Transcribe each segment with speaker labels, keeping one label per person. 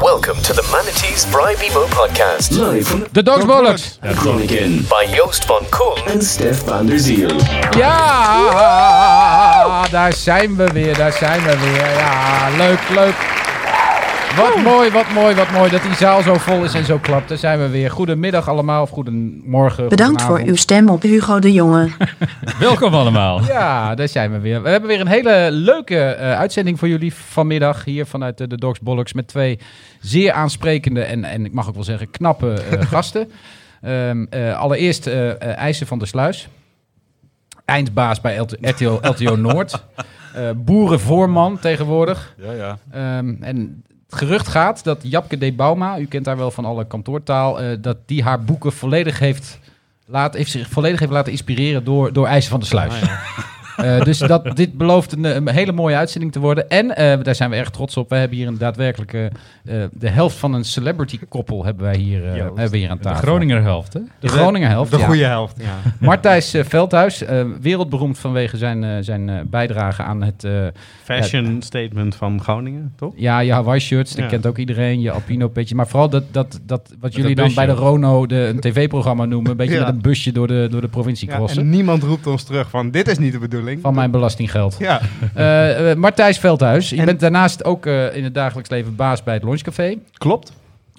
Speaker 1: Welcome to the Manatees Bribe Emo podcast
Speaker 2: Live from
Speaker 3: De Dogsbollocks.
Speaker 2: the Groningen
Speaker 1: by Joost van Koen.
Speaker 2: and Stef van der Ziel.
Speaker 3: Ja, daar zijn we weer, daar zijn we weer. Ja, leuk, leuk. Wat mooi, wat mooi, wat mooi dat die zaal zo vol is en zo klapt. Daar zijn we weer. Goedemiddag allemaal of goedemorgen.
Speaker 4: Bedankt voor uw
Speaker 3: goedenavond.
Speaker 4: stem op Hugo de Jonge.
Speaker 5: Welkom allemaal.
Speaker 3: Ja, daar zijn we weer. We hebben weer een hele leuke eh, uitzending voor jullie vanmiddag hier vanuit eh, de Dogs Bollocks met twee zeer aansprekende en, en ik mag ook wel zeggen knappe eh, gasten. Ehm, eh, allereerst eh eh, IJzer van der Sluis, eindbaas bij LT RTO, LTO Noord, Eh, boerenvoorman tegenwoordig.
Speaker 5: Ja, ja.
Speaker 3: Ehm, en het gerucht gaat dat Japke de Bauma, u kent haar wel van alle kantoortaal, eh, dat die haar boeken volledig heeft, laat, heeft zich volledig heeft laten inspireren door, door IJzer van der
Speaker 5: Ah,
Speaker 3: Sluis. Eh, dus dat, dit belooft een, een hele mooie uitzending te worden. En eh, daar zijn we erg trots op. We hebben hier een daadwerkelijke... eh, de helft van een celebrity koppel hebben wij hier, eh, hebben we hier aan
Speaker 5: De
Speaker 3: tafel.
Speaker 5: Groninger helft, hè?
Speaker 3: De Groninger helft,
Speaker 6: De
Speaker 3: ja.
Speaker 6: goede helft. Ja.
Speaker 3: Martijs eh, Veldhuis, eh, wereldberoemd vanwege zijn, eh, zijn eh, bijdrage aan het... eh,
Speaker 6: Fashion statement van Groningen, toch?
Speaker 3: ja, je Hawaii-shirts, dat
Speaker 6: Ja.
Speaker 3: kent ook iedereen. Je Alpino-petje. Maar vooral dat, dat, dat wat jullie
Speaker 5: dat
Speaker 3: dan bij de
Speaker 5: busje.
Speaker 3: Rono de, een tv-programma noemen. Een beetje
Speaker 6: Ja.
Speaker 3: met een busje door de, door de provincie
Speaker 6: Ja,
Speaker 3: crossen.
Speaker 6: en niemand roept ons terug van dit is niet de bedoeling.
Speaker 3: Van mijn belastinggeld.
Speaker 6: Ja,
Speaker 3: Eh, eh, Martijs Veldhuis, je
Speaker 6: En-
Speaker 3: bent daarnaast ook eh, in het dagelijks leven baas bij het Lunchcafé.
Speaker 6: klopt.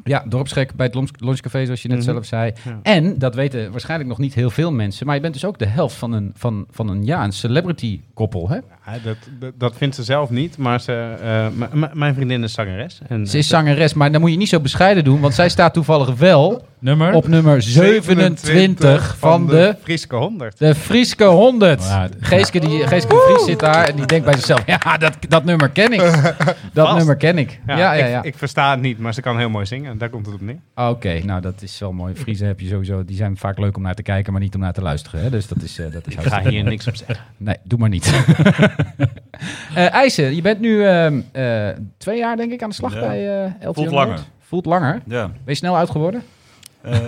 Speaker 3: Ja, dorpsgek bij het Lunch- Lunchcafé, zoals je net
Speaker 6: Mhm.
Speaker 3: zelf zei.
Speaker 6: Ja.
Speaker 3: En, dat weten waarschijnlijk nog niet heel veel mensen, maar je bent dus ook de helft van een, van, van een, ja, een celebrity-koppel, hè?
Speaker 6: Ja, dat, dat, dat vindt ze zelf niet, maar ze, eh, m- m- mijn vriendin is zangeres. En,
Speaker 3: Ze is zangeres, maar dan moet je niet zo bescheiden doen, want zij staat toevallig wel
Speaker 5: Nummer?
Speaker 3: op nummer 27 van de,
Speaker 6: Frieske 100.
Speaker 3: de Frieske 100.
Speaker 5: Ja,
Speaker 3: Geeske,
Speaker 6: Oh.
Speaker 3: die, Geeske de Vries zit daar en die denkt bij zichzelf, ja, dat, dat nummer ken ik. Dat
Speaker 6: Vast.
Speaker 3: nummer ken ik. Ja, ja, ja.
Speaker 6: Ik, ik versta het niet, maar ze kan heel mooi zingen. en Daar komt het op neer.
Speaker 3: Oké, nou dat is wel mooi. Vriezen heb je sowieso, die zijn vaak leuk om naar te kijken, maar niet om naar te luisteren. Hè? Dus dat is, eh, dat
Speaker 6: Ik
Speaker 3: is
Speaker 6: ga
Speaker 3: hartstikke
Speaker 6: hier niks op zeggen.
Speaker 3: Nee, doe maar niet. Eh IJssen, je bent nu ehm, eh, twee jaar denk ik aan de slag
Speaker 5: Ja.
Speaker 3: bij eh LTO
Speaker 5: Voelt
Speaker 3: Noord.
Speaker 5: langer.
Speaker 3: Voelt langer.
Speaker 7: Ja,
Speaker 3: Ben je snel oud geworden?
Speaker 7: eh,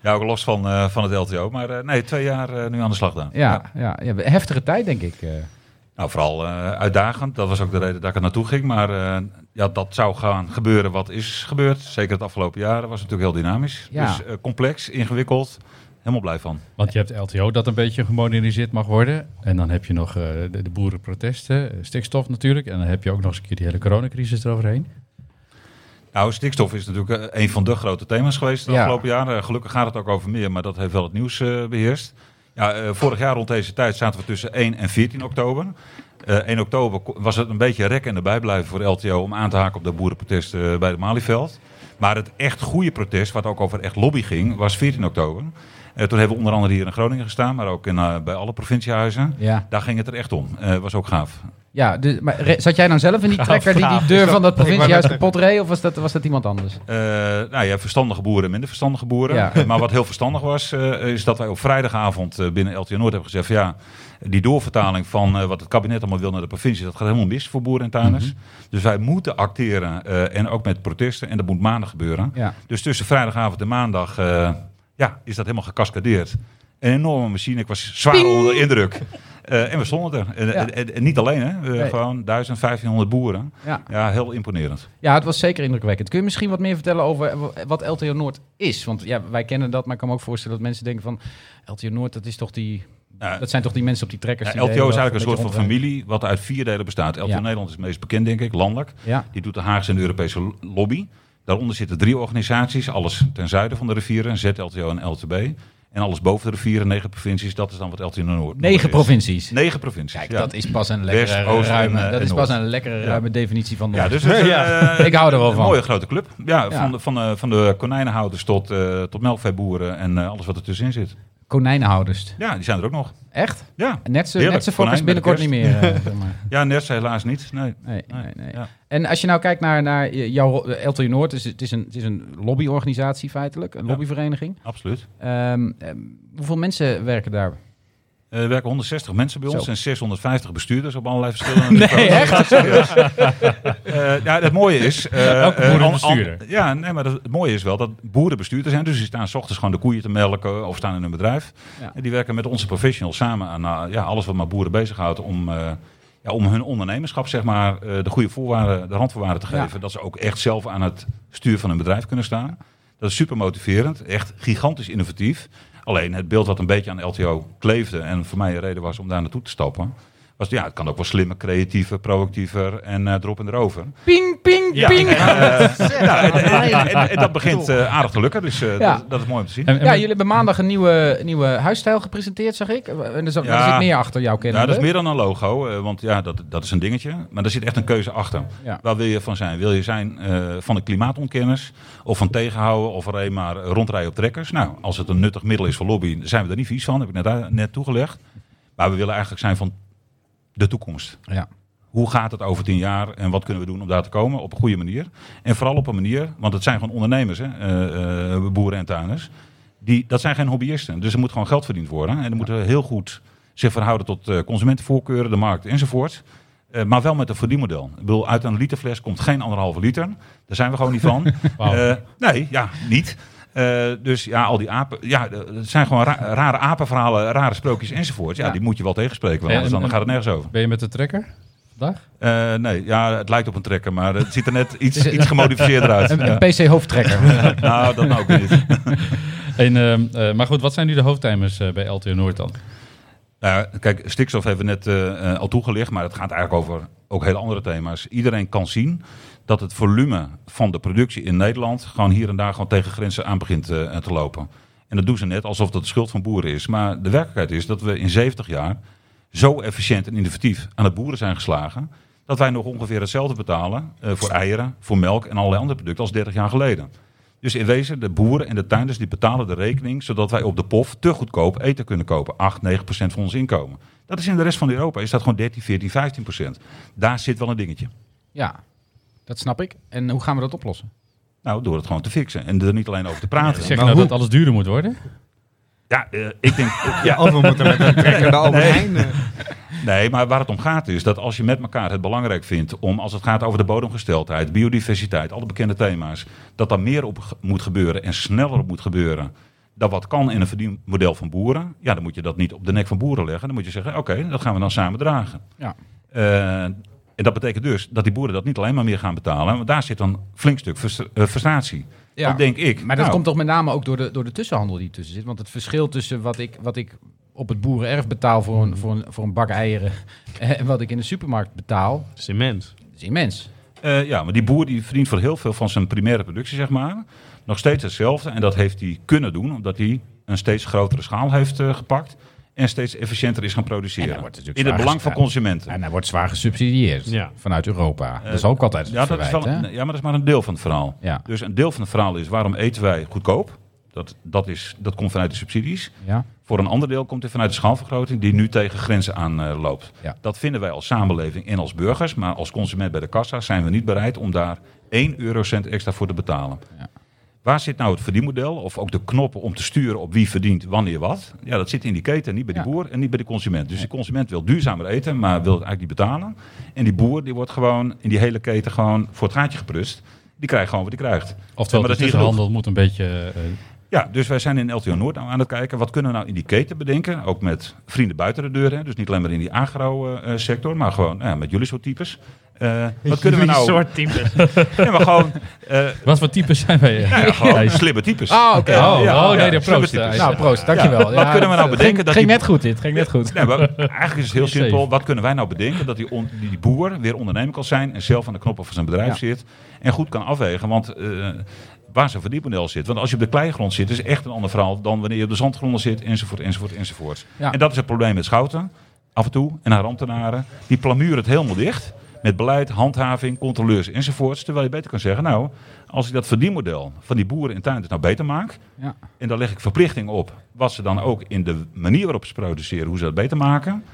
Speaker 7: ja ook los van, eh, van het LTO. Maar eh, nee, twee jaar eh, nu aan de slag dan.
Speaker 3: Ja, ja. ja, heftige tijd denk ik. eh.
Speaker 7: Nou, vooral eh, uitdagend. Dat was ook de reden dat ik er naartoe ging. Maar eh, ja, dat zou gaan gebeuren wat is gebeurd. Zeker het afgelopen jaar. Dat was natuurlijk heel dynamisch.
Speaker 3: Ja.
Speaker 7: Dus eh, complex, ingewikkeld. Helemaal blij van.
Speaker 5: Want je hebt LTO dat een beetje gemoderniseerd mag worden. En dan heb je nog eh, de, de boerenprotesten, eh, stikstof natuurlijk. En dan heb je ook nog eens een keer die hele coronacrisis eroverheen.
Speaker 7: Nou, stikstof is natuurlijk eh, een van de grote thema's geweest de
Speaker 3: Ja.
Speaker 7: afgelopen jaren. Eh, Gelukkig gaat het ook over meer, maar dat heeft wel het nieuws eh, beheerst. Ja, eh, vorig jaar rond deze tijd zaten we tussen 1 en 14 oktober. Eh 1 oktober ko- was het een beetje rek en erbij blijven voor LTO om aan te haken op dat boerenprotest eh, bij het Malieveld. Maar het echt goede protest, wat ook over echt lobby ging, was 14 oktober. Eh, toen hebben we onder andere hier in Groningen gestaan, maar ook in, eh, bij alle provinciehuizen.
Speaker 3: Ja,
Speaker 7: Daar ging het er echt om. Eh was ook gaaf.
Speaker 3: ja dus, maar re- zat jij dan zelf in die trekker die die
Speaker 6: vraag.
Speaker 3: deur
Speaker 6: Dus
Speaker 3: van dat
Speaker 6: dat- ik wou
Speaker 3: provinciehuis
Speaker 6: net zeggen.
Speaker 3: kapot reed? Of was dat, was dat iemand anders?
Speaker 7: Eh, nou ja, verstandige boeren en minder verstandige boeren.
Speaker 3: Ja.
Speaker 7: Eh, Maar wat heel verstandig was, eh, is dat wij op vrijdagavond eh, binnen LTO Noord hebben gezegd... van ja, die doorvertaling van eh, wat het kabinet allemaal wil naar de provincie... dat gaat helemaal mis voor boeren en tuinders.
Speaker 3: Mhm.
Speaker 7: Dus wij moeten acteren eh, en ook met protesten. En dat moet maandag gebeuren.
Speaker 3: Ja.
Speaker 7: Dus tussen vrijdagavond en maandag eh, ja, is dat helemaal gecascadeerd. Een enorme machine. Ik was zwaar onder de indruk. Eh, en we stonden er. En,
Speaker 3: Ja.
Speaker 7: en- en- en niet alleen, hè. Eh,
Speaker 3: Nee.
Speaker 7: Gewoon 1000, 1500 boeren.
Speaker 3: Ja.
Speaker 7: Ja, heel imponerend.
Speaker 3: ja, het was zeker indrukwekkend. Kun je misschien wat meer vertellen over eh, w- wat LTO Noord is? Want ja, wij kennen dat, maar ik kan me ook voorstellen dat mensen denken van... LTO Noord, dat, is toch die,
Speaker 7: Nou,
Speaker 3: dat zijn toch die mensen op die trekkers?
Speaker 7: Ja,
Speaker 3: die
Speaker 7: LTO
Speaker 3: de
Speaker 7: is
Speaker 3: hele dag
Speaker 7: eigenlijk een soort
Speaker 3: beetje
Speaker 7: van
Speaker 3: rondrijden?
Speaker 7: familie wat uit vier delen bestaat. LTO
Speaker 3: Ja.
Speaker 7: Nederland is het meest bekend, denk ik, landelijk.
Speaker 3: Ja.
Speaker 7: Die doet de Haagse en de Europese lo- lobby. Daaronder zitten drie organisaties, alles ten zuiden van de rivieren, ZLTO en LTB. En alles boven de rivieren, negen provincies, dat is dan wat LTO Noord. Noord
Speaker 3: Negen
Speaker 7: is.
Speaker 3: provincies.
Speaker 7: Negen provincies,
Speaker 3: Kijk,
Speaker 7: ja.
Speaker 3: dat is pas een lekkere
Speaker 7: West, Oost en,
Speaker 3: ruime,
Speaker 7: eh,
Speaker 3: dat
Speaker 7: en
Speaker 3: is pas
Speaker 7: Noord.
Speaker 3: een lekkere
Speaker 7: Ja.
Speaker 3: ruime definitie van Noord.
Speaker 7: ja, dus het is, eh,
Speaker 3: Ik hou er wel
Speaker 7: een
Speaker 3: van.
Speaker 7: mooie grote club. Ja,
Speaker 3: Ja.
Speaker 7: Van, de, van, de, van de konijnenhouders tot, eh tot melkveeboeren en eh, alles wat ertussenin zit.
Speaker 3: Konijnenhouders.
Speaker 7: Ja, die zijn er ook nog.
Speaker 3: Echt?
Speaker 7: Ja,
Speaker 3: Net zo, net
Speaker 7: Heerlijk.
Speaker 3: zo fokkers
Speaker 7: Konijn met
Speaker 3: binnenkort
Speaker 7: de
Speaker 3: niet meer. eh, zeg maar.
Speaker 7: ja net helaas niet. Nee.
Speaker 3: Nee, nee, nee.
Speaker 7: Ja.
Speaker 3: En als je nou kijkt naar, naar jouw ro- eh, LTO Noord, is, het- het, is een, het is een lobbyorganisatie feitelijk, een
Speaker 7: Ja.
Speaker 3: lobbyvereniging.
Speaker 7: Absoluut.
Speaker 3: Ehm, ehm, hoeveel mensen werken daar?
Speaker 7: Eh, Er werken 160 mensen bij ons
Speaker 3: Zo.
Speaker 7: en 650 bestuurders op allerlei verschillende niveaus.
Speaker 3: echt?
Speaker 7: Eh, ja, het mooie is... eh,
Speaker 5: Elke
Speaker 7: eh,
Speaker 5: boer een
Speaker 7: an-
Speaker 5: bestuurder.
Speaker 7: an- ja, nee, maar dat- het mooie is wel dat boeren bestuurders zijn. Dus die staan s ochtends gewoon de koeien te melken of staan in hun bedrijf.
Speaker 3: Ja.
Speaker 7: En die werken met onze professionals samen aan eh, ja, alles wat maar boeren bezighoudt om... eh, ja, om hun ondernemerschap zeg maar, eh, de goede voorwaarden, de randvoorwaarden te
Speaker 3: Ja.
Speaker 7: geven. Dat ze ook echt zelf aan het stuur van een bedrijf kunnen staan. Dat is super motiverend, echt gigantisch innovatief. Alleen het beeld wat een beetje aan LTO kleefde en voor mij een reden was om daar naartoe te stappen. Was, ja, het kan ook wel slimmer, creatiever, proactiever en eh, erop en erover.
Speaker 3: Ping, ping, ping.
Speaker 7: En, eh, nou, en, en- en- en- en dat begint eh, aardig te lukken, dus eh,
Speaker 3: Ja.
Speaker 7: dat, dat is mooi om te zien.
Speaker 5: En, en
Speaker 3: Ja,
Speaker 5: met-
Speaker 3: jullie hebben maandag een nieuwe, nieuwe huisstijl gepresenteerd, zag ik. Eh, En er, zat,
Speaker 7: Ja.
Speaker 3: er zit meer achter jouw kennis.
Speaker 7: Ja, dat is meer dan een logo, eh, want ja, dat, dat is een dingetje. Maar daar zit echt een keuze achter.
Speaker 3: Ja.
Speaker 7: Waar wil je van zijn? Wil je zijn eh, van de klimaatontkenners? Of van tegenhouden? Of alleen maar rondrijden op trekkers? Nou, als het een nuttig middel is voor lobby, dan zijn we er niet vies van. Heb ik net, eh, net toegelegd. Maar we willen eigenlijk zijn van de toekomst.
Speaker 3: Ja.
Speaker 7: Hoe gaat het over tien jaar en wat kunnen we doen om daar te komen op een goede manier? En vooral op een manier, want het zijn gewoon ondernemers, hè? eh, eh, boeren en tuiners. Die, dat zijn geen hobbyisten, dus er moet gewoon geld verdiend worden. En er moeten heel goed zich verhouden tot eh, consumentenvoorkeuren, de markt enzovoort. Eh, maar wel met een verdienmodel. Ik bedoel, uit een literfles komt geen anderhalve liter. Daar zijn we gewoon niet van. Eh, nee, ja, niet. Eh, dus ja, al die apen. Ja, eh, het zijn gewoon ra- rare apenverhalen, rare sprookjes enzovoort. Ja,
Speaker 3: Ja.
Speaker 7: die moet je wel tegenspreken, want
Speaker 5: En-
Speaker 7: anders dan
Speaker 5: en-
Speaker 7: gaat het nergens over.
Speaker 5: Ben je met de trekker vandaag?
Speaker 7: Eh, nee, ja, het lijkt op een trekker, maar het ziet er net iets, iets gemodificeerder uit.
Speaker 3: Een,
Speaker 7: Ja.
Speaker 3: een PC-hoofdtrekker.
Speaker 7: Nou, dat nou ook weer niet.
Speaker 5: En, ehm, eh, maar goed, wat zijn nu de hoofdtimers eh, bij LTO Noord dan?
Speaker 7: Nou, ja, kijk, stikstof hebben we net eh, eh, al toegelicht, maar het gaat eigenlijk over ook hele andere thema's. Iedereen kan zien dat het volume van de productie in Nederland gewoon hier en daar gewoon tegen grenzen aan begint eh, te lopen. En dat doen ze net alsof dat de schuld van boeren is. Maar de werkelijkheid is dat we in 70 jaar zo efficiënt en innovatief aan de boeren zijn geslagen. dat wij nog ongeveer hetzelfde betalen eh, voor eieren, voor melk en allerlei andere producten als 30 jaar geleden. Dus in wezen, de boeren en de tuinders die betalen de rekening, zodat wij op de POF te goedkoop eten kunnen kopen. 8, 9 procent van ons inkomen. Dat is in de rest van Europa, is dat gewoon 13, 14, 15 procent. Daar zit wel een dingetje.
Speaker 3: ja, dat snap ik. En hoe gaan we dat oplossen?
Speaker 7: Nou, door het gewoon te fixen en er niet alleen over te praten.
Speaker 5: Zeg
Speaker 7: Ja,
Speaker 5: je nou dat alles duurder moet worden?
Speaker 7: eh, ik denk... ja,
Speaker 4: Of we moeten met een trekker naar Albert Heijn. eh.
Speaker 7: Nee, maar waar het om gaat is dat als je met elkaar het belangrijk vindt om, als het gaat over de bodemgesteldheid, biodiversiteit, alle bekende thema's, dat daar meer op ge- moet gebeuren en sneller op moet gebeuren dan wat kan in een verdienmodel van boeren, ja, dan moet je dat niet op de nek van boeren leggen. Dan moet je zeggen, oké, dat gaan we dan samen dragen.
Speaker 3: Ja.
Speaker 7: Eh, en dat betekent dus dat die boeren dat niet alleen maar meer gaan betalen, want daar zit dan een flink stuk frustra- eh, frustratie.
Speaker 3: Ja.
Speaker 7: Dat denk ik.
Speaker 3: Maar dat
Speaker 7: Nou,
Speaker 3: komt toch met name ook door de, door de tussenhandel die tussen zit. Want het verschil tussen wat ik, wat ik op het boerenerf betaal voor een, voor, een, voor een bak eieren... en wat ik in de supermarkt betaal,
Speaker 6: Dat is immens.
Speaker 3: is immens.
Speaker 7: Eh, ja, maar die boer die verdient voor heel veel van zijn primaire productie, zeg maar. Nog steeds hetzelfde. En dat heeft hij kunnen doen, omdat hij een steeds grotere schaal heeft eh, gepakt. En steeds efficiënter is gaan produceren.
Speaker 3: En daar wordt natuurlijk
Speaker 7: In het
Speaker 3: zwaar
Speaker 7: belang van
Speaker 3: gestaan.
Speaker 7: consumenten.
Speaker 3: En hij wordt zwaar gesubsidieerd
Speaker 6: Ja.
Speaker 3: vanuit Europa. dat is ook altijd het
Speaker 7: Eh, Ja, dat is
Speaker 3: verwijt,
Speaker 7: wel,
Speaker 3: hè?
Speaker 7: een- ja, maar dat is maar een deel van het verhaal.
Speaker 3: Ja.
Speaker 7: Dus een deel van het verhaal is waarom eten wij goedkoop? Dat, dat, is, dat komt vanuit de subsidies.
Speaker 3: Ja.
Speaker 7: Voor een ander deel komt het vanuit de schaalvergroting die nu tegen grenzen aan eh, loopt.
Speaker 3: Ja.
Speaker 7: Dat vinden wij als samenleving en als burgers, maar als consument bij de kassa zijn we niet bereid om daar 1 eurocent extra voor te betalen.
Speaker 3: Ja.
Speaker 7: Waar zit nou het verdienmodel of ook de knoppen om te sturen op wie verdient wanneer wat? Ja, dat zit in die keten, niet bij die
Speaker 3: Ja.
Speaker 7: boer en niet bij de consument. Dus de consument wil duurzamer eten, maar wil het eigenlijk niet betalen. En die boer die wordt gewoon in die hele keten gewoon voor het gaatje geprust. Die krijgt gewoon wat hij krijgt. Ja,
Speaker 5: Oftewel, dus
Speaker 7: maar
Speaker 5: de
Speaker 7: dat is niet genoeg.
Speaker 5: tussenhandel moet een beetje... eh,
Speaker 7: Ja, dus wij zijn in LTO Noord nou aan het kijken. Wat kunnen we nou in die keten bedenken? Ook met vrienden buiten de deur. Hè? Dus niet alleen maar in die agro-sector, maar gewoon nou ja, met jullie soort types. Eh, wat kunnen we nou?
Speaker 6: soort type.
Speaker 7: Ja, maar gewoon, eh,
Speaker 5: wat voor types zijn wij? eh?
Speaker 7: ja, gewoon slimme types.
Speaker 3: Ah, oké.
Speaker 7: Ja,
Speaker 5: oh,
Speaker 7: ja,
Speaker 5: oh, nee,
Speaker 7: ja,
Speaker 5: de
Speaker 7: slimme
Speaker 5: proost.
Speaker 7: types.
Speaker 5: eh,
Speaker 3: Nou, proost, dankjewel.
Speaker 7: Ja, wat kunnen we nou
Speaker 3: het
Speaker 7: bedenken
Speaker 3: Ging,
Speaker 7: dat
Speaker 3: ging
Speaker 7: die-
Speaker 3: net goed dit, ging net goed.
Speaker 7: Nee, maar eigenlijk is het heel
Speaker 5: Is safe.
Speaker 7: simpel. Wat kunnen wij nou bedenken? Dat die, on- die die boer weer ondernemer kan zijn en zelf aan de knoppen van zijn bedrijf
Speaker 3: Ja.
Speaker 7: zit. En goed kan afwegen. Want eh, waar zijn verdienmodel zit. Want als je op de kleigrond zit, is echt een ander verhaal dan wanneer je op de zandgronden zit. Enzovoort, enzovoort, enzovoort.
Speaker 3: Ja.
Speaker 7: En dat is het probleem met Schouten. Af en toe. En haar ambtenaren. Die plamuren het helemaal dicht. Met beleid, handhaving, controleurs enzovoorts. Terwijl je beter kan zeggen, nou, als ik dat verdienmodel van die boeren en tuinders nou beter maak,
Speaker 3: Ja.
Speaker 7: en daar leg ik verplichting op. Wat ze dan ook in de manier waarop ze produceren, hoe ze dat beter maken.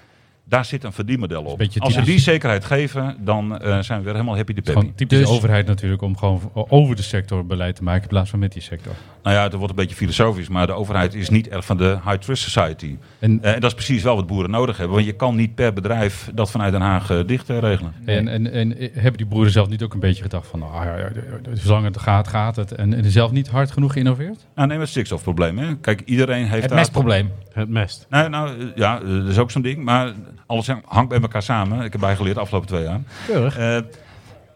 Speaker 7: Daar zit een verdienmodel op.
Speaker 5: beetje
Speaker 7: Als ze
Speaker 5: typisch.
Speaker 7: die zekerheid geven, dan eh, zijn we weer helemaal happy de peppy.
Speaker 5: Gewoon typisch
Speaker 3: Dus-
Speaker 5: overheid natuurlijk om gewoon over de sector beleid te maken in plaats van met die sector.
Speaker 7: Nou ja, het wordt een beetje filosofisch, maar de overheid is niet erg van de high trust society.
Speaker 5: En,
Speaker 7: Eh, en dat is precies wel wat boeren nodig hebben. Want je kan niet per bedrijf dat vanuit Den Haag eh, dicht eh, regelen.
Speaker 5: en, en, en eh, hebben die boeren zelf niet ook een beetje gedacht van, ah, ja, ja, ja, zolang het gaat, gaat het. En, en zelf niet hard genoeg geïnnoveerd?
Speaker 7: Nou, neem het stikstofprobleem. Hè. Kijk, iedereen heeft
Speaker 3: Het
Speaker 7: daar...
Speaker 3: mestprobleem.
Speaker 6: Het mest.
Speaker 7: Nou, nou eh, ja, eh, dat is ook zo'n ding. Maar Alles hangt bij elkaar samen. Ik heb bijgeleerd de afgelopen twee jaar.
Speaker 3: Keurig.
Speaker 7: Eh,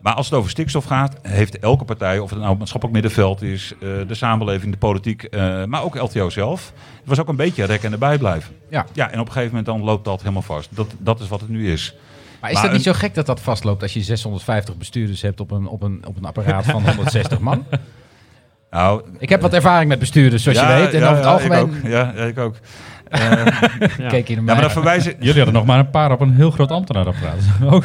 Speaker 7: maar als het over stikstof gaat, heeft elke partij, of het nou het maatschappelijk middenveld is, eh, de samenleving, de politiek, eh, maar ook LTO zelf. Het was ook een beetje rek en erbij blijven.
Speaker 3: Ja.
Speaker 7: ja, en op een gegeven moment dan loopt dat helemaal vast. Dat, dat is wat het nu is.
Speaker 3: Maar is
Speaker 7: Maar
Speaker 3: dat niet
Speaker 7: een-
Speaker 3: zo gek dat dat vastloopt als je 650 bestuurders hebt op een, op een, op een apparaat van 160 man?
Speaker 7: Nou,
Speaker 3: Ik heb wat ervaring met bestuurders, zoals je weet. En over het
Speaker 7: ik
Speaker 3: algemeen
Speaker 7: ook. Ja, ja, ik ook. Eh,
Speaker 3: keek je naar
Speaker 7: ja,
Speaker 3: mij.
Speaker 7: maar dan verwijs ik,
Speaker 5: Jullie hadden nog maar een paar op een heel groot ambtenaarapparaat. Ook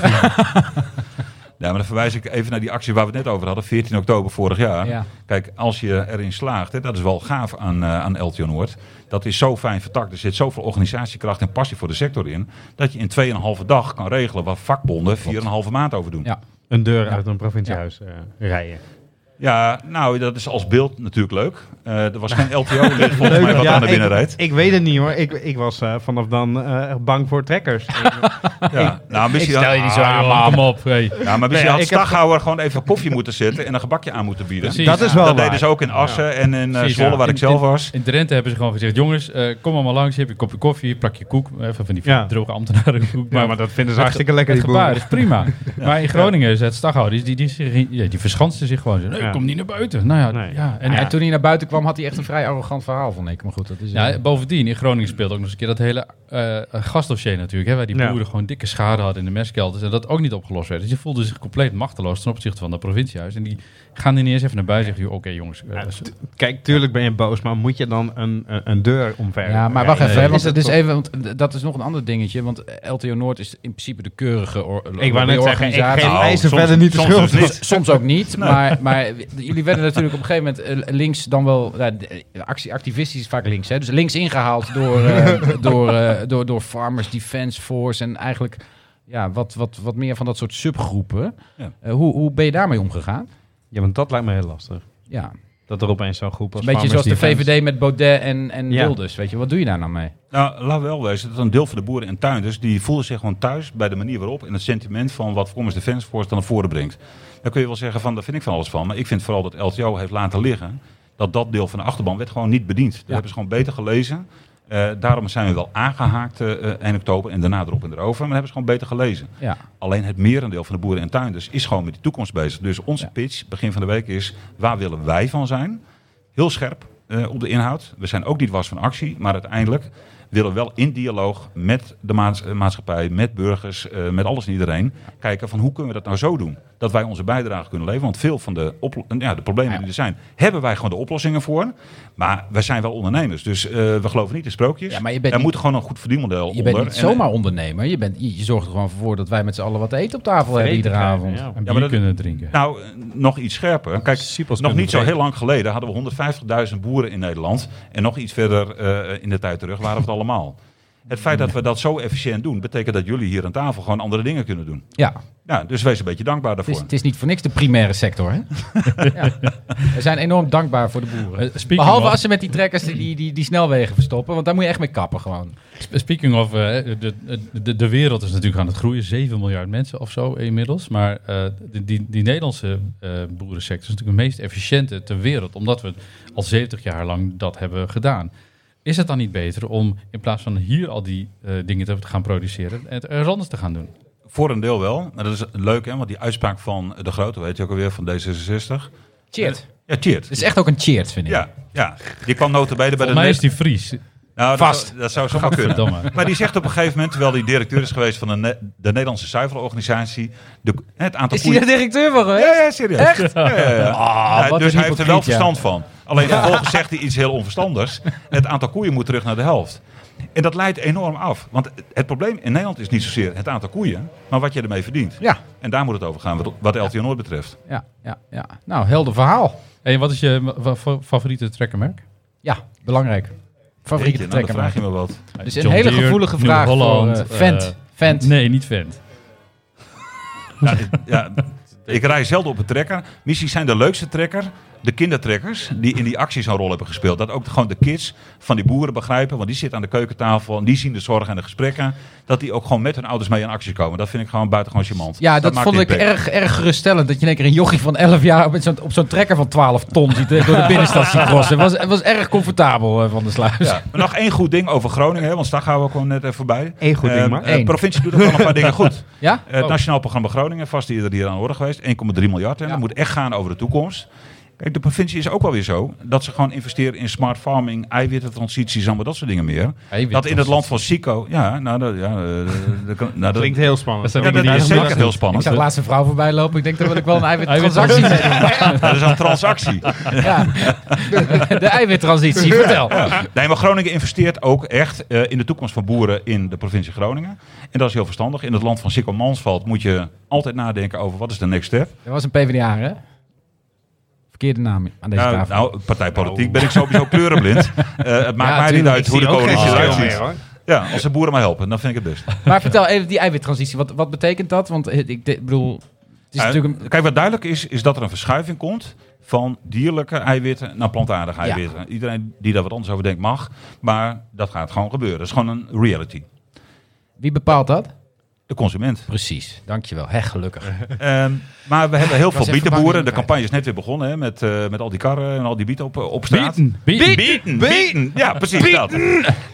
Speaker 7: Ja, maar dan verwijs ik even naar die actie waar we het net over hadden, 14 oktober vorig jaar.
Speaker 3: Ja.
Speaker 7: Kijk, als je erin slaagt, hè, dat is wel gaaf aan, eh aan LTO Noord. Dat is zo fijn vertakt. Er zit zoveel organisatiekracht en passie voor de sector in. Dat je in 2,5 dag kan regelen waar vakbonden 4,5 maand over doen.
Speaker 3: Ja.
Speaker 7: Ja.
Speaker 6: Een deur uit een provinciehuis eh, rijden.
Speaker 7: nou, dat is als beeld natuurlijk leuk. Eh, er was geen LTO lid volgens mij wat
Speaker 6: Ja,
Speaker 7: aan de binnen
Speaker 6: ik,
Speaker 7: rijdt.
Speaker 6: Ik weet het niet hoor. Ik, ik was eh, vanaf dan eh, echt bang voor trekkers.
Speaker 7: Ja. Nou, misschien had-
Speaker 5: aan, Kom op. hey.
Speaker 7: Ja, maar misschien
Speaker 6: Nee,
Speaker 7: had
Speaker 6: ik heb-
Speaker 7: Staghouwer gewoon even koffie moeten zetten en een gebakje aan moeten bieden.
Speaker 5: Precies.
Speaker 6: dat is wel
Speaker 7: dat
Speaker 6: waar.
Speaker 7: deden ze ook in Assen en in eh,
Speaker 5: Precies,
Speaker 7: Zwolle,
Speaker 5: ja.
Speaker 7: waar ik
Speaker 5: In-
Speaker 7: zelf
Speaker 5: in-
Speaker 7: was.
Speaker 5: In Drenthe hebben ze gewoon gezegd, jongens, eh, kom allemaal langs. Je hebt je kopje koffie, pak je koek. Even van die
Speaker 6: Ja.
Speaker 5: droge ambtenarenkoek.
Speaker 6: Ja, maar dat vinden ze hartstikke lekker.
Speaker 5: Het
Speaker 6: Die
Speaker 5: gebaar
Speaker 6: boeren.
Speaker 5: is prima. Maar in Groningen is het staghouders, die, die, die, ja, die verschansten zich gewoon. Zo, nee,
Speaker 6: Ja.
Speaker 5: ik kom niet naar buiten. Nou ja,
Speaker 6: Nee.
Speaker 5: ja. En
Speaker 3: En,
Speaker 5: hij-
Speaker 3: en toen hij naar buiten kwam, had hij echt een vrij arrogant verhaal, vond ik. Maar goed, dat is...
Speaker 5: ja, bovendien, in Groningen speelt ook nog eens een keer dat hele eh gasdossier natuurlijk. Hè, waar die
Speaker 6: Ja.
Speaker 5: boeren gewoon dikke schade hadden in de mestkelders. En dat ook niet opgelost werd. Dus je voelde zich compleet machteloos ten opzichte van dat provinciehuis. En die gaan er niet eens even naar buiten en zeggen, joh, oké jongens. eh,
Speaker 6: Ja,
Speaker 5: s-
Speaker 6: t- Kijk, tuurlijk ben je boos, maar moet je dan een, een, een deur omver?
Speaker 3: Ja, maar wacht even,
Speaker 5: nee,
Speaker 3: hè, want,
Speaker 6: is
Speaker 3: het is
Speaker 6: het
Speaker 3: even want d- dat is nog een ander dingetje. Want eh, LTO Noord is in principe de keurige or-
Speaker 6: Ik wou net zeggen, ik
Speaker 3: organisatie.
Speaker 6: geef
Speaker 7: Nou,
Speaker 6: eisen
Speaker 7: soms-
Speaker 6: verder niet de
Speaker 7: soms
Speaker 6: schuld.
Speaker 7: dus niet.
Speaker 3: Soms ook niet, maar, maar w- jullie werden natuurlijk op een gegeven moment eh, links dan wel... ja, d- eh, actie, activistisch is vaak links, hè? Dus links ingehaald door, eh, door, eh, door, door Farmers Defence Force en eigenlijk ja, wat, wat, wat meer van dat soort subgroepen.
Speaker 7: Ja.
Speaker 3: Eh, hoe, hoe ben je daarmee omgegaan?
Speaker 6: Ja, want dat lijkt me heel lastig.
Speaker 3: Ja,
Speaker 6: Dat er opeens zo'n groep
Speaker 3: een
Speaker 6: als
Speaker 3: beetje zoals
Speaker 6: Farmers
Speaker 3: de
Speaker 6: Defence-
Speaker 3: VVD met Baudet en, en
Speaker 6: Ja.
Speaker 3: Wilders, weet je. Wat doe je daar nou mee?
Speaker 7: Nou, laat wel wezen dat een deel van de boeren en tuinders... die voelen zich gewoon thuis bij de manier waarop... en het sentiment van wat Commons Defence Force dan naar voren brengt. Dan kun je wel zeggen van, daar vind ik van alles van. Maar ik vind vooral dat LTO heeft laten liggen... dat dat deel van de achterban werd gewoon niet bediend. Dat hebben ze gewoon beter gelezen. Eh, daarom zijn we wel aangehaakt eh, eh, eind oktober en daarna erop en erover. Maar dat hebben ze gewoon beter gelezen.
Speaker 3: Ja.
Speaker 7: Alleen het merendeel van de boeren en tuinders is gewoon met die toekomst bezig. Dus onze pitch begin van de week is: waar willen wij van zijn? Heel scherp eh, op de inhoud. We zijn ook niet was van actie, maar uiteindelijk willen we wel in dialoog met de maats- eh, maatschappij, met burgers, eh, met alles en iedereen kijken van hoe kunnen we dat nou zo doen dat wij onze bijdrage kunnen leveren. Want veel van de, oplo- eh, ja, de problemen die er zijn, hebben wij gewoon de oplossingen voor. Maar wij zijn wel ondernemers, dus eh, we geloven niet in sprookjes.
Speaker 3: Ja, maar je bent
Speaker 7: er
Speaker 3: niet-
Speaker 7: moet gewoon een goed verdienmodel
Speaker 3: Je
Speaker 7: onder.
Speaker 3: bent niet
Speaker 7: En, eh,
Speaker 3: zomaar ondernemer. Je, bent, je, je zorgt er gewoon voor dat wij met z'n allen wat te eten op tafel hebben iedere avond.
Speaker 5: en bier
Speaker 7: maar dat-
Speaker 5: kunnen drinken.
Speaker 7: Nou, eh, nog iets scherper. Kijk,
Speaker 6: Siepels
Speaker 7: nog
Speaker 6: kunnen
Speaker 7: niet zo
Speaker 6: breken.
Speaker 7: heel lang geleden hadden we 150.000 boeren in Nederland. En nog iets verder eh, in de tijd terug waren we het allemaal. Het feit dat we dat zo efficiënt doen, betekent dat jullie hier aan tafel gewoon andere dingen kunnen doen.
Speaker 3: Ja,
Speaker 7: Ja, dus wees een beetje dankbaar
Speaker 3: het is,
Speaker 7: daarvoor.
Speaker 3: het is niet voor niks de primaire sector. Hè? ja. We zijn enorm dankbaar voor de boeren.
Speaker 5: Eh, speaking
Speaker 3: Behalve
Speaker 5: of-
Speaker 3: als ze met die trekkers die, die, die, die snelwegen verstoppen. Want daar moet je echt mee kappen gewoon.
Speaker 5: Sp- Speaking of, eh, de, de, de wereld is natuurlijk aan het groeien. 7 miljard mensen of zo inmiddels. Maar eh, de- die, die Nederlandse eh, boerensector is natuurlijk de meest efficiënte ter wereld. Omdat we al 70 jaar lang dat hebben gedaan. Is het dan niet beter om in plaats van hier al die eh, dingen te gaan produceren, het ergens anders te gaan doen?
Speaker 7: Voor een deel wel. Maar dat is leuk, hè? Want die uitspraak van de grote, weet je ook alweer, van D66.
Speaker 3: Cheert.
Speaker 7: Ja, cheert.
Speaker 3: Het is echt ook een cheert, vind ik.
Speaker 7: Ja, ja, die kwam notabene bij de...
Speaker 5: Voor mij is
Speaker 7: net-
Speaker 5: die Fries.
Speaker 7: Nou,
Speaker 3: vast.
Speaker 7: Dat, zou- dat zou zomaar kunnen.
Speaker 5: Gadverdamme.
Speaker 7: Maar die zegt op een gegeven moment, terwijl hij directeur is geweest van de, Ne- de Nederlandse zuivelorganisatie, de, het aantal
Speaker 3: Is hij de directeur van geweest?
Speaker 7: Ja, ja, serieus. Ja, ja, ja. Ja,
Speaker 3: Ah, wat
Speaker 7: dus
Speaker 3: een
Speaker 7: hij heeft er
Speaker 3: hypocriet,
Speaker 7: wel
Speaker 3: ja.
Speaker 7: verstand van. Alleen vervolgens zegt hij iets heel onverstandigs. Het aantal koeien moet terug naar de helft. En dat leidt enorm af. Want het probleem in Nederland is niet zozeer het aantal koeien, maar wat je ermee verdient.
Speaker 3: Ja.
Speaker 7: En daar moet het over gaan, wat- wat LTO Noord betreft.
Speaker 3: Ja, ja, ja. Nou, helder verhaal.
Speaker 5: En wat is je wa- wa- fa- favoriete trekkermerk?
Speaker 3: Ja, belangrijk. Favoriete
Speaker 7: Jeetje, nou,
Speaker 3: trekker.
Speaker 7: dan vraag je
Speaker 3: maken.
Speaker 7: me wat.
Speaker 3: Dus een
Speaker 5: John
Speaker 3: hele
Speaker 5: Deere,
Speaker 3: gevoelige
Speaker 5: New
Speaker 3: vraag voor
Speaker 5: Holland,
Speaker 3: eh, Vent.
Speaker 5: eh,
Speaker 3: Vent.
Speaker 5: Nee, niet Vent.
Speaker 7: Nou, Ja, ik- ja, ik rij zelden op een trekker. Misschien zijn de leukste trekker de kindertrekkers die in die acties een rol hebben gespeeld. Dat ook gewoon de kids van die boeren begrijpen, want die zitten aan de keukentafel en die zien de zorg en de gesprekken. Dat die ook gewoon met hun ouders mee in acties komen. Dat vind ik gewoon buitengewoon charmant.
Speaker 3: Ja, dat,
Speaker 7: maakt
Speaker 3: vond ik
Speaker 7: impact.
Speaker 3: erg, erg geruststellend. Dat je in één keer een jochie van 11 jaar met zo'n- op zo'n trekker van 12 ton ziet, eh, door de binnenstad ziet crossen. Het was, het was erg comfortabel eh, van de sluis.
Speaker 7: Ja. Maar nog één goed ding over Groningen, hè, want daar gaan we ook gewoon net even voorbij.
Speaker 4: Eén goed ding,
Speaker 7: Eh,
Speaker 4: maar.
Speaker 7: eh,
Speaker 3: Eén.
Speaker 7: provincie doet ook wel een paar dingen goed.
Speaker 3: Ja? Oh.
Speaker 7: Eh, Het Nationaal Programma Groningen, vast eerder hier aan de orde geweest, 1,3 miljard. En
Speaker 3: Ja.
Speaker 7: dat moet echt gaan over de toekomst. Kijk, de provincie is ook wel weer zo dat ze gewoon investeren in smart farming, eiwittentransities, allemaal dat soort dingen meer. Dat in het land van Sico, ja, nou, dat, ja, eh, dat, kan- nou, dat,
Speaker 6: Klinkt heel spannend.
Speaker 7: ja, dat is zeker heel spannend.
Speaker 3: Ik zag laatst een vrouw voorbij lopen. Ik denk, daar wil ik wel een eiwittransitie mee
Speaker 5: Eiwittransitie.
Speaker 3: doen.
Speaker 7: Dat is een transactie.
Speaker 3: Ja. De eiwittransitie, vertel.
Speaker 7: Nee, maar Groningen investeert ook echt eh, in de toekomst van boeren in de provincie Groningen. En dat is heel verstandig. In het land van Sikko Mansveld moet je altijd nadenken over wat is de next step.
Speaker 3: Dat was een PvdA, hè? Verkeerde naam aan deze
Speaker 7: Nou,
Speaker 3: tafel.
Speaker 7: nou, partijpolitiek ben ik sowieso kleurenblind. Eh, het maakt mij niet
Speaker 3: tuurlijk,
Speaker 7: uit hoe de coalitie eruit ziet.
Speaker 6: hoor.
Speaker 7: Ja, als de boeren maar helpen, dan vind ik het best.
Speaker 3: Maar vertel even die eiwittransitie. Wat, wat betekent dat? Want eh, ik de- bedoel, het is
Speaker 7: Eh,
Speaker 3: natuurlijk een...
Speaker 7: Kijk, wat duidelijk is, is dat er een verschuiving komt van dierlijke eiwitten naar plantaardige
Speaker 3: Ja.
Speaker 7: eiwitten. Iedereen die daar wat anders over denkt mag, maar dat gaat gewoon gebeuren. Dat is gewoon een reality.
Speaker 3: Wie bepaalt dat?
Speaker 7: De consument.
Speaker 3: Precies, dankjewel. Hè, gelukkig.
Speaker 7: Ehm, maar we hebben heel veel
Speaker 3: even
Speaker 7: bietenboeren.
Speaker 3: verbazing.
Speaker 7: De campagne is net weer begonnen hè, met, eh, met al die karren en al die bieten op, op straat.
Speaker 5: Bieten.
Speaker 7: Bieten. Bieten. Ja, precies dat.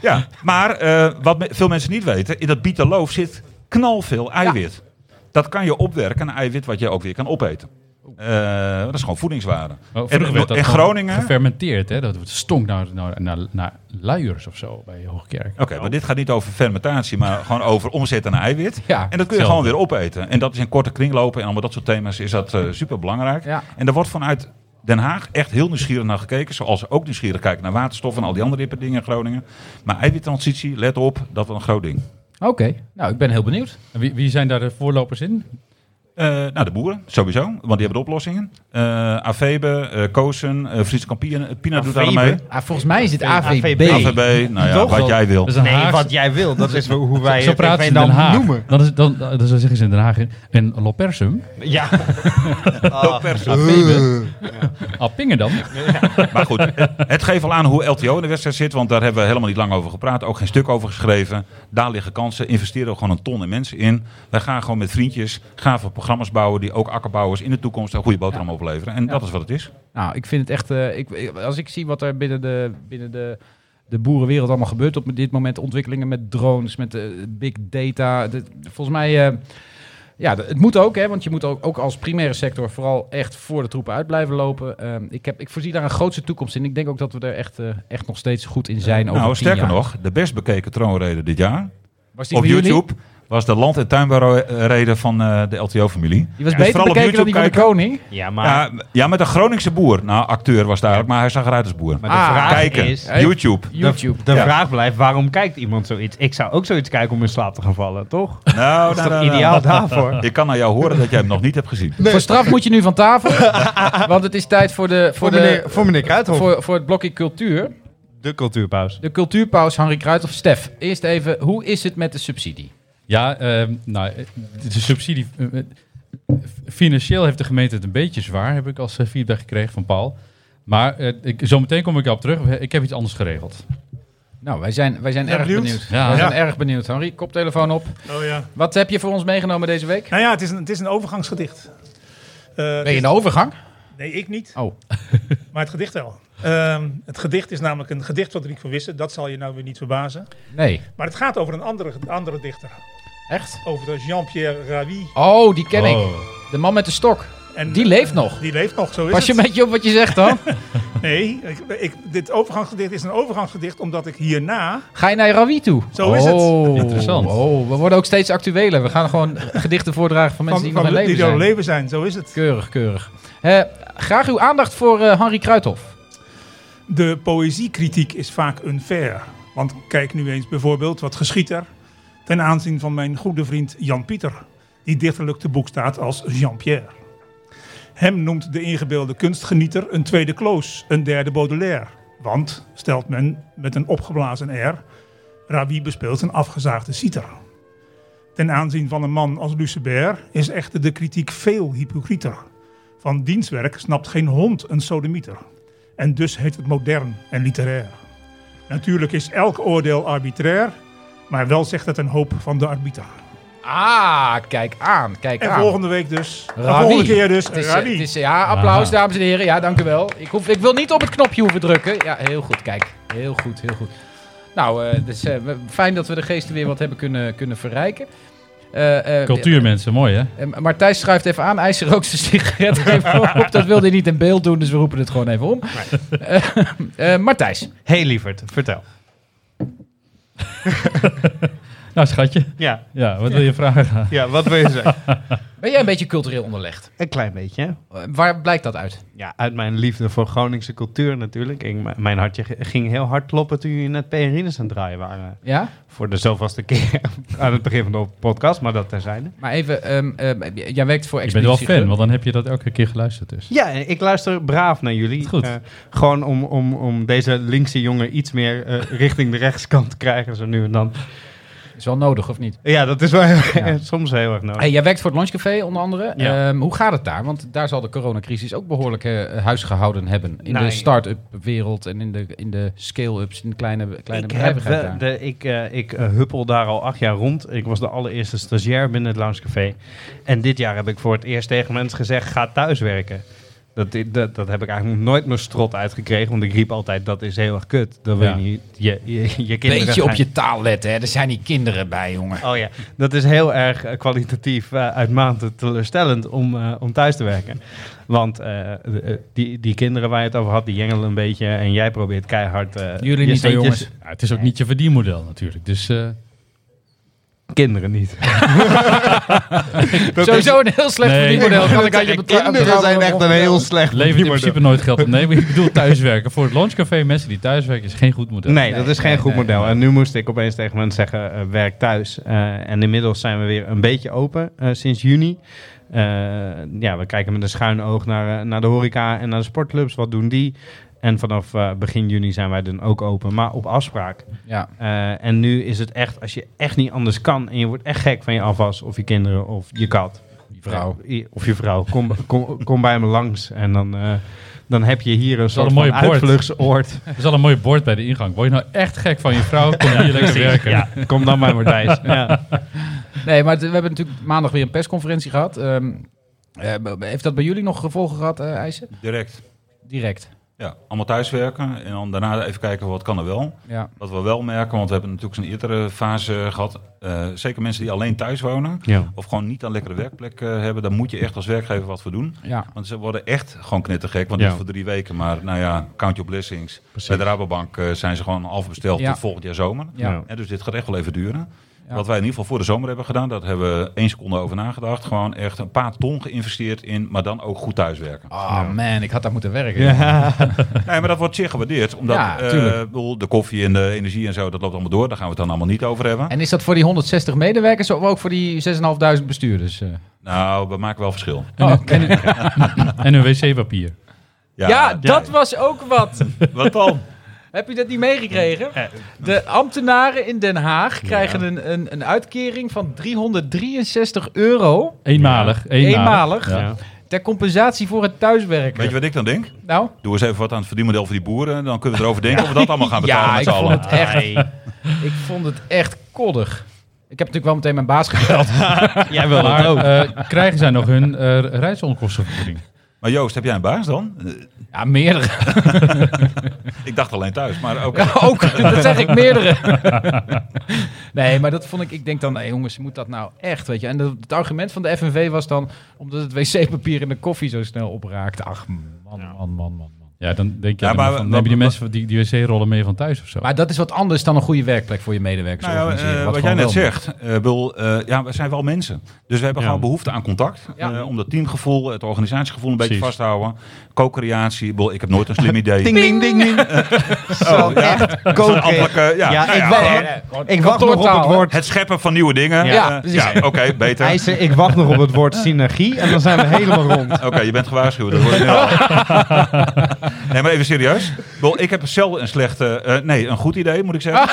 Speaker 7: Ja, maar eh, wat me- veel mensen niet weten, in dat bietenloof zit knalveel eiwit. Dat kan je opwerken, een eiwit wat je ook weer kan opeten. Eh, dat is gewoon voedingswaarde.
Speaker 5: en,
Speaker 7: en in Groningen... Oké,
Speaker 5: Gefermenteerd, hè? Dat stonk naar, naar, naar, naar luiers of zo bij Hoogkerk.
Speaker 7: maar dit gaat niet over fermentatie, maar gewoon over omzetten naar eiwit.
Speaker 3: Ja,
Speaker 7: en dat kun je
Speaker 5: hetzelfde.
Speaker 7: gewoon weer opeten. En dat is in korte kringlopen en allemaal dat soort thema's is dat super belangrijk.
Speaker 3: Ja.
Speaker 7: En daar wordt vanuit Den Haag echt heel nieuwsgierig naar gekeken. Zoals ze ook nieuwsgierig kijken naar waterstof en al die andere dingen in Groningen. Maar eiwittransitie, let op, dat was een groot ding.
Speaker 3: Oké, nou, ik ben heel benieuwd.
Speaker 5: En Wie, wie zijn daar de voorlopers in?
Speaker 7: Eh nou, de boeren, sowieso, want die hebben de oplossingen. Eh Avebe, eh Kozen, eh Friese Kampien, Pina doet daar aan mee.
Speaker 3: Ah, volgens mij is het AVB.
Speaker 4: AVB.
Speaker 7: AVB, nou ja,
Speaker 3: Toch
Speaker 7: wat
Speaker 3: wel.
Speaker 7: jij wil.
Speaker 5: Dat is een
Speaker 4: Nee,
Speaker 5: Haagse-
Speaker 4: wat jij wil. Dat is hoe wij
Speaker 5: Zo
Speaker 4: het in
Speaker 5: praten ze in Den
Speaker 4: Veendam
Speaker 5: Haag.
Speaker 4: noemen.
Speaker 5: Dan, is, dan, dan, dan zeggen ze in Den Haag in- en Lopersum.
Speaker 4: Ja.
Speaker 7: Ah,
Speaker 5: Apingen dan.
Speaker 7: Maar goed, het- het geeft al aan hoe LTO in de wedstrijd zit. Want daar hebben we helemaal niet lang over gepraat. Ook geen stuk over geschreven. Daar liggen kansen. Investeren we gewoon een ton in mensen in. Wij gaan gewoon met vriendjes gave programma's bouwen. Die ook akkerbouwers in de toekomst een goede boterham opleveren. En dat is wat het is.
Speaker 3: Nou, ik vind het echt. eh, ik, ik- als ik zie wat er binnen de, binnen de, de boerenwereld allemaal gebeurt op dit moment, ontwikkelingen met drones, met eh, big data. dit- volgens mij. eh, ja, d- het moet ook, hè, want je moet ook, ook als primaire sector vooral echt voor de troepen uit blijven lopen. Ehm, ik, heb, ik voorzie daar een grootste toekomst in. Ik denk ook dat we er echt, eh, echt nog steeds goed in zijn. Over
Speaker 7: nou,
Speaker 3: tien
Speaker 7: sterker
Speaker 3: jaar.
Speaker 7: nog, de best bekeken troonrede dit jaar.
Speaker 3: Was die
Speaker 7: Op
Speaker 3: van jullie?
Speaker 7: YouTube was de land- en tuinbouwreden van eh, de LTO-familie.
Speaker 3: Die was
Speaker 7: Ja, dus
Speaker 3: beter
Speaker 7: vooral op
Speaker 3: bekeken dan die
Speaker 7: YouTube
Speaker 3: van de koning.
Speaker 4: Ja,
Speaker 7: Ja,
Speaker 4: maar,
Speaker 7: ja, met een Groningse boer. Nou, acteur was daar ook, maar hij zag eruit als boer.
Speaker 4: maar de
Speaker 3: Ah,
Speaker 4: vraag
Speaker 7: Kijken,
Speaker 4: is...
Speaker 7: YouTube.
Speaker 3: YouTube.
Speaker 4: De
Speaker 7: Ja.
Speaker 4: vraag blijft, waarom kijkt iemand zoiets? Ik zou ook zoiets kijken om in slaap te gaan vallen, toch?
Speaker 7: Nou, nou,
Speaker 4: Dat is toch
Speaker 7: nou, nou.
Speaker 4: ideaal daarvoor?
Speaker 7: Ik kan aan jou horen dat jij hem nog niet hebt gezien.
Speaker 3: Voor straf moet je nu van tafel. want het is tijd voor, de, voor,
Speaker 4: Voor,
Speaker 3: de,
Speaker 4: meneer, voor meneer
Speaker 8: Oh.
Speaker 4: Kruidhoff.
Speaker 3: voor, voor het blokje cultuur.
Speaker 4: de cultuurpaus.
Speaker 3: De cultuurpaus Henri Kruid of Stef. Eerst even, hoe is het met de subsidie?
Speaker 5: Ja, ehm, nou, eh, de subsidie. eh, eh, Financieel heeft de gemeente het een beetje zwaar, heb ik als eh, feedback gekregen van Paul. Maar eh, ik, zometeen kom ik op terug. Ik heb iets anders geregeld.
Speaker 3: Nou, wij zijn, wij zijn erg benieuwd.
Speaker 8: benieuwd?
Speaker 5: Ja.
Speaker 3: wij zijn erg benieuwd. Henri, koptelefoon op.
Speaker 8: Oh ja.
Speaker 3: Wat heb je voor ons meegenomen deze week?
Speaker 8: Nou ja, het is een, het is een overgangsgedicht. Eh,
Speaker 3: Ben je in de overgang?
Speaker 8: Nee, ik niet,
Speaker 3: Oh,
Speaker 8: maar het gedicht wel. Ehm, het gedicht is namelijk een gedicht van Riek van Wissen. Dat zal je nou weer niet verbazen.
Speaker 3: nee.
Speaker 8: Maar het gaat over een andere, andere dichter.
Speaker 3: Echt?
Speaker 8: Over de Jean-Pierre Ravi.
Speaker 3: Oh, die ken ik.
Speaker 5: Oh.
Speaker 3: De man met de stok.
Speaker 8: En
Speaker 3: Die leeft nog.
Speaker 8: Die leeft nog, zo is
Speaker 3: Pas je een
Speaker 8: het.
Speaker 3: beetje op wat je zegt dan.
Speaker 8: Nee, ik, ik, dit overgangsgedicht is een overgangsgedicht omdat ik hierna...
Speaker 3: Ga je naar Rawi toe?
Speaker 8: Zo is het.
Speaker 3: Oh,
Speaker 5: Interessant.
Speaker 3: Oh, we worden ook steeds actueler. We gaan gewoon gedichten voordragen van mensen die nog in
Speaker 8: die
Speaker 3: leven
Speaker 8: door
Speaker 3: zijn.
Speaker 8: leven zijn, zo is het.
Speaker 3: Keurig, keurig. Eh, graag uw aandacht voor eh Henri Kruithof.
Speaker 8: De poëziekritiek is vaak unfair. Want kijk nu eens bijvoorbeeld wat geschiet er ten aanzien van mijn goede vriend Jan Pieter, die dichterlijk te boek staat als Jean-Pierre. Hem noemt de ingebeelde kunstgenieter een tweede kloos, een derde Baudelaire. Want, stelt men met een opgeblazen air, Ravi bespeelt een afgezaagde citer. Ten aanzien van een man als Lucebert is echter de kritiek veel hypocrieter. Van dienstwerk snapt geen hond een sodemieter. En dus heet het modern en literair. Natuurlijk is elk oordeel arbitrair, maar wel zegt het een hoop van de arbiter.
Speaker 3: Ah, kijk aan, kijk
Speaker 8: En
Speaker 3: aan.
Speaker 8: volgende week dus, de
Speaker 3: Rani.
Speaker 8: volgende keer dus,
Speaker 3: Het is, eh,
Speaker 8: Rani.
Speaker 3: het is, ja, applaus,
Speaker 5: Ah.
Speaker 3: dames en heren. Ja, dank u wel. Ik, hoef, ik wil niet op het knopje hoeven drukken. Ja, heel goed, kijk. Heel goed, heel goed. Nou, eh, dus, eh, we- fijn dat we de geesten weer wat hebben kunnen, kunnen verrijken. Eh, eh,
Speaker 5: Cultuurmensen, mooi hè?
Speaker 3: eh, maar Thijs schuift even aan. IJs rookt zijn sigaret even op. Dat wilde hij niet in beeld doen, dus we roepen het gewoon even om. Eh, eh, maar Thijs,
Speaker 4: hey, lieverd, vertel.
Speaker 5: Nou, schatje.
Speaker 4: Ja,
Speaker 5: Ja, wat wil je vragen?
Speaker 4: ja wat wil je zeggen?
Speaker 3: ben jij een beetje cultureel onderlegd?
Speaker 4: Een klein beetje, hè?
Speaker 3: Eh, waar blijkt dat uit?
Speaker 4: Ja, uit mijn liefde voor Groningse cultuur natuurlijk. Ik, m- mijn hartje g- ging heel hard kloppen toen jullie net PRI's aan het draaien waren.
Speaker 3: Ja?
Speaker 4: Voor de zoveelste keer aan het begin van de podcast, maar dat terzijde.
Speaker 3: Maar even, ehm, ehm, jij werkt voor
Speaker 5: Ik ben wel
Speaker 3: Expeditie
Speaker 5: fan,
Speaker 3: Gun.
Speaker 5: want dan heb je dat elke keer geluisterd dus.
Speaker 4: Ja, ik luister braaf naar jullie.
Speaker 5: Goed.
Speaker 4: Eh, gewoon om, om, om deze linkse jongen iets meer eh, richting de rechtskant te krijgen zo nu en dan.
Speaker 3: Is wel nodig, of niet?
Speaker 4: Ja, dat is wel heel- soms heel erg nodig.
Speaker 3: Hey, jij werkt voor het Lunchcafé onder andere.
Speaker 4: Oh. Ja.
Speaker 3: Ehm, hoe gaat het daar? Want daar zal de coronacrisis ook behoorlijk eh, huis gehouden hebben. In
Speaker 4: Nee.
Speaker 3: de start-up wereld en in de, in de scale-ups, in de kleine, kleine
Speaker 4: ik, heb
Speaker 3: bedrijvigheid
Speaker 4: wel-
Speaker 3: daar.
Speaker 4: de, ik, eh, ik eh, huppel daar al acht jaar rond. Ik was de allereerste stagiair binnen het Loungecafé. En dit jaar heb ik voor het eerst tegen mensen gezegd, ga thuiswerken. Dat, dat, dat heb ik eigenlijk nog nooit mijn strot uitgekregen. Want ik riep altijd, dat is heel erg kut. Dat wil
Speaker 5: Ja.
Speaker 4: je niet. Je, je, je kinderen
Speaker 3: Beetje op
Speaker 4: gaan-
Speaker 3: je taal letten, hè? Er zijn die kinderen bij, jongen.
Speaker 4: Oh ja, dat is heel erg eh, kwalitatief eh, uitmatig teleurstellend om, eh, om thuis te werken. Want eh, de- eh, die, die kinderen waar je het over had, die jengelen een beetje. En jij probeert keihard eh,
Speaker 3: Jullie
Speaker 4: je
Speaker 3: niet, hoor,
Speaker 4: steentjes-
Speaker 3: jongens.
Speaker 5: Ja, het is ook niet je verdienmodel natuurlijk. Dus eh,
Speaker 4: Kinderen niet. Dat
Speaker 3: Sowieso een heel slecht
Speaker 5: Nee.
Speaker 3: verdienmodel. Kan ik aan je beta-
Speaker 4: Kinderen zijn echt een heel slecht
Speaker 5: levert in
Speaker 4: verdienmodel.
Speaker 5: principe nooit geld op. Nee, maar ik bedoel thuiswerken. Voor het lunchcafé, mensen die thuiswerken, is geen goed model.
Speaker 4: Nee, dat is geen
Speaker 3: eh, nee,
Speaker 4: goed
Speaker 3: nee,
Speaker 4: model. En nu moest ik opeens tegen mensen zeggen, eh, werk thuis. Eh, en inmiddels zijn we weer een beetje open eh, sinds juni. Eh, ja, we kijken met een schuin oog naar, eh, naar de horeca en naar de sportclubs. Wat doen die? En vanaf eh, begin juni zijn wij dan ook open, maar op afspraak.
Speaker 3: Ja.
Speaker 4: Eh, en nu is het echt, als je echt niet anders kan en je wordt echt gek van je afwas of je kinderen of je kat.
Speaker 3: Die vrouw.
Speaker 4: eh, i- Of je vrouw. Kom, kom, kom bij me langs en dan, eh, dan heb je hier een soort
Speaker 5: een
Speaker 4: van
Speaker 5: mooie poort.
Speaker 4: uitvluchtsoord.
Speaker 5: Er is al een mooi bord bij de ingang. Word je nou echt gek van je vrouw? Kom hier lekker werken.
Speaker 4: Ja, kom dan maar Martijs. Ja.
Speaker 3: Nee, maar het- we hebben natuurlijk maandag weer een persconferentie gehad. Ehm, eh, heeft dat bij jullie nog gevolgen gehad, eh IJssel?
Speaker 7: Direct.
Speaker 3: Direct.
Speaker 7: Ja, allemaal thuiswerken en dan daarna even kijken wat kan er wel.
Speaker 3: Ja.
Speaker 7: Wat we wel merken, want we hebben natuurlijk een eerdere fase gehad. eh, zeker mensen die alleen thuis wonen
Speaker 4: Ja.
Speaker 7: of gewoon niet een lekkere werkplek eh, hebben. Dan moet je echt als werkgever wat voor doen.
Speaker 3: ja.
Speaker 7: Want ze worden echt gewoon knettergek. Want
Speaker 4: Ja.
Speaker 7: niet voor drie weken, maar nou ja, count your blessings. Bij de Rabobank eh, zijn ze gewoon afbesteld
Speaker 3: Ja.
Speaker 7: tot volgend jaar zomer.
Speaker 3: Ja.
Speaker 4: Ja.
Speaker 7: En dus dit gaat echt wel even duren.
Speaker 3: Ja.
Speaker 7: Wat wij in ieder geval voor de zomer hebben gedaan, dat hebben we één seconde over nagedacht. Gewoon echt een paar ton geïnvesteerd in, maar dan ook goed thuiswerken.
Speaker 4: Ah,
Speaker 3: Oh man, ik had daar moeten werken.
Speaker 7: Nee, maar dat wordt zeer gewaardeerd. Omdat
Speaker 3: Oh. Ja,
Speaker 7: eh,
Speaker 3: tuurlijk.
Speaker 7: ik bedoel, de koffie en de energie en zo, dat loopt allemaal door. Daar gaan we het dan allemaal niet over hebben.
Speaker 3: En is dat voor die 160 medewerkers of ook voor die 6.500 bestuurders? eh?
Speaker 7: Nou, we maken wel verschil.
Speaker 5: En, een- en een wc-papier.
Speaker 7: Ja,
Speaker 3: was ook wat.
Speaker 7: Wat dan?
Speaker 3: Heb je dat niet meegekregen? De ambtenaren in Den Haag krijgen een, een, een uitkering van 363 euro
Speaker 5: Eenmalig. Eenmalig.
Speaker 3: Eenmalig.
Speaker 5: Ja.
Speaker 4: Ja.
Speaker 3: ter compensatie voor het thuiswerken.
Speaker 7: Weet je wat ik dan denk?
Speaker 3: Nou,
Speaker 7: Doe eens even wat aan het verdienmodel voor die boeren. Dan kunnen we erover denken of we dat allemaal gaan betalen
Speaker 3: ja, ik
Speaker 7: met z'n
Speaker 3: vond,
Speaker 7: allen.
Speaker 3: het echt, ik vond het echt koddig. Ik heb natuurlijk wel meteen mijn baas gebeld.
Speaker 4: Jij wil
Speaker 5: Maar
Speaker 4: dat ook.
Speaker 5: eh, krijgen zij nog hun eh, reisonkostenvergoeding?
Speaker 7: Maar Joost, heb jij een baas dan? Eh,
Speaker 3: Ja, meerdere.
Speaker 7: Ik dacht alleen thuis, maar ook...
Speaker 3: Ook, dat zeg ik meerdere. nee, maar dat vond ik, ik denk dan, hé jongens, moet dat nou echt, weet je. En dat- het argument van de FNV was dan, omdat het wc-papier in de koffie zo snel opraakt. Ach, man, man, man, man, man.
Speaker 5: Ja, dan denk je,
Speaker 7: Ja,
Speaker 5: dan
Speaker 7: maar
Speaker 5: van,
Speaker 7: we-
Speaker 5: neem je die
Speaker 7: we-
Speaker 5: mensen van die, die wc-rollen mee van thuis of zo?
Speaker 3: Maar dat is wat anders dan een goede werkplek voor je medewerkers
Speaker 7: Nou ja,
Speaker 3: organiseren.
Speaker 7: eh,
Speaker 3: wat
Speaker 7: wat jij
Speaker 3: gewoon
Speaker 7: net
Speaker 3: wel moet.
Speaker 7: zegt, eh, wil, eh, ja, we zijn wel mensen. Dus we hebben
Speaker 4: Ja.
Speaker 7: gewoon behoefte aan contact.
Speaker 3: Ja.
Speaker 7: eh, om dat teamgevoel, het organisatiegevoel een beetje
Speaker 5: Precies.
Speaker 7: vasthouden. Co-creatie, ik bedoel, ik heb nooit een slim idee.
Speaker 4: Ding, ding, ding, ding. Zo echt koken.
Speaker 7: Appelijke, ja,
Speaker 4: Ja,
Speaker 7: nou
Speaker 4: ik
Speaker 7: ja,
Speaker 4: wacht-
Speaker 7: gewoon
Speaker 3: Nee, nee, gewoon
Speaker 4: Ik wacht nog op het
Speaker 3: kantoortaal, hè.
Speaker 4: woord.
Speaker 7: het scheppen van nieuwe dingen.
Speaker 4: Ja,
Speaker 7: Eh,
Speaker 3: precies.
Speaker 7: ja, oké, beter.
Speaker 4: Hij zei, ik wacht nog op het woord synergie en dan zijn we helemaal rond.
Speaker 7: Oké, je bent gewaarschuwd. Dat hoor ik nu al. Nee, maar even serieus. Ik bedoel, Ik heb zelden een slechte... eh, nee, een goed idee, moet ik zeggen.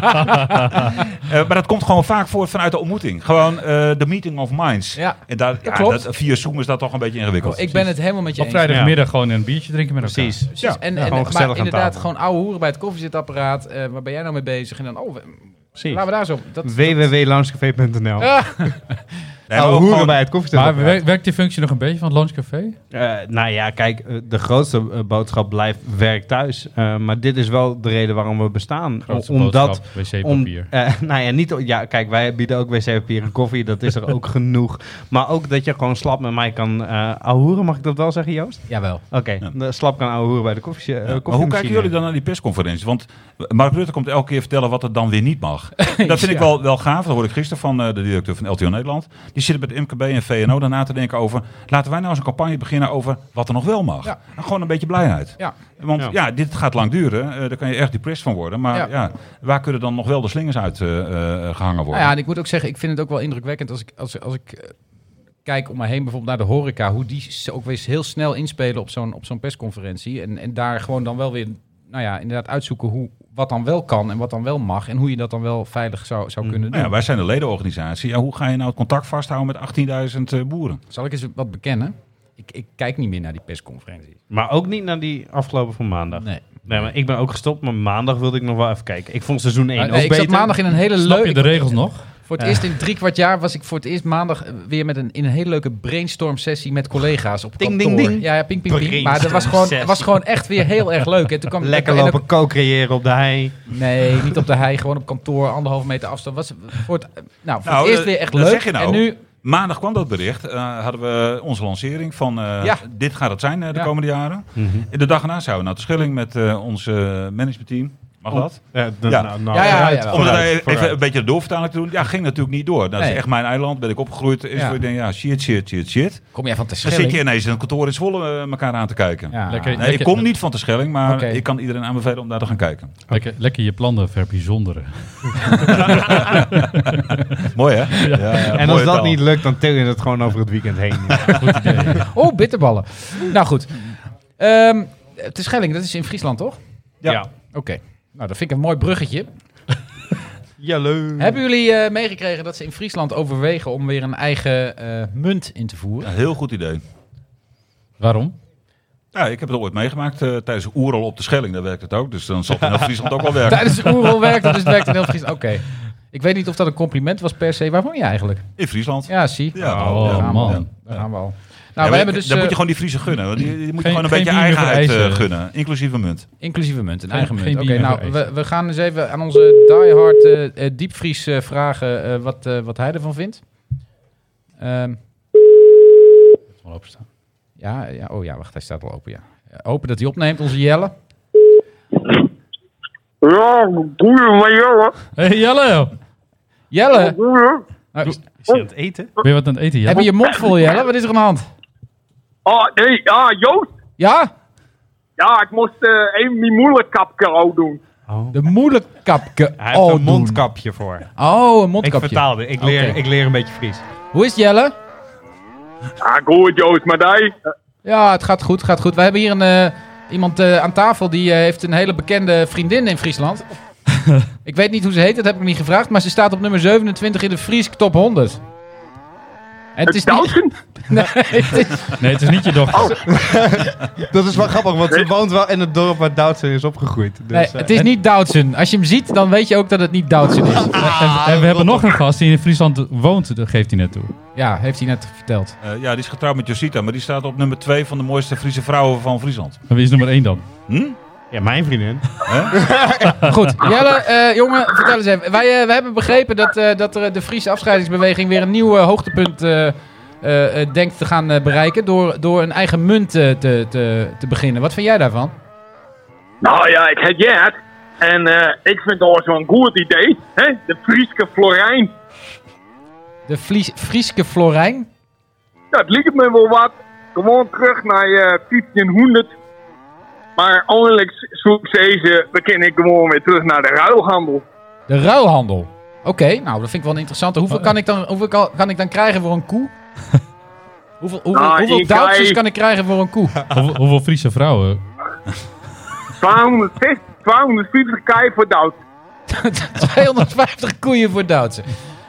Speaker 7: Eh, maar dat komt gewoon vaak voort vanuit de ontmoeting. Gewoon eh, de meeting of minds.
Speaker 3: Ja,
Speaker 7: en daar, ja,
Speaker 3: klopt. Oh,
Speaker 7: dat- via Zoom is dat toch een beetje ingewikkeld.
Speaker 3: Ik ben het helemaal met je
Speaker 5: Op
Speaker 3: eens.
Speaker 5: vrijdagmiddag gewoon een biertje drinken met elkaar.
Speaker 4: Precies.
Speaker 3: Precies.
Speaker 7: Ja,
Speaker 3: en,
Speaker 4: ja.
Speaker 3: en,
Speaker 4: Gewoon gezellig
Speaker 3: maar
Speaker 4: aan
Speaker 3: inderdaad,
Speaker 4: tafel.
Speaker 3: gewoon ouwe hoeren bij het koffiezetapparaat. eh, waar ben jij nou mee bezig? En dan, oh, we-
Speaker 4: Precies. Hm.
Speaker 3: laten we daar zo... Dat,
Speaker 4: www.loungecafé.nl.
Speaker 3: Ah.
Speaker 7: Nee, maar
Speaker 4: Nou,
Speaker 7: ook
Speaker 4: hoeren
Speaker 7: gewoon-
Speaker 4: bij het koffiezetapparaat.
Speaker 5: Maar werkt werkt die functie nog een beetje van het lunchcafé?
Speaker 4: Eh, nou ja, kijk, eh, de grootste eh, boodschap blijft werk thuis. Eh, maar dit is wel de reden waarom we bestaan.
Speaker 5: Grootste
Speaker 4: Om- Omdat...
Speaker 5: boodschap,
Speaker 4: Om,
Speaker 5: wc-papier.
Speaker 4: eh, nou ja, niet, ja, kijk, wij bieden ook wc-papier en koffie. Dat is er ook genoeg. Maar ook dat je gewoon slap met mij kan eh ahoeren. Mag ik dat wel zeggen, Joost?
Speaker 3: jawel.
Speaker 4: Oké, de slap kan ahoeren bij de koffie, eh,
Speaker 7: Ja, maar hoe
Speaker 4: koffiemachine.
Speaker 7: kijken jullie dan naar die persconferentie? Want Mark Rutte komt elke keer vertellen wat er dan weer niet mag. Dat vind ik wel, wel gaaf. Dat hoorde ik gisteren van eh, de directeur van LTO Nederland. Die zitten met MKB en VNO daarna te denken over... laten wij nou eens een campagne beginnen over wat er nog wel mag.
Speaker 3: Ja.
Speaker 7: En gewoon een beetje blijheid.
Speaker 3: Ja.
Speaker 7: Want ja.
Speaker 4: Ja.
Speaker 7: dit gaat lang duren. Eh, daar kan je echt depressed van worden. Maar ja.
Speaker 3: Ja.
Speaker 7: waar kunnen dan nog wel de slingers uit eh, eh, gehangen
Speaker 3: Nou
Speaker 7: worden?
Speaker 3: ja, en ik moet ook zeggen, ik vind het ook wel indrukwekkend als ik, als, als ik eh, kijk om me heen, bijvoorbeeld naar de horeca, hoe die s- ook weer eens heel snel inspelen op zo'n, op zo'n persconferentie. En, en daar gewoon dan wel weer, nou ja, inderdaad uitzoeken hoe, wat dan wel kan en wat dan wel mag. En hoe je dat dan wel veilig zou, zou kunnen doen.
Speaker 7: Nou ja, wij zijn de ledenorganisatie. Ja, hoe ga je nou het contact vasthouden met 18.000 eh, boeren?
Speaker 3: Zal ik eens wat bekennen? Ik, ik kijk niet meer naar die persconferenties. Nou,
Speaker 4: Maar ook niet naar die afgelopen van maandag.
Speaker 3: Nee.
Speaker 4: Nee, maar ik ben ook gestopt, maar maandag wilde ik nog wel even kijken. Ik vond seizoen 1
Speaker 3: Maar,
Speaker 4: ook
Speaker 3: nee, ik
Speaker 4: beter.
Speaker 3: zat maandag in een hele
Speaker 5: Snap je de
Speaker 3: leuke...
Speaker 5: regels nog?
Speaker 3: Voor het eerst in drie kwart jaar was ik voor het eerst maandag eh, weer met een, in een hele leuke brainstorm sessie met collega's op
Speaker 4: Ding,
Speaker 3: kantoor.
Speaker 4: ding, ding.
Speaker 3: Ja, ja, ping, ping, ping. Maar dat was gewoon,
Speaker 4: Brainstormsessie.
Speaker 3: was gewoon echt weer heel erg leuk. En toen kwam
Speaker 4: Lekker
Speaker 3: en dan-
Speaker 4: lopen co-creëren op de hei.
Speaker 3: Nee, niet op de hei, gewoon op kantoor, anderhalve meter afstand. Was voor het, nou, voor
Speaker 7: Nou,
Speaker 3: het eerst
Speaker 7: eh,
Speaker 3: weer echt
Speaker 7: dat
Speaker 3: leuk.
Speaker 7: zeg je nou.
Speaker 3: En nu,
Speaker 7: Maandag kwam dat bericht. eh, hadden we onze lancering van eh,
Speaker 3: Ja.
Speaker 7: dit gaat het zijn eh, de
Speaker 3: Ja. Mhm.
Speaker 7: komende jaren. De dag erna zouden we naar de Schilling met eh, ons eh, managementteam. Mag dat?
Speaker 4: Eh,
Speaker 6: Ja, dan-
Speaker 7: Ja.
Speaker 6: nou, nou,
Speaker 3: Ja, ja, ja,
Speaker 6: vooruit,
Speaker 3: ja.
Speaker 7: Om dat
Speaker 6: vooruit,
Speaker 7: even,
Speaker 6: vooruit.
Speaker 7: even een beetje de doorvertaling te doen. Ja, ging natuurlijk niet door. Dat is
Speaker 3: Nee.
Speaker 7: echt mijn eiland. Ben ik opgegroeid. Is
Speaker 3: Ja.
Speaker 7: ja. Ik denk, ja, shit, shit, shit, shit.
Speaker 3: kom jij van te
Speaker 7: Dan zit je
Speaker 3: schillen.
Speaker 7: ineens in een kantoor in Zwolle eh, elkaar aan te kijken.
Speaker 3: Ja.
Speaker 5: Lekker,
Speaker 7: Nee, ik kom niet van de Schelling, maar
Speaker 3: Oké.
Speaker 7: ik kan iedereen aanbevelen om daar te gaan kijken.
Speaker 5: Lekker, lekker je plannen verbijzonderen.
Speaker 7: Mooi hè? Ja. ja,
Speaker 4: en als
Speaker 7: mooie
Speaker 4: dat
Speaker 7: taal.
Speaker 4: niet lukt, dan til je het gewoon over het weekend heen.
Speaker 3: Oh, bitterballen. Nou goed. Ehm te Schelling, dat is in Friesland, toch?
Speaker 7: Ja.
Speaker 3: Oké. Nou, dat vind ik een mooi bruggetje.
Speaker 4: Mm. Ja, leuk.
Speaker 3: Hebben jullie eh, meegekregen dat ze in Friesland overwegen om weer een eigen eh, munt in te voeren?
Speaker 7: Een heel goed idee.
Speaker 5: Waarom?
Speaker 7: Ja, ik heb het ooit meegemaakt eh, tijdens Oerol op de Schelling. Daar werkt het ook. Dus dan zal het in Friesland ook wel werken.
Speaker 3: Tijdens de oerol werkte, dus het werkte in heel Friesland. Oké. Ik weet niet of dat een compliment was per se. Waar woon je eigenlijk?
Speaker 7: In Friesland.
Speaker 3: Ja, zie.
Speaker 7: Ja,
Speaker 5: Oh,
Speaker 7: ja.
Speaker 5: man.
Speaker 7: Ja.
Speaker 3: Daar gaan we al. Nou,
Speaker 7: Ja,
Speaker 3: we
Speaker 7: maar
Speaker 3: hebben dus
Speaker 7: dan moet je
Speaker 3: eh,
Speaker 7: gewoon die Friese gunnen. want Die, die moet je
Speaker 5: Geen-
Speaker 7: gewoon een
Speaker 5: geen
Speaker 7: beetje
Speaker 5: bier meer
Speaker 7: eigenheid eh,
Speaker 5: vereisen.
Speaker 7: gunnen. Inclusief een munt.
Speaker 3: inclusieve munt, een
Speaker 5: Geen-
Speaker 3: eigen
Speaker 5: geen
Speaker 3: munt. Oké,
Speaker 5: bier
Speaker 3: nou,
Speaker 5: vereisen.
Speaker 3: we, we gaan eens even aan onze diehard eh eh, diepvries eh, vragen eh, wat, eh, wat hij ervan vindt. Ehm,
Speaker 5: Gewoon openstaan.
Speaker 3: ja, ja, oh ja, wacht, hij staat al open, ja. Eh, Open dat hij opneemt, onze Jelle.
Speaker 9: Ja, goeie van Jelle.
Speaker 5: hey, Jelle! joh.
Speaker 3: Jelle,
Speaker 9: Goeie.
Speaker 3: nou,
Speaker 4: Is hij aan het eten?
Speaker 3: Oh,
Speaker 5: Ben je wat aan het eten,
Speaker 3: heb
Speaker 5: Jelle?
Speaker 3: je je mond vol, Jelle? Wat is er aan de hand?
Speaker 9: Ah, nee, ja, Joost.
Speaker 3: Ja?
Speaker 9: Ja, ik moest eh, even mijn moederkapje al doen.
Speaker 3: De moederkapje.
Speaker 4: Hij heeft
Speaker 3: al
Speaker 4: een
Speaker 3: doen.
Speaker 4: mondkapje voor.
Speaker 3: Oh, een
Speaker 4: Ik
Speaker 3: mondkapje.
Speaker 4: vertaalde. Ik leer,
Speaker 3: Oké.
Speaker 4: ik leer een beetje Fries.
Speaker 3: Hoe is het, Jelle?
Speaker 9: Ja, Ah, goed Joost, maar die... eh,
Speaker 3: Ja, het gaat goed, gaat goed. We hebben hier een, eh, iemand eh, aan tafel die eh, heeft een hele bekende vriendin in Friesland. ik weet niet hoe ze heet, dat heb ik niet gevraagd, maar ze staat op nummer 27 in de Fries Top 100. En het is niet...
Speaker 9: Doutzen?
Speaker 3: Nee, het is-
Speaker 5: Nee, het is niet je dochter.
Speaker 3: Oh,
Speaker 4: Dat is wel grappig, want ze woont wel in het dorp waar Doutzen is opgegroeid. Dus,
Speaker 3: nee,
Speaker 4: eh,
Speaker 3: het is niet Doutsen. Als je hem ziet, dan weet je ook dat het niet Doutsen is. ah,
Speaker 5: en, en we hebben nog een gast die in Friesland woont, dat geeft hij net toe.
Speaker 3: Ja, heeft hij net verteld.
Speaker 7: Eh, ja, die is getrouwd met Josita, maar die staat op nummer 2 van de mooiste Friese vrouwen van Friesland.
Speaker 5: Maar wie is nummer één dan?
Speaker 4: Ja, mijn vriendin.
Speaker 3: Goed, Jelle, eh, jongen, vertel eens even. Wij, eh, we hebben begrepen dat, eh, dat er de Friese afscheidingsbeweging weer een nieuw eh, hoogtepunt eh, eh, eh, denkt te gaan eh, bereiken door, door een eigen munt eh, te, te, te beginnen. Wat vind jij daarvan?
Speaker 9: Nou ja, ik heb het. En eh, ik vind dat zo'n goed idee. Hè? De Frieske Florijn.
Speaker 3: De Vlies, Frieske Florijn.
Speaker 9: Ja, het liep me wel wat. Gewoon terug naar eh 1500. Maar eigenlijk zoek ze ze, we kunnen gewoon weer terug naar de ruilhandel.
Speaker 3: De ruilhandel. Oh. Oké, nou dat vind ik wel een interessante. Hoeveel, kan, ik dan, hoeveel kan, kan ik dan krijgen voor een koe? Hoeveel, hoeveel,
Speaker 9: Nou,
Speaker 3: hoeveel
Speaker 9: ik
Speaker 3: duimpjes
Speaker 9: krijg-
Speaker 3: kan ik krijgen voor een koe?
Speaker 5: Hoeveel, hoeveel Friese vrouwen?
Speaker 9: 250 240 kei voor Dout.
Speaker 3: 250 koeien voor Duitsen.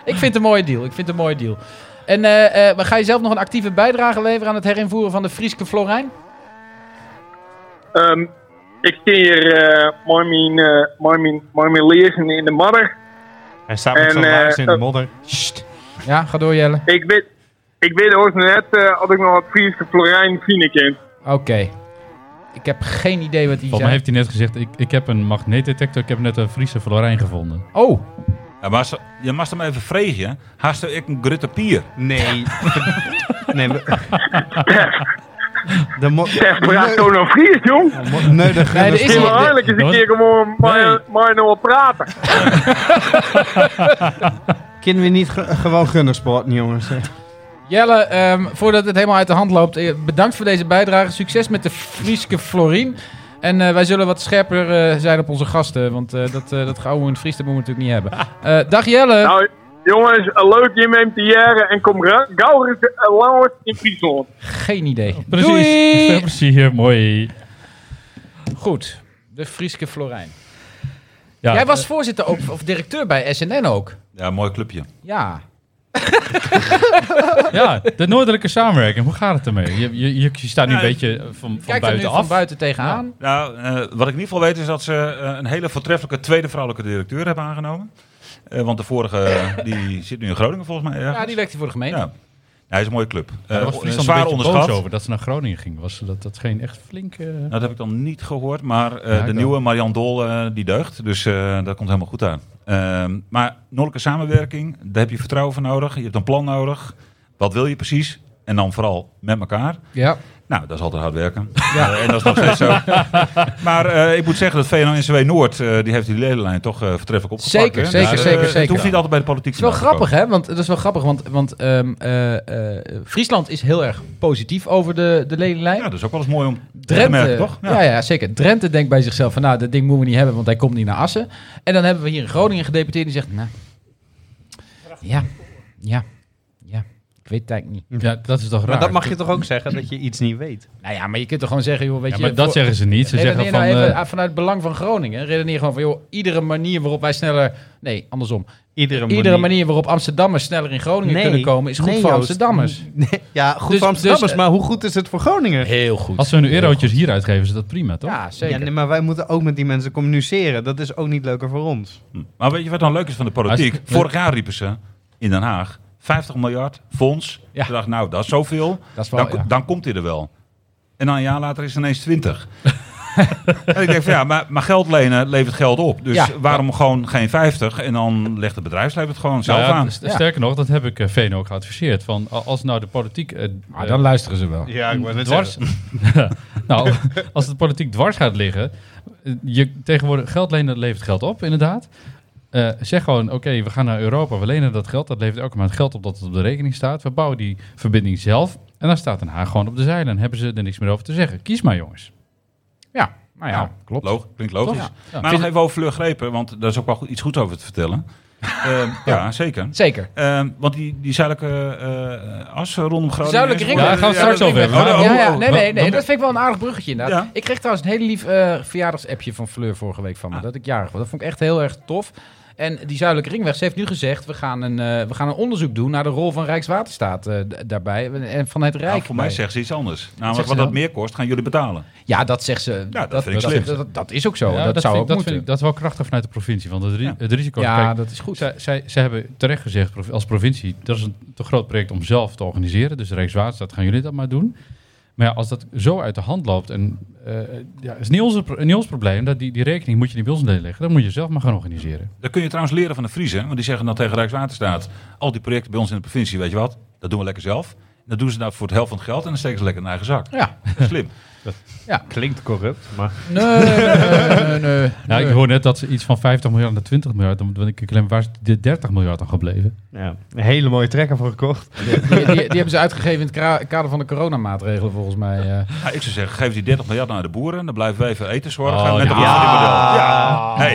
Speaker 3: Ik vind het een mooie deal. Ik vind het een mooie deal. En eh, eh, maar ga je zelf nog een actieve bijdrage leveren aan het herinvoeren van de Frieske Florijn?
Speaker 9: Ehm, ik zie hier eh, mooi mijn, eh, mooi mijn- mooi mijn leersen in de modder.
Speaker 4: Hij staat met
Speaker 9: En,
Speaker 4: zijn
Speaker 9: eh,
Speaker 4: laars in de
Speaker 9: eh,
Speaker 4: modder.
Speaker 3: Ja, ga door Jelle.
Speaker 9: Ik weet, ik weet ook net eh of ik nog wat Friese Florijn vrienden ken.
Speaker 3: Oké. Ik heb geen idee wat die
Speaker 5: Volgens mij
Speaker 3: zijn.
Speaker 5: heeft hij net gezegd, ik, ik heb een magneetdetector, ik heb net een Friese Florijn gevonden.
Speaker 3: Oh,
Speaker 7: Ja, maar ze- je mag hem even vregen. Haast er ik een grutte pier.
Speaker 4: Nee. nee. we- De mo- oh,
Speaker 9: Zeg, praat zo naar Fries, jong. Ik
Speaker 4: mo- nee,
Speaker 3: nee,
Speaker 4: de
Speaker 3: er
Speaker 4: gunners-
Speaker 3: is
Speaker 9: wil
Speaker 3: niet.
Speaker 9: eigenlijk eens een
Speaker 5: dat-
Speaker 9: keer gewoon
Speaker 5: Nee.
Speaker 9: maar maar nou wat praten.
Speaker 4: Kunnen we niet ge- gewoon gunnersporten, jongens?
Speaker 3: Jelle, ehm, voordat het helemaal uit de hand loopt, eh, bedankt voor deze bijdrage. Succes met de Frieske Florien. En eh, wij zullen wat scherper eh, zijn op onze gasten, want eh, dat, eh dat gouden in het Fries, dat moeten we natuurlijk niet hebben. Eh, dag Jelle.
Speaker 9: Nou, jongens, een leuk je neemt de jaren en kom ra- gauw eens eh, langs in Friesland.
Speaker 3: Geen idee.
Speaker 5: Precies. Ja,
Speaker 3: Doei!
Speaker 5: Plezier, mooi.
Speaker 3: Goed, de Frieske Florijn.
Speaker 5: Ja,
Speaker 3: Jij was voorzitter ook, of directeur bij SNN ook.
Speaker 7: Ja, mooi clubje.
Speaker 3: Ja.
Speaker 5: eh, ja, de noordelijke samenwerking, hoe gaat het ermee? Je, je, je je staat nu een beetje van, van
Speaker 3: Kijk er nu
Speaker 5: buitenaf.
Speaker 3: van buiten tegenaan.
Speaker 7: Nou, eh, wat ik in ieder geval weet is dat ze eh, een hele voortreffelijke tweede vrouwelijke directeur hebben aangenomen. Eh, want de vorige eh, die zit nu in Groningen volgens mij. Ergens.
Speaker 3: Ja, die werkte voor de gemeente.
Speaker 7: Ja. Hij is een mooie club.
Speaker 5: Daar
Speaker 7: Eh,
Speaker 5: was Friesland
Speaker 7: zwaar
Speaker 5: een beetje
Speaker 7: onderschat.
Speaker 5: boos over dat ze naar Groningen ging. Was dat, dat geen echt eh, flinke...
Speaker 7: Nou, dat heb ik dan niet gehoord, maar eh,
Speaker 5: Ja, ik
Speaker 7: de
Speaker 5: ook.
Speaker 7: nieuwe Marian Dol eh, die deugt. Dus eh, dat komt helemaal goed aan. Ehm, maar noordelijke samenwerking, daar heb je vertrouwen voor nodig. Je hebt een plan nodig. Wat wil je precies? En dan vooral met elkaar.
Speaker 3: Ja.
Speaker 7: Nou, dat is altijd hard werken. Eh, en dat is nog steeds zo. maar eh, ik moet zeggen dat VNO-NCW Noord, eh, die heeft die ledenlijn toch eh, vertreffelijk opgepakt.
Speaker 3: Zeker,
Speaker 7: hè?
Speaker 3: zeker,
Speaker 7: Dus, eh,
Speaker 3: zeker,
Speaker 7: Het
Speaker 3: zeker.
Speaker 7: hoeft niet altijd bij de politiek
Speaker 3: Het is wel grappig, hè? Want dat is wel grappig, want, want ehm, eh, eh, Friesland is heel erg positief over de, de ledenlijn.
Speaker 7: Ja, dat is ook wel eens mooi om te
Speaker 3: Drenthe,
Speaker 7: merken, toch?
Speaker 3: ja. Ja, zeker. Drenthe denkt bij zichzelf van, nou, dat ding moeten we niet hebben, want hij komt niet naar Assen. En dan hebben we hier in Groningen gedeputeerd die zegt, nou, ja, ja, ja, ik weet het eigenlijk niet.
Speaker 5: Ja, dat is toch raar.
Speaker 4: Maar dat mag je toch ook zeggen, dat je iets niet weet?
Speaker 3: Nou ja, maar je kunt toch gewoon zeggen, joh, weet
Speaker 5: ja,
Speaker 3: je...
Speaker 5: maar dat
Speaker 3: voor-
Speaker 5: zeggen ze niet. Ze zeggen
Speaker 3: Redeneer
Speaker 5: van...
Speaker 3: nou even
Speaker 5: eh,
Speaker 3: ah, vanuit het belang van Groningen. Redeneer gewoon van, joh, iedere manier waarop wij sneller... Nee, andersom.
Speaker 4: Iedere manier.
Speaker 3: Iedere manier waarop Amsterdammers sneller in Groningen
Speaker 4: Nee,
Speaker 3: kunnen komen... is goed
Speaker 4: nee,
Speaker 3: voor
Speaker 4: Joost.
Speaker 3: Amsterdammers.
Speaker 4: Nee, ja, goed
Speaker 3: Dus-
Speaker 4: voor Amsterdammers,
Speaker 3: dus, eh,
Speaker 4: maar hoe goed is het voor Groningen?
Speaker 3: Heel goed.
Speaker 5: als we nu eurotjes hier uitgeven, is dat prima, toch?
Speaker 3: Ja,
Speaker 4: Ja,
Speaker 3: zeker.
Speaker 4: nee, maar wij moeten ook met die mensen communiceren. Dat is ook niet leuker voor ons.
Speaker 7: Maar weet je wat dan leuk is van de politiek?
Speaker 5: Als-
Speaker 7: Vorig jaar riepen ze in Den Haag 50 miljard fonds.
Speaker 3: Ja.
Speaker 7: Ik dacht, nou, dat is zoveel.
Speaker 3: Dat is wel,
Speaker 7: dan,
Speaker 3: ja.
Speaker 7: dan komt hij er wel. En dan een jaar later is het ineens 20. en ik denk van ja, maar, maar geld lenen levert geld op. Dus
Speaker 3: Ja.
Speaker 7: waarom gewoon geen 50? En dan legt het bedrijfsleven het gewoon zelf
Speaker 5: Nou ja,
Speaker 7: aan.
Speaker 4: dus,
Speaker 5: st- Sterker nog, dat heb ik eh, Veen ook geadviseerd. Van, a- als nou de politiek... eh, eh,
Speaker 3: luisteren ze wel.
Speaker 4: Ja, ik wou
Speaker 5: dwars, nou, als de politiek dwars gaat liggen... eh, Je, tegenwoordig, geld lenen dat levert geld op, inderdaad. Eh, zeg gewoon, oké, we gaan naar Europa, we lenen dat geld. Dat levert elke maand geld op dat het op de rekening staat. We bouwen die verbinding zelf. En dan staat Den Haag gewoon op de zeilen. En hebben ze er niks meer over te zeggen. Kies maar, jongens.
Speaker 3: Ja, nou ja,
Speaker 7: Ja,
Speaker 3: klopt.
Speaker 7: Log- klinkt logisch.
Speaker 3: Toch? Ja.
Speaker 7: Maar nog even over Fleur Grepen, want daar is ook wel goed- iets goeds over te vertellen. Ehm, ja, zeker.
Speaker 3: Zeker.
Speaker 7: Ehm, want die, die zuidelijke eh, as rondom Groningen...
Speaker 3: Zuidelijke
Speaker 7: is-
Speaker 3: ring.
Speaker 5: Ja, daar gaan we straks over hebben.
Speaker 7: Oh, oh, oh,
Speaker 3: ja, ja, nee,
Speaker 7: oh.
Speaker 3: nee, nee. Dat vind ik wel een aardig bruggetje inderdaad.
Speaker 7: Ja.
Speaker 3: Ik kreeg trouwens een hele lief eh verjaardagsappje van Fleur vorige week van me.
Speaker 7: Ah.
Speaker 3: Dat ik jarig was. Dat vond ik echt heel erg tof. En die Zuidelijke Ringweg, ze heeft nu gezegd... we gaan een, eh, we gaan een onderzoek doen naar de rol van Rijkswaterstaat eh, d- daarbij. En van het Rijk.
Speaker 7: Nou, voor mij
Speaker 3: bij.
Speaker 7: zegt ze iets anders.
Speaker 3: zegt
Speaker 7: Namelijk
Speaker 3: ze
Speaker 7: wat dat
Speaker 5: nou.
Speaker 3: dan?
Speaker 7: meer kost, gaan jullie betalen.
Speaker 3: Ja, dat zegt ze.
Speaker 7: Nou, dat vind ik slim.
Speaker 3: dat- dat is ook zo.
Speaker 5: Ja,
Speaker 3: Oh, dat, zou
Speaker 5: vind,
Speaker 3: ook
Speaker 5: ik- dat,
Speaker 3: moeten.
Speaker 5: vind ik, dat is wel krachtig vanuit de provincie. Want het, ri-
Speaker 7: Ja.
Speaker 5: het risico...
Speaker 3: ja,
Speaker 5: kijk,
Speaker 3: dat is goed.
Speaker 5: Zij, zij, zij hebben terecht gezegd prov- als provincie, dat is een te groot project om zelf te organiseren. Dus Rijkswaterstaat, gaan jullie dat maar doen. Maar ja, als dat zo uit de hand loopt, en eh, ja, is niet, onze, pro- niet ons probleem, dat die, die rekening moet je niet bij ons neerleggen. Dat moet je zelf maar gaan organiseren.
Speaker 7: Dat kun je trouwens leren van de Friese. Want die zeggen dan tegen Rijkswaterstaat... al die projecten bij ons in de provincie, weet je wat? Dat doen we lekker zelf. Dat doen ze nou voor het helft van het geld... en dan steken ze lekker in hun eigen zak.
Speaker 3: Ja.
Speaker 7: Dat is slim.
Speaker 4: Klinkt corrupt, maar...
Speaker 3: Nee, nee, nee, nee.
Speaker 5: Nou, ik hoor net dat ze iets van 50 miljard naar 20 miljard, dan ben ik klem, waar is de 30 miljard dan gebleven?
Speaker 4: Ja, een hele mooie trekker voor gekocht.
Speaker 3: Die, die, die hebben ze uitgegeven in het kra- kader van de coronamaatregelen volgens mij. eh.
Speaker 7: Ja, Nou, ik zou zeggen, geef die 30 miljard naar de boeren... dan blijven wij even eten zorgen.
Speaker 5: Oh,
Speaker 7: met een
Speaker 5: ja.
Speaker 7: verdienmodel. Ja.
Speaker 3: Ah,
Speaker 7: Hey,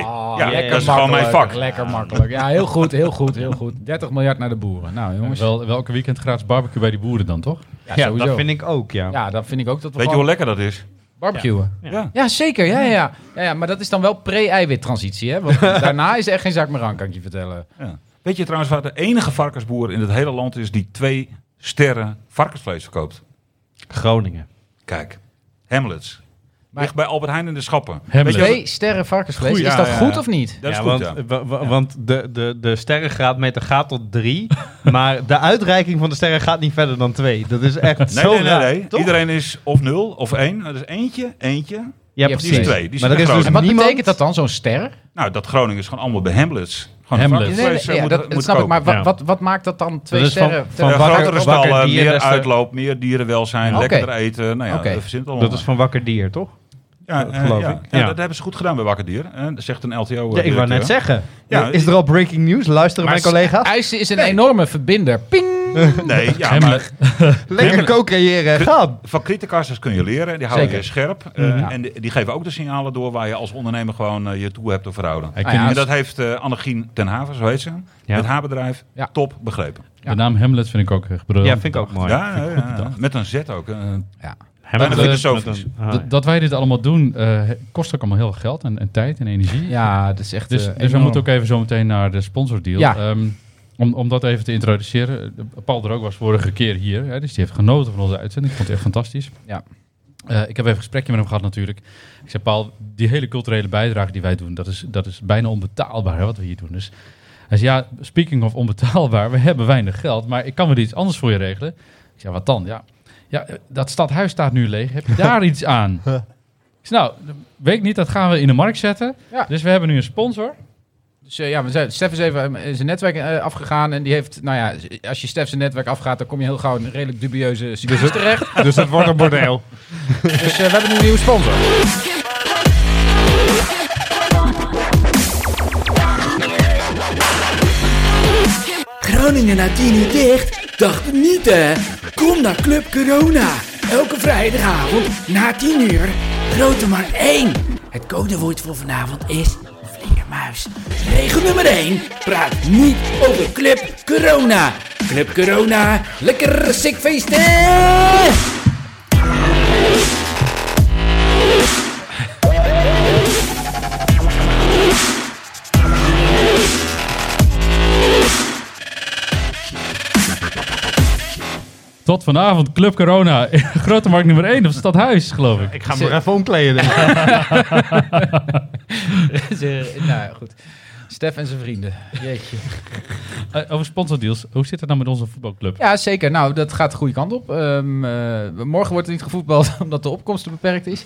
Speaker 7: ja, dat is gewoon mijn
Speaker 3: makkelijk,
Speaker 7: vak.
Speaker 3: Lekker makkelijk. Ja, heel goed, heel goed, heel goed. 30 miljard naar de boeren. Nou, jongens.
Speaker 5: Wel, welke weekend gratis barbecue bij die boeren dan, toch?
Speaker 3: Ja,
Speaker 4: Ja,
Speaker 3: sowieso.
Speaker 4: dat vind ik ook, ja.
Speaker 3: Ja, dan vind ik ook dat we
Speaker 7: Weet je hoe
Speaker 3: gewoon
Speaker 7: lekker dat is?
Speaker 3: barbecuen. Ja,
Speaker 7: Ja.
Speaker 3: zeker. Ja, ja, ja. Ja, ja, maar dat is dan wel pre-eiwittransitie, hè? Want daarna is er echt geen zaak meer aan, kan ik je vertellen.
Speaker 7: Ja. Weet je trouwens waar de enige varkensboer in het hele land is die twee sterren varkensvlees verkoopt?
Speaker 4: Groningen.
Speaker 7: Kijk, Hamlets.
Speaker 3: Maar-
Speaker 7: Ligt bij Albert Heijn in de schappen.
Speaker 5: Hamlet.
Speaker 7: Weet je,
Speaker 3: Twee sterren varkensvlees,
Speaker 7: Goeie,
Speaker 3: is
Speaker 7: ja,
Speaker 3: dat
Speaker 7: ja,
Speaker 3: goed
Speaker 7: ja.
Speaker 3: of niet?
Speaker 7: dat is
Speaker 4: ja,
Speaker 7: goed,
Speaker 4: want,
Speaker 7: ja.
Speaker 4: wa- wa- want de, de, de sterrengraadmeter gaat tot drie, maar de uitreiking van de sterren gaat niet verder dan twee. Dat is echt
Speaker 7: Nee,
Speaker 4: zo
Speaker 7: nee, nee.
Speaker 4: raar,
Speaker 7: nee.
Speaker 4: toch?
Speaker 7: Iedereen is of nul of één. Dat is eentje, eentje.
Speaker 4: Ja,
Speaker 3: Die
Speaker 4: precies.
Speaker 7: Die is twee. Die
Speaker 4: Maar
Speaker 7: zit
Speaker 4: er is
Speaker 3: En
Speaker 4: dus
Speaker 7: in Groningen.
Speaker 3: wat
Speaker 4: Niemand-
Speaker 3: betekent dat dan, zo'n ster?
Speaker 7: Nou, dat Groningen is gewoon allemaal bij Hamlets. Gewoon
Speaker 5: Hamlets.
Speaker 3: Nee,
Speaker 7: varkensvlees
Speaker 3: nee, nee,
Speaker 7: eh,
Speaker 3: ja,
Speaker 7: moet-
Speaker 3: dat,
Speaker 7: moet
Speaker 3: dat snap ik,
Speaker 7: kopen.
Speaker 3: maar wat,
Speaker 4: Ja.
Speaker 3: wat, wat maakt dat dan twee
Speaker 4: Dat is van-
Speaker 3: sterren?
Speaker 4: van
Speaker 7: Ja,
Speaker 3: ter-
Speaker 4: wakker-
Speaker 7: grotere
Speaker 4: wakker
Speaker 7: stallen,
Speaker 4: dier,
Speaker 7: meer
Speaker 4: des te-
Speaker 7: uitloop, meer dierenwelzijn,
Speaker 3: Ja. Oké.
Speaker 7: lekkerder eten. Nou ja,
Speaker 3: Oké.
Speaker 7: dat verzint allemaal.
Speaker 4: Dat is van Wakker Dier, toch?
Speaker 7: ja, eh,
Speaker 4: geloof
Speaker 7: ja.
Speaker 4: ik.
Speaker 7: Ja,
Speaker 4: Ja.
Speaker 7: dat hebben ze goed gedaan bij Wakker Dier. Eh, dat zegt een LTO.
Speaker 4: Ja, ik wou net zeggen.
Speaker 7: Ja,
Speaker 4: is er al breaking news? Luisteren
Speaker 7: Maar
Speaker 4: mijn collega's.
Speaker 3: IJsje is een enorme verbinder. Ping!
Speaker 7: Nee, ja, maar
Speaker 5: Hamlet.
Speaker 4: Lekker co-creëren. Gaan.
Speaker 7: van criticasters kun je leren. Die houden
Speaker 3: Zeker.
Speaker 7: je scherp.
Speaker 4: Mhm.
Speaker 7: eh, En die, die geven ook de signalen door waar je als ondernemer gewoon eh, je toe hebt te verhouden.
Speaker 5: Hij
Speaker 3: Ah,
Speaker 5: kan
Speaker 3: ja,
Speaker 7: En
Speaker 5: niet-
Speaker 7: dat heeft eh Annegien ten Haven, zo heet ze.
Speaker 4: Ja.
Speaker 7: Het haar bedrijf,
Speaker 3: Ja.
Speaker 7: top begrepen.
Speaker 3: Ja.
Speaker 5: De naam Hamlet vind ik ook echt briljant.
Speaker 4: Ja, vind ik ook mooi.
Speaker 7: Ja, ja, ja. met een Z ook. eh,
Speaker 4: Hamlet
Speaker 7: Bijna
Speaker 4: is
Speaker 7: filosofisch.
Speaker 4: met een- ah,
Speaker 5: Dat- dat wij dit allemaal doen, eh, kost ook allemaal heel veel geld en, en tijd en energie.
Speaker 3: Ja, dat is echt
Speaker 5: Dus,
Speaker 3: eh,
Speaker 5: dus we
Speaker 3: enorm.
Speaker 5: moeten ook even zo meteen naar de sponsordeal.
Speaker 3: Ja.
Speaker 5: Ehm, om, om dat even te introduceren. Eh, Paul er ook was vorige keer hier. Hè, dus die heeft genoten van onze uitzending. Ik vond het echt fantastisch.
Speaker 3: Ja.
Speaker 5: Eh, ik heb even een gesprekje met hem gehad natuurlijk. Ik zei, Paul, die hele culturele bijdrage die wij doen, dat is, dat is bijna onbetaalbaar hè, wat we hier doen. Dus hij zei, ja, speaking of onbetaalbaar, we hebben weinig geld, maar ik kan wel iets anders voor je regelen. Ik zei, wat dan? Ja, ja eh, dat stadhuis staat nu leeg. Heb je daar iets aan? Ik zei, nou, weet ik niet, dat gaan we in de markt zetten.
Speaker 3: Ja.
Speaker 5: Dus we hebben nu een sponsor.
Speaker 3: Dus eh, ja, we zijn, Stef is even eh, zijn netwerk eh, afgegaan. En die heeft, nou ja, als je Stef zijn netwerk afgaat, dan kom je heel gauw in een redelijk dubieuze circuits terecht.
Speaker 4: Dus dat wordt een bordeel.
Speaker 3: Dus eh, we hebben een nieuwe sponsor.
Speaker 10: Groningen na 10 uur dicht? Dacht het niet hè? Kom naar Club Corona. Elke vrijdagavond na 10 uur. Grote maar 1. Het codewoord voor vanavond is vleermuis. Regel nummer 1. Praat niet over Club Corona. Club Corona. Lekker sick feesten!
Speaker 5: Tot vanavond, Club Corona, in Grote Markt nummer 1 op Stadhuis, geloof ik.
Speaker 4: Ik ga me er even omkleden. denk ik.
Speaker 3: Ze- nou ja, goed. Stef en zijn vrienden. Jeetje.
Speaker 5: Eh, over sponsordeals, hoe zit het nou met onze voetbalclub?
Speaker 3: Ja, zeker. Nou, dat gaat de goede kant op. Ehm, eh, morgen wordt er niet gevoetbald, omdat de opkomst beperkt is.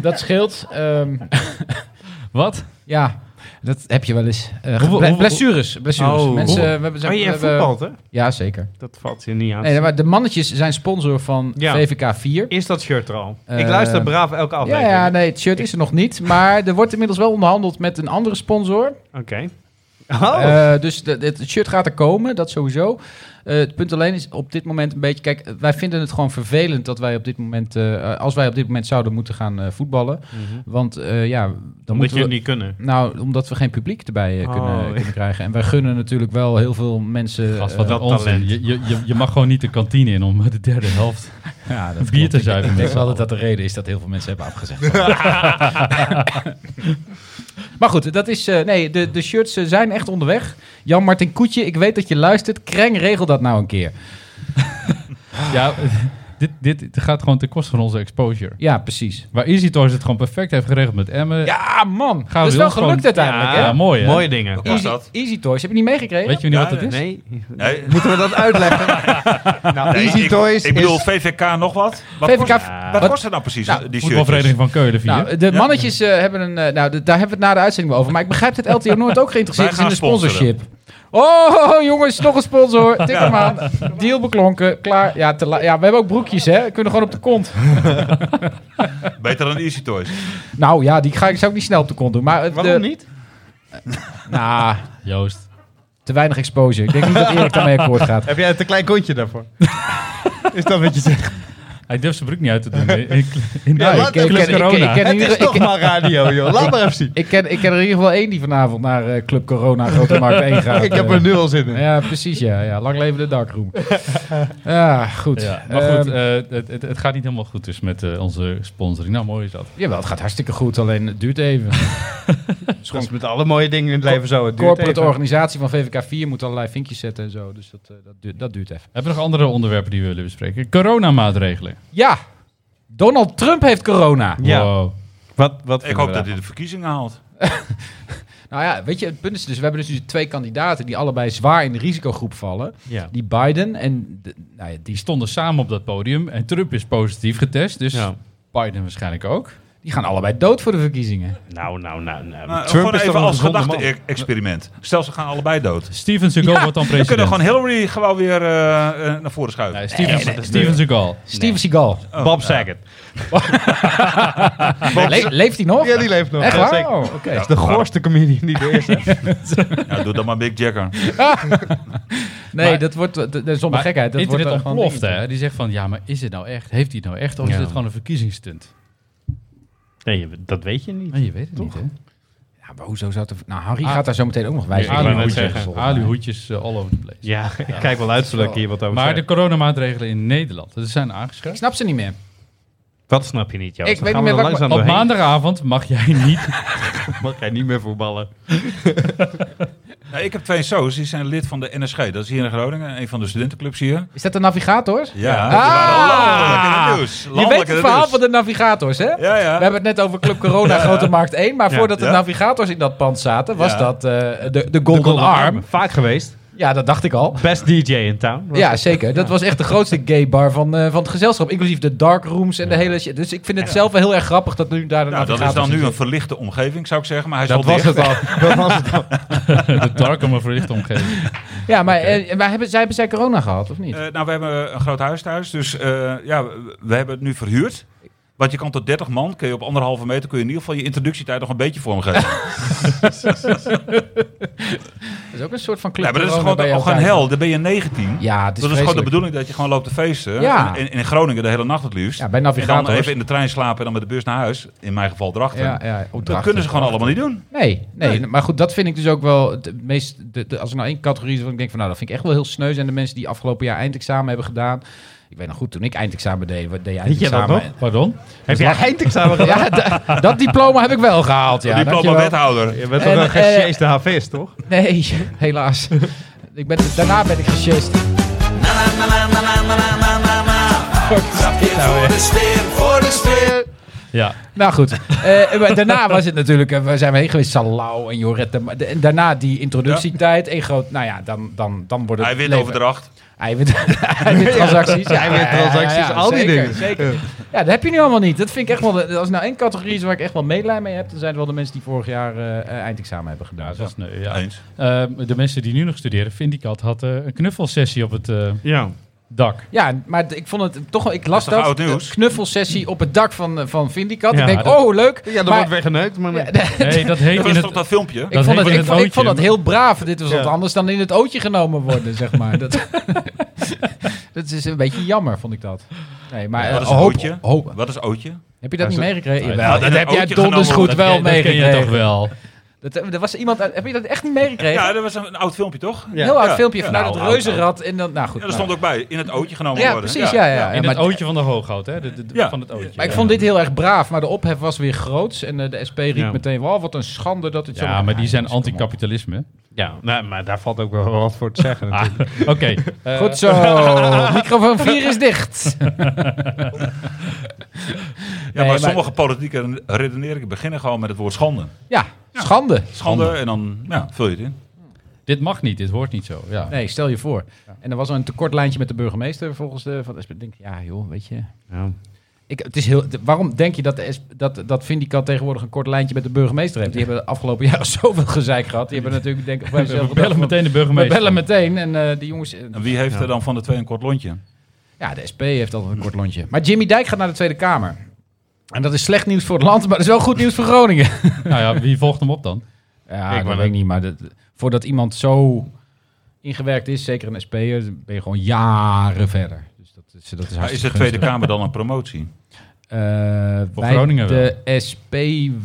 Speaker 3: Dat scheelt. Ehm,
Speaker 5: Wat?
Speaker 3: ja, dat heb je wel eens. Eh, ge-
Speaker 5: Hoeveel-
Speaker 3: ble-
Speaker 5: hoeveel-
Speaker 3: blessures. blessures.
Speaker 4: Oh.
Speaker 3: Mensen, we hebben,
Speaker 4: Oh,
Speaker 3: we
Speaker 4: je
Speaker 3: hebben-
Speaker 4: voetbalt, hè?
Speaker 3: Ja, zeker.
Speaker 4: Dat valt je niet aan.
Speaker 3: Nee, maar de mannetjes zijn sponsor van
Speaker 4: Ja.
Speaker 3: VVK 4.
Speaker 4: Is dat shirt er al?
Speaker 3: Eh,
Speaker 4: ik luister braaf elke
Speaker 3: Ja,
Speaker 4: aflevering.
Speaker 3: ja, nee, het shirt is er nog niet. Maar er wordt inmiddels wel onderhandeld met een andere sponsor.
Speaker 4: Oké. Oh,
Speaker 3: Eh, dus de- de- het shirt gaat er komen, dat sowieso. Eh, het punt alleen is op dit moment een beetje... Kijk, wij vinden het gewoon vervelend dat wij op dit moment... eh, eh, als wij op dit moment zouden moeten gaan eh, voetballen. Want eh, ja, dan
Speaker 4: moet
Speaker 3: moeten
Speaker 4: je
Speaker 3: we...
Speaker 4: het niet kunnen.
Speaker 3: Nou, omdat we geen publiek erbij eh,
Speaker 4: Oh,
Speaker 3: kunnen,
Speaker 4: ja.
Speaker 3: kunnen krijgen. En wij gunnen natuurlijk wel heel veel mensen...
Speaker 5: Gast, wat
Speaker 3: eh,
Speaker 5: een
Speaker 4: dat
Speaker 5: onzin.
Speaker 4: talent.
Speaker 5: Je, je, je- je mag gewoon niet de kantine in om de derde helft
Speaker 3: ja, dat
Speaker 5: bier
Speaker 3: klopt.
Speaker 5: te zuipen.
Speaker 3: Ik
Speaker 5: met
Speaker 3: denk
Speaker 5: z'n
Speaker 3: wel dat
Speaker 5: allen.
Speaker 3: dat de reden is dat heel veel mensen hebben afgezegd. maar goed, dat is. eh, nee, de, de shirts eh, zijn echt onderweg. Jan-Martin Koetje, ik weet dat je luistert. Kreng, regel dat nou een keer.
Speaker 5: Ja, dit, dit gaat gewoon ten koste van onze exposure.
Speaker 3: Ja, precies.
Speaker 5: Waar Easy Toys het gewoon perfect heeft geregeld met Emmen.
Speaker 3: Ja, man. dat
Speaker 5: Gaan we
Speaker 3: is wel
Speaker 5: ons gewoon-
Speaker 3: gelukt uiteindelijk, hè?
Speaker 5: Ja, mooi, hè?
Speaker 4: Mooie dingen.
Speaker 7: Hoe was
Speaker 3: Easy,
Speaker 7: dat?
Speaker 3: Easy Toys, heb je niet meegekregen?
Speaker 5: Weet je nu
Speaker 7: Ja,
Speaker 5: wat het is?
Speaker 4: Nee,
Speaker 7: Nee,
Speaker 4: moeten we dat uitleggen? nou,
Speaker 7: nee,
Speaker 4: Easy
Speaker 7: ik,
Speaker 4: Toys
Speaker 7: Ik bedoel,
Speaker 4: is...
Speaker 7: VVK nog wat? Wat
Speaker 3: VVK
Speaker 7: kost, wat
Speaker 3: wat-
Speaker 7: kost het nou precies,
Speaker 3: Nou,
Speaker 7: die shirtjes?
Speaker 5: Voetbalvereniging van Keulen 4.
Speaker 3: Nou, de mannetjes eh, hebben een. eh, nou, de- daar hebben we het na de uitzending wel over. Maar ik begrijp dat LTO Noord ook geïnteresseerd
Speaker 7: Wij
Speaker 3: is in de
Speaker 7: gaan sponsoren.
Speaker 3: sponsorship. Oh, ho, ho, jongens, nog een sponsor. Tik hem aan. Deal beklonken. Klaar. Ja, te la- ja, we hebben ook broekjes, hè? We kunnen gewoon op de kont.
Speaker 7: Beter dan Easy Toys.
Speaker 3: Nou ja, die ga ik, zou ik niet snel op de kont doen. Maar eh,
Speaker 4: Waarom
Speaker 3: de-
Speaker 4: niet?
Speaker 3: Nou,
Speaker 5: Joost.
Speaker 3: te weinig exposure. Ik denk niet dat Erik daarmee akkoord gaat.
Speaker 4: Heb jij een te klein kontje daarvoor? is dat wat je zegt?
Speaker 5: Hij durft zijn broek niet uit te doen. In, in, in-
Speaker 4: Ja,
Speaker 5: in-
Speaker 4: laat
Speaker 3: ik, ken-
Speaker 5: Club
Speaker 3: ik ken- ik ken-
Speaker 5: Corona.
Speaker 3: ik ken in
Speaker 4: Het
Speaker 3: ieder-
Speaker 4: is
Speaker 3: ik
Speaker 4: toch
Speaker 3: ken-
Speaker 4: maar radio, joh. Laat maar even zien.
Speaker 3: ik ken- ik ken er in ieder geval één die vanavond naar eh, Club Corona Grote Markt 1 gaat.
Speaker 4: Ik heb
Speaker 3: eh.
Speaker 4: er nu al zin in.
Speaker 3: Ja, precies. Ja, ja. Lang leven de darkroom. ja, goed.
Speaker 5: Ja, maar goed,
Speaker 3: Ehm,
Speaker 5: eh, het, het, het gaat niet helemaal goed dus met eh, onze sponsoring. Nou, mooi is dat.
Speaker 3: jawel, het gaat hartstikke goed. Alleen het duurt even.
Speaker 4: Dat is met alle mooie dingen in het leven zo. Het duurt
Speaker 3: corporate
Speaker 4: even.
Speaker 3: organisatie van VVK4 moet allerlei vinkjes zetten en zo. Dus dat, eh, dat, duurt, dat duurt even.
Speaker 5: Hebben we nog andere onderwerpen die we willen bespreken? Coronamaatregelen.
Speaker 3: Ja, Donald Trump heeft corona.
Speaker 4: Ja.
Speaker 5: Wow.
Speaker 4: Wat, wat
Speaker 7: Ik hoop dat hij de verkiezingen haalt.
Speaker 3: Nou ja, weet je, het punt is dus... We hebben dus nu twee kandidaten die allebei zwaar in de risicogroep vallen.
Speaker 4: Ja.
Speaker 3: Die Biden en... de- nou ja,
Speaker 5: Die
Speaker 3: die,
Speaker 5: stonden samen op dat podium en Trump is positief getest, dus
Speaker 4: Ja.
Speaker 5: Biden waarschijnlijk ook.
Speaker 3: die gaan allebei dood voor de verkiezingen.
Speaker 4: Nou, nou, nou. nou.
Speaker 7: Maar
Speaker 4: Trump
Speaker 7: gewoon
Speaker 4: is toch
Speaker 7: even
Speaker 4: een
Speaker 7: als
Speaker 4: gezonde man.
Speaker 7: gedachte-experiment. Stel, ze gaan allebei dood.
Speaker 5: Steven Seagal wordt dan
Speaker 7: We kunnen
Speaker 5: president.
Speaker 7: gewoon Hillary gewoon weer eh, eh, naar voren schuiven.
Speaker 5: Nee, Steven, Steven Seagal.
Speaker 3: Steven Seagal.
Speaker 4: Bob Saget.
Speaker 3: Le- leeft hij nog?
Speaker 4: Ja, die leeft nog.
Speaker 3: Echt
Speaker 4: Ja,
Speaker 3: waar?
Speaker 4: zeker.
Speaker 3: Oh, oké.
Speaker 4: Dat is de goorste comedian die er is. hè.
Speaker 7: Ja, doe dan maar Big Jacker.
Speaker 3: Nee,
Speaker 5: Maar-
Speaker 3: dat wordt... dat- dat- Zonder
Speaker 5: Maar
Speaker 3: gekheid. Dat wordt
Speaker 5: internet
Speaker 3: dan gewoon
Speaker 5: ontploft, hè. Die zegt van, ja, maar is het nou echt? Heeft hij het nou echt? Of is
Speaker 4: Ja.
Speaker 5: dit gewoon een verkiezingsstunt?
Speaker 4: Nee, dat weet je niet.
Speaker 3: Ah,
Speaker 5: Maar je weet het niet, hè.
Speaker 3: Ja, maar hoezo zou het... Nou, Harry
Speaker 5: Ah.
Speaker 3: gaat daar zo meteen ook nog wijzen.
Speaker 4: wou
Speaker 5: Alu
Speaker 4: net
Speaker 5: hoedjes,
Speaker 4: zeggen,
Speaker 5: alu hoedjes eh, all over the place.
Speaker 4: Ja, ik kijk wel uit zodat ik hier wat over
Speaker 5: Maar
Speaker 4: maar
Speaker 5: de coronamaatregelen in Nederland, ze zijn aangescherpt.
Speaker 3: Ik snap ze niet meer.
Speaker 4: Wat snap je niet, Joost?
Speaker 3: Ik
Speaker 4: Dan
Speaker 3: weet
Speaker 4: gaan
Speaker 3: niet
Speaker 4: we
Speaker 3: meer
Speaker 4: er
Speaker 3: wat ik-
Speaker 4: langzaam
Speaker 5: Op
Speaker 4: doorheen.
Speaker 5: maandagavond mag jij niet.
Speaker 4: mag jij niet meer voetballen.
Speaker 7: Nou, ik heb twee zoons, die zijn lid van de NSG. Dat is hier in Groningen, een van de studentenclubs hier.
Speaker 3: Is dat de navigators?
Speaker 7: Ja, die
Speaker 3: Ah!
Speaker 7: waren landelijk in het nieuws.
Speaker 3: Je
Speaker 7: Landelijk
Speaker 3: weet
Speaker 7: in
Speaker 3: het verhaal
Speaker 7: nieuws.
Speaker 3: van de navigators, hè?
Speaker 7: Ja, ja.
Speaker 3: We hebben het net over Club Corona Grote Markt 1. Maar
Speaker 4: Ja.
Speaker 3: voordat de
Speaker 7: Ja.
Speaker 3: navigators in dat pand zaten, was
Speaker 7: Ja.
Speaker 3: dat eh, de, de, Golden Arm.
Speaker 4: Vaak geweest.
Speaker 3: Ja, dat dacht ik al.
Speaker 4: Best DJ in town.
Speaker 3: Ja, zeker. Dat was echt de grootste gay bar van, eh, van het gezelschap. Inclusief de dark rooms en de hele shit. Dus ik vind het zelf wel heel erg grappig dat nu daar de
Speaker 7: Nou, dat
Speaker 3: navigators
Speaker 7: is dan
Speaker 3: in
Speaker 7: nu een
Speaker 3: zitten.
Speaker 7: verlichte omgeving, zou ik zeggen. Maar hij is
Speaker 4: Dat
Speaker 7: al
Speaker 4: was
Speaker 7: dicht.
Speaker 4: het al. Dat was het al.
Speaker 5: de darker maar verlicht omgeving.
Speaker 3: Ja, maar, eh, maar hebben, zij, hebben zij corona gehad, of niet?
Speaker 7: Eh, nou, we hebben een groot huis thuis. Dus eh, ja, we- we hebben het nu verhuurd. Want je kan tot 30 man, kun je op anderhalve meter... kun je in ieder geval je introductietijd nog een beetje vormgeven.
Speaker 3: dat is ook een soort van Club
Speaker 7: Ja, maar dat is
Speaker 3: Corona
Speaker 7: gewoon,
Speaker 3: bij jou
Speaker 7: gewoon
Speaker 3: thuis.
Speaker 7: hel. Dan ben je 19.
Speaker 3: Ja, het is
Speaker 7: dat is gewoon de
Speaker 3: vreselijk.
Speaker 7: bedoeling dat je gewoon loopt te feesten.
Speaker 3: Ja.
Speaker 7: In, in Groningen de hele nacht het liefst.
Speaker 3: Ja, bij
Speaker 7: en dan
Speaker 3: navigators.
Speaker 7: even in de trein slapen en dan met de bus naar huis. In mijn geval erachter.
Speaker 3: Ja, ja,
Speaker 7: Dat
Speaker 3: opdrachten.
Speaker 7: kunnen ze gewoon allemaal niet doen.
Speaker 3: Nee, nee,
Speaker 7: Nee.
Speaker 3: maar goed, dat vind ik dus ook wel het meest. De, de- als er nou één categorie is, waarvan ik denk van nou, dat vind ik echt wel heel sneu. Zijn de mensen die afgelopen jaar eindexamen hebben gedaan. Ik weet nog goed, toen ik eindexamen deed, wat deed je
Speaker 4: Weet je dat
Speaker 3: eindexamen?
Speaker 4: nog?
Speaker 5: Pardon?
Speaker 4: Heb jij eindexamen gedaan?
Speaker 3: Ja, d- dat diploma heb ik wel gehaald. Ja,
Speaker 7: Die diploma
Speaker 3: dankjewel.
Speaker 7: wethouder.
Speaker 4: Je bent
Speaker 3: En,
Speaker 4: toch een
Speaker 3: eh,
Speaker 4: gesjeesde HV's, toch?
Speaker 3: Nee, helaas. Ik ben, daarna ben ik gesjeest.
Speaker 5: Ja.
Speaker 3: Nou goed, Eh, maar daarna was het natuurlijk, eh, we zijn we heen geweest, Salau en Jorette. maar de- En daarna die introductietijd, één groot, nou ja, dan, dan, dan wordt het...
Speaker 7: Hij wint
Speaker 3: leven-
Speaker 7: overdracht.
Speaker 3: Eiwit, eiwittransacties. Ja,
Speaker 4: eiwittransacties,
Speaker 3: ja, ja, ja,
Speaker 4: al die
Speaker 3: zeker,
Speaker 4: dingen.
Speaker 3: Zeker. Ja, dat heb je nu allemaal niet. Dat vind ik echt wel. de- Als er nou één categorie is waar ik echt wel medelijden mee heb, dan zijn het wel de mensen die vorig jaar eh, eh, eindexamen hebben
Speaker 5: Ja,
Speaker 3: gedaan.
Speaker 5: dat is nee, ja.
Speaker 7: Eens.
Speaker 5: Ehm, de mensen die nu nog studeren, Vindicat had eh, een knuffelsessie op het eh,
Speaker 4: Ja.
Speaker 5: dak.
Speaker 3: Ja, maar d- ik vond het toch wel. Ik las
Speaker 7: Dat is
Speaker 3: dat.
Speaker 7: toch oud nieuws?
Speaker 3: de knuffelsessie op het dak van, eh, van Vindicat.
Speaker 4: Ja,
Speaker 3: ik denk,
Speaker 5: dat-
Speaker 3: oh, leuk.
Speaker 4: Ja, dat
Speaker 3: Maar-
Speaker 4: wordt weggeneukt, maar...
Speaker 3: Ja, d-
Speaker 5: Nee, dat heet
Speaker 7: Dat
Speaker 5: in
Speaker 7: was
Speaker 5: het...
Speaker 7: toch dat filmpje?
Speaker 3: Ik vond,
Speaker 5: heet
Speaker 3: het,
Speaker 5: in
Speaker 3: ik,
Speaker 5: het
Speaker 3: vond, ik vond dat
Speaker 5: ootje.
Speaker 3: heel braaf. Dit was
Speaker 4: Ja.
Speaker 3: wat anders dan in het ootje genomen worden, zeg maar. Dat, dat is een beetje jammer, vond ik dat. Nee, maar
Speaker 7: Ja,
Speaker 3: eh,
Speaker 7: dat is een
Speaker 3: hoop,
Speaker 7: ootje.
Speaker 3: hoop-
Speaker 7: Wat is Ootje?
Speaker 3: Heb je dat niet meegekregen?
Speaker 5: Ja,
Speaker 3: Jawel,
Speaker 7: dat
Speaker 3: dat
Speaker 7: heb
Speaker 3: heb
Speaker 7: ik
Speaker 3: jij
Speaker 7: ook genomen,
Speaker 3: donders goed
Speaker 7: dat
Speaker 3: wel
Speaker 5: dat ken je toch
Speaker 3: meegekregen.
Speaker 5: wel.
Speaker 3: Dat, eh, er was iemand, uit- heb je dat echt niet meegekregen?
Speaker 7: Ja, dat was een, een oud filmpje, toch?
Speaker 4: Ja.
Speaker 3: Heel oud
Speaker 7: Ja.
Speaker 3: filmpje
Speaker 7: Ja.
Speaker 3: vanuit
Speaker 7: Nou,
Speaker 3: het
Speaker 7: oud,
Speaker 3: reuzenrad. En dan, nou goed.
Speaker 7: Ja, daar
Speaker 3: maar-
Speaker 7: stond ook bij. In het ootje genomen
Speaker 3: ja,
Speaker 7: worden.
Speaker 3: precies, ja. ja, ja.
Speaker 5: In
Speaker 3: maar,
Speaker 5: het ootje van de hooghout, hè? De, de- de-
Speaker 7: Ja.
Speaker 5: Van het ootje.
Speaker 3: maar ik vond dit heel erg braaf, maar de ophef was weer groots. En eh, de SP riep
Speaker 4: Ja.
Speaker 3: meteen, wow, wat een schande dat het zo...
Speaker 5: Ja, maar die zijn
Speaker 3: dus kom op.
Speaker 5: anticapitalisme.
Speaker 4: Ja, nou, maar daar valt ook wel wat voor te zeggen. natuurlijk.
Speaker 5: Oké. eh,
Speaker 3: Goed zo, microfoon 4 is dicht.
Speaker 7: Ja,
Speaker 3: Nee,
Speaker 7: maar
Speaker 3: maar-
Speaker 7: sommige politieke redeneringen beginnen gewoon met het woord schande.
Speaker 3: Ja, schande.
Speaker 7: Schande, en dan ja, vul je het in.
Speaker 5: dit mag niet, dit hoort niet zo. Ja.
Speaker 3: Nee, stel je voor. En er was een tekortlijntje met de burgemeester volgens de... Van de SP. Ik denk, ja joh, weet je,
Speaker 4: Ja.
Speaker 3: Ik, het is heel, de- waarom denk je dat, de SP dat, dat Vindicat tegenwoordig een kort lijntje met de burgemeester heeft? Die hebben de afgelopen jaren zoveel gezeik gehad. Die hebben natuurlijk denk ik bij zichzelf
Speaker 5: We
Speaker 3: gedacht
Speaker 5: bellen
Speaker 3: van,
Speaker 5: meteen de
Speaker 3: We
Speaker 5: burgemeester.
Speaker 3: bellen meteen. En eh, die jongens... eh,
Speaker 7: En wie heeft er dan van de twee een kort lontje?
Speaker 3: ja, de SP heeft altijd een kort lontje. Maar Jimmy Dijk gaat naar de Tweede Kamer. En dat is slecht nieuws voor het land, maar dat is wel goed nieuws voor Groningen.
Speaker 5: Nou ja, wie volgt hem op dan?
Speaker 3: Ja,
Speaker 4: Ik
Speaker 3: ik
Speaker 4: wou
Speaker 3: dat weet ik niet. Maar dat, voordat iemand zo ingewerkt is, zeker een SP'er, ben je gewoon jaren verder. Dus dat, is, dat is
Speaker 7: Maar is de
Speaker 3: hartstikke
Speaker 7: Tweede
Speaker 3: gunstig.
Speaker 7: Kamer dan een promotie?
Speaker 3: Eh,
Speaker 5: Voor
Speaker 3: bij
Speaker 5: Groningen
Speaker 3: de SP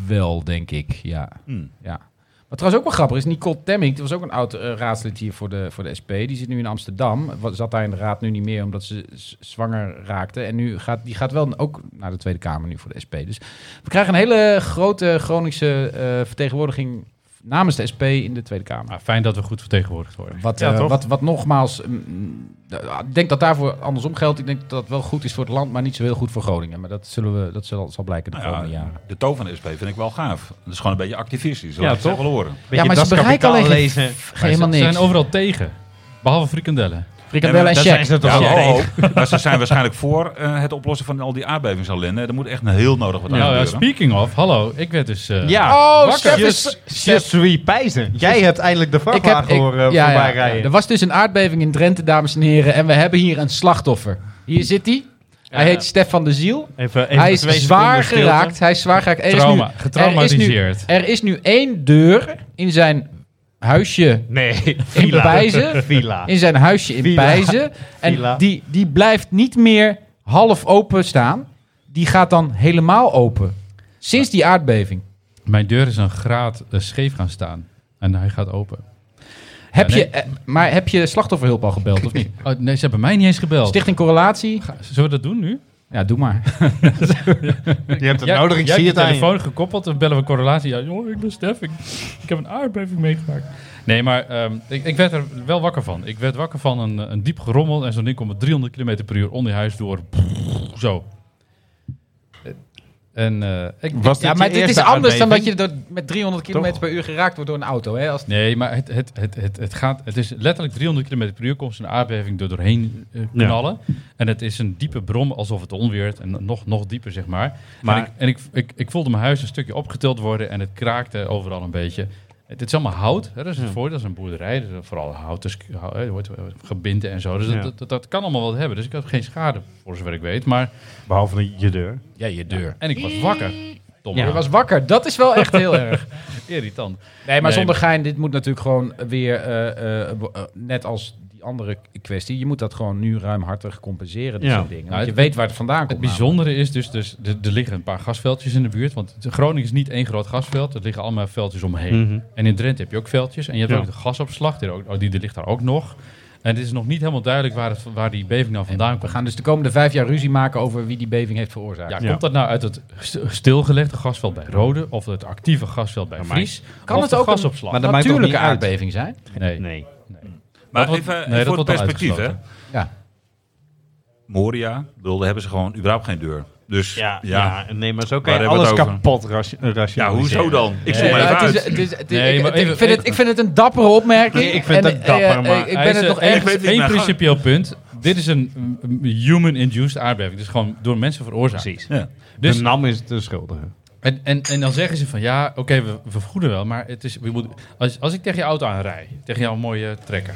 Speaker 3: wel, denk ik, ja.
Speaker 7: Hmm.
Speaker 3: ja. Wat trouwens ook wel grappig is, Nicole Temming, die was ook een oud eh, raadslid hier voor de, voor de SP. Die zit nu in Amsterdam. Wat- Zat daar in de raad nu niet meer, omdat ze z- zwanger raakte. En nu gaat, die gaat wel ook naar de Tweede Kamer nu voor de SP. Dus we krijgen een hele grote Groningse eh, vertegenwoordiging namens de SP in de Tweede Kamer.
Speaker 5: Maar fijn dat we goed vertegenwoordigd worden.
Speaker 3: Wat,
Speaker 4: Ja,
Speaker 3: eh,
Speaker 4: toch?
Speaker 3: wat, wat nogmaals, mm, d- ik denk dat daarvoor andersom geldt. Ik denk dat dat wel goed is voor het land, maar niet zo heel goed voor Groningen. Maar dat, zullen we, dat zal, zal blijken de
Speaker 7: Nou ja,
Speaker 3: komende jaren.
Speaker 7: de toon van de SP vind ik wel gaaf. Dat is gewoon een beetje activistisch.
Speaker 4: Ja,
Speaker 7: Ja, toch?
Speaker 4: toch?
Speaker 7: Wel horen.
Speaker 4: Beetje
Speaker 3: maar ze
Speaker 4: daskapitaal
Speaker 3: bereiken alleen geen-
Speaker 4: lezen.
Speaker 3: Geen helemaal
Speaker 5: ze
Speaker 3: niks.
Speaker 5: zijn overal tegen. Behalve frikandellen.
Speaker 3: Frikandellen en
Speaker 4: Daar
Speaker 3: check.
Speaker 4: zijn ze toch
Speaker 7: Ja,
Speaker 4: al
Speaker 7: maar,
Speaker 4: tegen.
Speaker 7: oh, maar ze zijn waarschijnlijk voor eh, het oplossen van al die aardbevingsellende. Er moet echt een heel nodig wat aan
Speaker 5: Nou ja,
Speaker 7: gebeuren.
Speaker 5: speaking of, hallo, ik werd dus... eh,
Speaker 4: Ja,
Speaker 3: Oh,
Speaker 4: wakker.
Speaker 3: Stef is-
Speaker 4: Just-
Speaker 3: Stef-
Speaker 4: Just three pijzen. Jij hebt eindelijk de vrachtwagen
Speaker 3: ja,
Speaker 4: horen
Speaker 3: ja,
Speaker 4: voorbij
Speaker 3: ja.
Speaker 4: rijden.
Speaker 3: Er was dus een aardbeving in Drenthe, dames en heren. En we hebben hier een slachtoffer. Hier zit hij. Hij heet Stefan de Ziel.
Speaker 4: Even, even
Speaker 3: Hij is
Speaker 4: twee
Speaker 3: zwaar
Speaker 4: seconden stilte.
Speaker 3: geraakt. Hij is zwaar geraakt. Er is nu,
Speaker 5: Trauma,
Speaker 3: er is nu,
Speaker 5: getraumatiseerd.
Speaker 3: er is nu één deur in zijn huisje
Speaker 4: Nee,
Speaker 3: in
Speaker 4: villa.
Speaker 3: Pijzen.
Speaker 4: Villa.
Speaker 3: in zijn huisje in
Speaker 4: Villa.
Speaker 3: Pijzen. En
Speaker 4: Villa.
Speaker 3: Die, die blijft niet meer half open staan. Die gaat dan helemaal open. Sinds die aardbeving.
Speaker 5: Mijn deur is een graad eh, scheef gaan staan. En hij gaat open.
Speaker 3: Heb
Speaker 5: Ja,
Speaker 3: je, eh, maar heb je slachtofferhulp al gebeld of niet?
Speaker 5: Oh, nee, ze hebben mij niet eens gebeld.
Speaker 3: Stichting Correlatie?
Speaker 5: Ga- Zullen we dat doen nu?
Speaker 3: Ja, doe maar.
Speaker 4: Je hebt het
Speaker 5: Jij-
Speaker 4: nodig, ik
Speaker 5: jij
Speaker 4: zie het
Speaker 5: hebt je
Speaker 4: aan je.
Speaker 5: telefoon gekoppeld en bellen we correlatie. Ja, joh, ik ben Stef, ik, ik heb een aardbeving meegemaakt. Nee, maar ehm, ik, ik werd er wel wakker van. Ik werd wakker van een, eh, een diep gerommel en zo'n ding komt met 300 km per uur onder je huis door. Zo. Eh, En eh, ik,
Speaker 4: Was
Speaker 3: Ja,
Speaker 4: dit
Speaker 3: maar
Speaker 4: je
Speaker 3: dit is
Speaker 4: eerste
Speaker 3: anders dan dat
Speaker 4: aardbeving?
Speaker 3: je door, met 300 km per uur geraakt wordt door een auto. Hè? Als,
Speaker 5: Nee, maar het, het, het, het, het gaat. Het is letterlijk 300 km per uur komt een aardbeving er doorheen eh, knallen. En het is een diepe brom alsof het onweert. En nog, nog dieper, zeg maar.
Speaker 4: Maar-
Speaker 5: en ik, en ik, ik, ik voelde mijn huis een stukje opgetild worden en het kraakte overal een beetje. Het is allemaal hout, hè, dat is het voordeel. Dat is een boerderij, dus vooral hout, dus, hou- hè, er wordt eh, gebinten en zo. Dus dat-
Speaker 4: Ja.
Speaker 5: dat, dat, dat kan allemaal wat hebben. Dus ik had geen schade, voor zover ik weet. Maar,
Speaker 4: Behalve je deur.
Speaker 3: ja, je deur.
Speaker 5: en ik was wakker. Domme,
Speaker 4: Ja.
Speaker 3: Je was wakker. Dat is wel echt heel erg.
Speaker 5: irritant.
Speaker 3: Nee, maar
Speaker 5: Nee,
Speaker 3: zonder gein, dit moet natuurlijk gewoon weer, eh, eh, bo- eh, net als die andere kwestie, je moet dat gewoon nu ruimhartig compenseren, dit
Speaker 4: Ja.
Speaker 3: soort dingen. Want
Speaker 5: Nou,
Speaker 3: je
Speaker 5: het-
Speaker 3: weet waar het vandaan komt.
Speaker 5: Het bijzondere is dus, dus er, er liggen een paar gasveldjes in de buurt. Want Groningen is niet één groot gasveld. Er liggen allemaal veldjes omheen.
Speaker 3: Mhm.
Speaker 5: En in Drenthe heb je ook veldjes. En je hebt
Speaker 4: Ja.
Speaker 5: ook de gasopslag. Die, er ook- oh, die, die ligt daar ook nog. En het is nog niet helemaal duidelijk waar, het, waar die beving nou vandaan
Speaker 3: We
Speaker 5: komt.
Speaker 3: gaan dus de komende vijf jaar ruzie maken over wie die beving heeft veroorzaakt.
Speaker 5: Ja,
Speaker 3: Ja,
Speaker 5: Komt dat nou uit het st- stilgelegde gasveld bij Rode? Of het actieve gasveld bij
Speaker 4: maar-
Speaker 5: Vries?
Speaker 3: Kan
Speaker 5: of
Speaker 3: het
Speaker 5: de
Speaker 3: ook een-
Speaker 5: gasopslag?
Speaker 4: Maar dat maakt toch
Speaker 3: Natuurlijke
Speaker 4: niet uit?
Speaker 3: aardbeving zijn.
Speaker 5: nee.
Speaker 4: Nee.
Speaker 7: Maar
Speaker 5: Dat
Speaker 7: even
Speaker 5: wordt-
Speaker 7: even
Speaker 5: nee, dat
Speaker 7: Eh, voor het
Speaker 5: wordt al
Speaker 7: perspectief, hè.
Speaker 5: uitgesloten.
Speaker 3: Ja.
Speaker 7: Moria, ik bedoel, daar hebben ze gewoon überhaupt geen deur. Dus ja,
Speaker 4: Ja, ja. nee, maar zo kan
Speaker 7: Waar
Speaker 4: je
Speaker 7: hebben we
Speaker 4: alles
Speaker 7: het over?
Speaker 4: kapot ration- rationaliseren.
Speaker 7: hoezo dan? Ik zoek
Speaker 5: Nee,
Speaker 7: maar
Speaker 3: Ja,
Speaker 7: even
Speaker 3: het
Speaker 7: uit.
Speaker 3: is- het is- het is-
Speaker 5: Nee,
Speaker 3: ik-
Speaker 5: maar
Speaker 3: het- ik
Speaker 5: even-
Speaker 3: vind het-
Speaker 5: even-
Speaker 3: Ik vind het een dappere opmerking.
Speaker 4: Ik vind het
Speaker 3: En,
Speaker 4: ook dapper,
Speaker 3: eh, eh,
Speaker 4: maar
Speaker 3: Ik
Speaker 5: Hij
Speaker 3: ben
Speaker 5: is,
Speaker 3: het
Speaker 5: eh,
Speaker 3: nog
Speaker 5: één-
Speaker 7: ik weet
Speaker 3: ergens...
Speaker 7: niet,
Speaker 5: één
Speaker 7: maar ga-
Speaker 5: principieel punt. Dit is een mm, human-induced aardbeving. Dit is gewoon door mensen veroorzaakt.
Speaker 4: Precies.
Speaker 7: Ja.
Speaker 3: Ah,
Speaker 5: Dus-
Speaker 4: de NAM is de schuldige.
Speaker 5: En, en, en dan zeggen ze van ja, oké, we, we vergoeden wel, maar het is, we moeten, als, als ik tegen je auto aanrij, tegen jouw mooie trekker.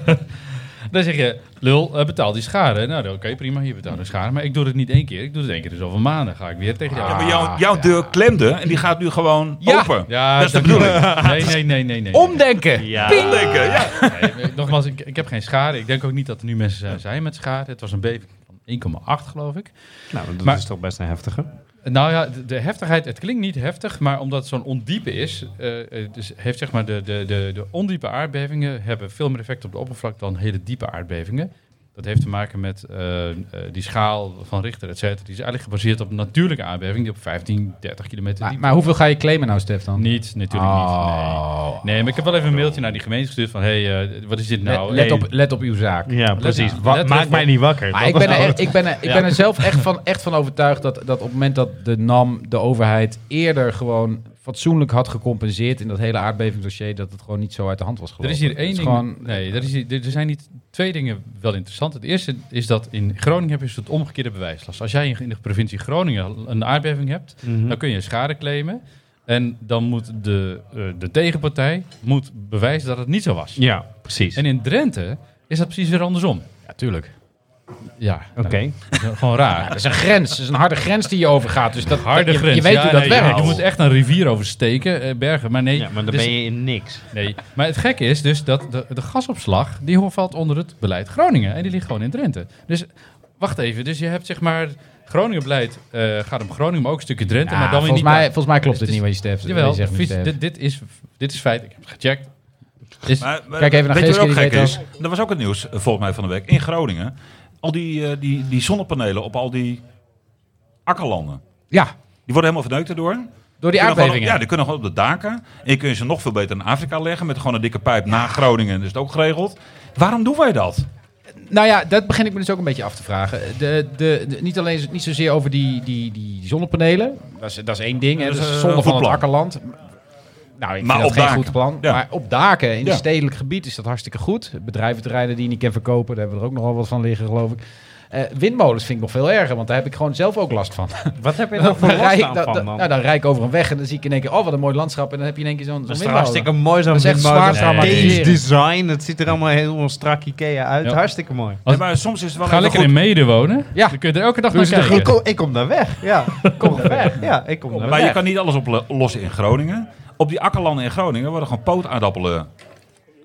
Speaker 5: dan zeg je, lul, eh, betaal die schade. Nou, oké, prima, je betaalt de schade. Maar ik doe het niet één keer, ik doe het één keer in zoveel maanden. Ga ik weer tegen jou
Speaker 7: Ja, maar
Speaker 5: aan.
Speaker 7: jouw, jouw deur klemde en die gaat nu gewoon open.
Speaker 5: Ja,
Speaker 7: dat is de
Speaker 5: dank je
Speaker 7: bedoeling.
Speaker 5: wel. Nee, nee, nee, nee. nee.
Speaker 3: Omdenken!
Speaker 4: Ja.
Speaker 7: Denken, ja.
Speaker 5: Nee, nogmaals, ik, ik heb geen schade. Ik denk ook niet dat er nu mensen zijn, zijn met schade. Het was een beving van 1,8 geloof ik.
Speaker 4: Nou, dat
Speaker 5: Maar-
Speaker 4: is toch best een heftige.
Speaker 5: Nou ja, de, de heftigheid, het klinkt niet heftig, maar omdat het zo'n ondiepe is, eh, eh, dus heeft zeg maar de, de, de, de ondiepe aardbevingen hebben veel meer effect op de oppervlak dan hele diepe aardbevingen. Dat heeft te maken met eh, eh, die schaal van Richter, et cetera. Die is eigenlijk gebaseerd op een natuurlijke aardbeving die op 15, 30 kilometer
Speaker 3: Maar,
Speaker 5: diep
Speaker 3: maar hoeveel ga je claimen nou, Stef, dan?
Speaker 5: Niet, natuurlijk niet.
Speaker 3: Oh.
Speaker 5: Nee. nee, maar ik heb wel even een mailtje naar die gemeente gestuurd van, hé, hey, eh, wat is dit nou?
Speaker 3: Let, let
Speaker 5: Hey,
Speaker 3: op, let op uw zaak.
Speaker 4: Ja, precies.
Speaker 5: nou,
Speaker 4: Wa-
Speaker 5: let
Speaker 4: maak
Speaker 5: even
Speaker 4: mij
Speaker 5: op.
Speaker 4: niet wakker.
Speaker 3: Maar
Speaker 4: Dat
Speaker 3: ik
Speaker 4: is
Speaker 3: ben,
Speaker 4: nou
Speaker 3: er,
Speaker 4: het-
Speaker 3: ik ben, er, ik ben er zelf echt van, echt van overtuigd dat, dat op het moment dat de NAM, de overheid, eerder gewoon fatsoenlijk had gecompenseerd in dat hele aardbevingsdossier, dat het gewoon niet zo uit de hand was
Speaker 5: Er
Speaker 3: gelopen.
Speaker 5: is hier één
Speaker 3: Het
Speaker 5: ding.
Speaker 3: Gewoon,
Speaker 5: nee, er, is hier- er er zijn niet twee dingen wel interessant. Het eerste is dat in Groningen heb je dus het omgekeerde bewijslast. Als jij in- in de provincie Groningen een aardbeving hebt,
Speaker 4: Mhm.
Speaker 5: dan kun je schade claimen. En dan moet de, eh, de tegenpartij moet bewijzen dat het niet zo was.
Speaker 4: Ja, precies.
Speaker 5: En in Drenthe is dat precies weer andersom.
Speaker 3: ja, tuurlijk.
Speaker 5: Ja,
Speaker 4: Oké.
Speaker 5: gewoon raar.
Speaker 3: Dat is een grens. Dat is een harde grens die je overgaat. Dus dat,
Speaker 5: Harde
Speaker 3: je,
Speaker 5: grens.
Speaker 3: Je weet
Speaker 5: Ja,
Speaker 3: hoe dat
Speaker 5: nee,
Speaker 3: werkt.
Speaker 5: Je moet echt een rivier oversteken, eh, bergen. Maar nee,
Speaker 4: Ja, maar dan
Speaker 5: dus-
Speaker 4: ben je in niks.
Speaker 5: nee. Maar het gekke is dus dat de, de gasopslag, die hoort- valt onder het beleid Groningen. En die ligt gewoon in Drenthe. Dus wacht even, dus je hebt zeg maar... Groningen-beleid eh, gaat om Groningen, maar ook een stukje Drenthe.
Speaker 3: Ja,
Speaker 5: maar dan weer
Speaker 3: Nou, volgens,
Speaker 5: niet
Speaker 3: mij, volgens mij klopt
Speaker 5: Het
Speaker 3: dit
Speaker 5: is-
Speaker 3: niet wat je Stef
Speaker 5: Jawel,
Speaker 3: wat je zegt. dus nu,
Speaker 5: vies-
Speaker 3: Stef.
Speaker 5: dit, dit, is, dit is feit. Ik heb het gecheckt. Is,
Speaker 7: Maar, maar
Speaker 3: Kijk even naar
Speaker 7: weet je wat ook
Speaker 3: Geeske,
Speaker 7: gek
Speaker 3: die
Speaker 7: is? Er was ook het nieuws, eh, volgens mij van de week, in Groningen. Al die, eh, die, die zonnepanelen op al die akkerlanden.
Speaker 3: Ja,
Speaker 7: Die worden helemaal verneukt erdoor.
Speaker 3: door die
Speaker 7: Die kunnen gewoon op-
Speaker 3: aardbevingen.
Speaker 7: ja, die kunnen gewoon op de daken. En je kunt ze nog veel beter in Afrika leggen met gewoon een dikke pijp naar Groningen. Dus het ook geregeld. Waarom doen wij dat?
Speaker 3: Nou ja, dat begin ik me dus ook een beetje af te vragen. De, de, de- niet alleen niet zozeer over die, die, die zonnepanelen. Dat is, dat is één ding. Hè.
Speaker 7: Dat
Speaker 3: Dat
Speaker 7: is,
Speaker 3: is
Speaker 7: eh,
Speaker 3: zonde
Speaker 7: een
Speaker 3: van
Speaker 7: goed
Speaker 3: het
Speaker 7: plan.
Speaker 3: akkerland. Nou, ik
Speaker 7: Maar
Speaker 3: vind dat
Speaker 7: op
Speaker 3: geen
Speaker 7: daken.
Speaker 3: goed plan.
Speaker 7: Ja.
Speaker 3: Maar op daken, in
Speaker 7: Ja.
Speaker 3: een stedelijk gebied, is dat hartstikke goed. Bedrijventerreinen die je niet kan verkopen, daar hebben we er ook nogal wat van liggen, geloof ik. Eh, windmolens vind ik nog veel erger, want daar heb ik gewoon zelf ook last van.
Speaker 4: Wat heb je dan voor
Speaker 3: Dan
Speaker 4: last
Speaker 3: rij ik-
Speaker 4: aan
Speaker 3: dan-
Speaker 4: van
Speaker 3: dan-
Speaker 4: dan?
Speaker 3: nou, dan rijd ik over een weg en dan zie ik in één keer, oh wat een mooi landschap. En dan heb je in één keer zo'n zo'n
Speaker 4: dat is toch
Speaker 3: windmolen.
Speaker 4: hartstikke mooi zo'n
Speaker 3: Dat is echt
Speaker 4: windmolen.
Speaker 3: zwaar
Speaker 4: Dat
Speaker 3: traumatiseren.
Speaker 4: stage design. Dat ziet er allemaal heel strak Ikea uit.
Speaker 5: Ja.
Speaker 4: Hartstikke mooi.
Speaker 5: Als-
Speaker 7: Ja, maar soms is het wel
Speaker 5: ga
Speaker 7: even
Speaker 5: lekker
Speaker 7: goed.
Speaker 5: in Mede wonen.
Speaker 3: Ja.
Speaker 5: Dan kun je er elke dag
Speaker 4: Doe
Speaker 5: naar
Speaker 4: ze er- ik,
Speaker 5: kijken.
Speaker 4: kom, ik kom daar weg. Ja, ik kom daar weg. Ja, ik kom daar
Speaker 7: Maar
Speaker 4: weg.
Speaker 7: je kan niet alles oplossen in Groningen. Op die akkerlanden in Groningen worden gewoon pootaardappelen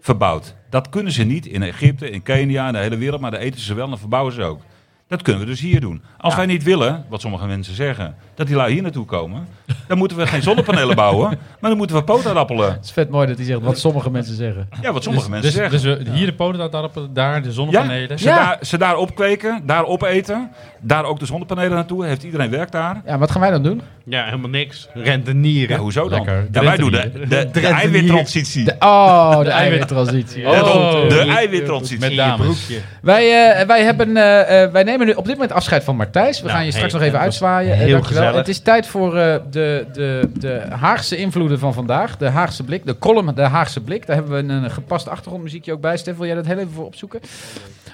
Speaker 7: verbouwd. Dat kunnen ze niet in Egypte, in Kenia, in de hele wereld. Maar daar eten ze wel en dan verbouwen ze ook. Dat kunnen we dus hier doen. Als wij niet willen, wat sommige mensen zeggen, dat die lui hier naartoe komen, dan moeten we geen zonnepanelen bouwen, maar dan moeten we pootaardappelen.
Speaker 3: Het is vet mooi dat hij zegt wat sommige mensen zeggen.
Speaker 7: Ja, wat sommige mensen
Speaker 5: dus,
Speaker 7: zeggen.
Speaker 5: dus we- hier de polendappelen, daar de
Speaker 7: ja,
Speaker 5: zonnepanelen.
Speaker 7: ze,
Speaker 3: Ja.
Speaker 7: Daar, ze daar opkweken, daar opeten, daar ook de zonnepanelen naartoe. Heeft iedereen werk daar?
Speaker 3: Ja, wat gaan wij dan doen?
Speaker 4: Ja, helemaal niks.
Speaker 7: Ja,
Speaker 4: Rentenieren.
Speaker 7: hoezo dan?
Speaker 5: Lekker.
Speaker 7: Ja, wij doen
Speaker 5: Drenthe
Speaker 7: de, de, de,
Speaker 4: Drenthe hier.
Speaker 7: eiwittransitie.
Speaker 3: De, oh, de
Speaker 5: eiwit-
Speaker 3: eiwittransitie.
Speaker 7: Ja,
Speaker 5: Oh.
Speaker 7: dat- de
Speaker 5: Met
Speaker 7: eiwittransitie.
Speaker 5: Met dames.
Speaker 4: broekje.
Speaker 3: Wij, eh, wij, hebben, eh, eh, wij nemen nu op dit moment afscheid van Martijs. We gaan je straks
Speaker 4: hey,
Speaker 3: nog even
Speaker 4: dat was
Speaker 3: uitzwaaien. Eh,
Speaker 4: heel
Speaker 3: dankjewel.
Speaker 4: gezellig.
Speaker 3: Het is tijd voor eh, de, de, de Haagse invloeden van vandaag. De Haagse blik. De column De Haagse blik. Daar hebben we een, eh, gepast achtergrondmuziekje ook bij. Stef, wil jij dat heel even voor opzoeken?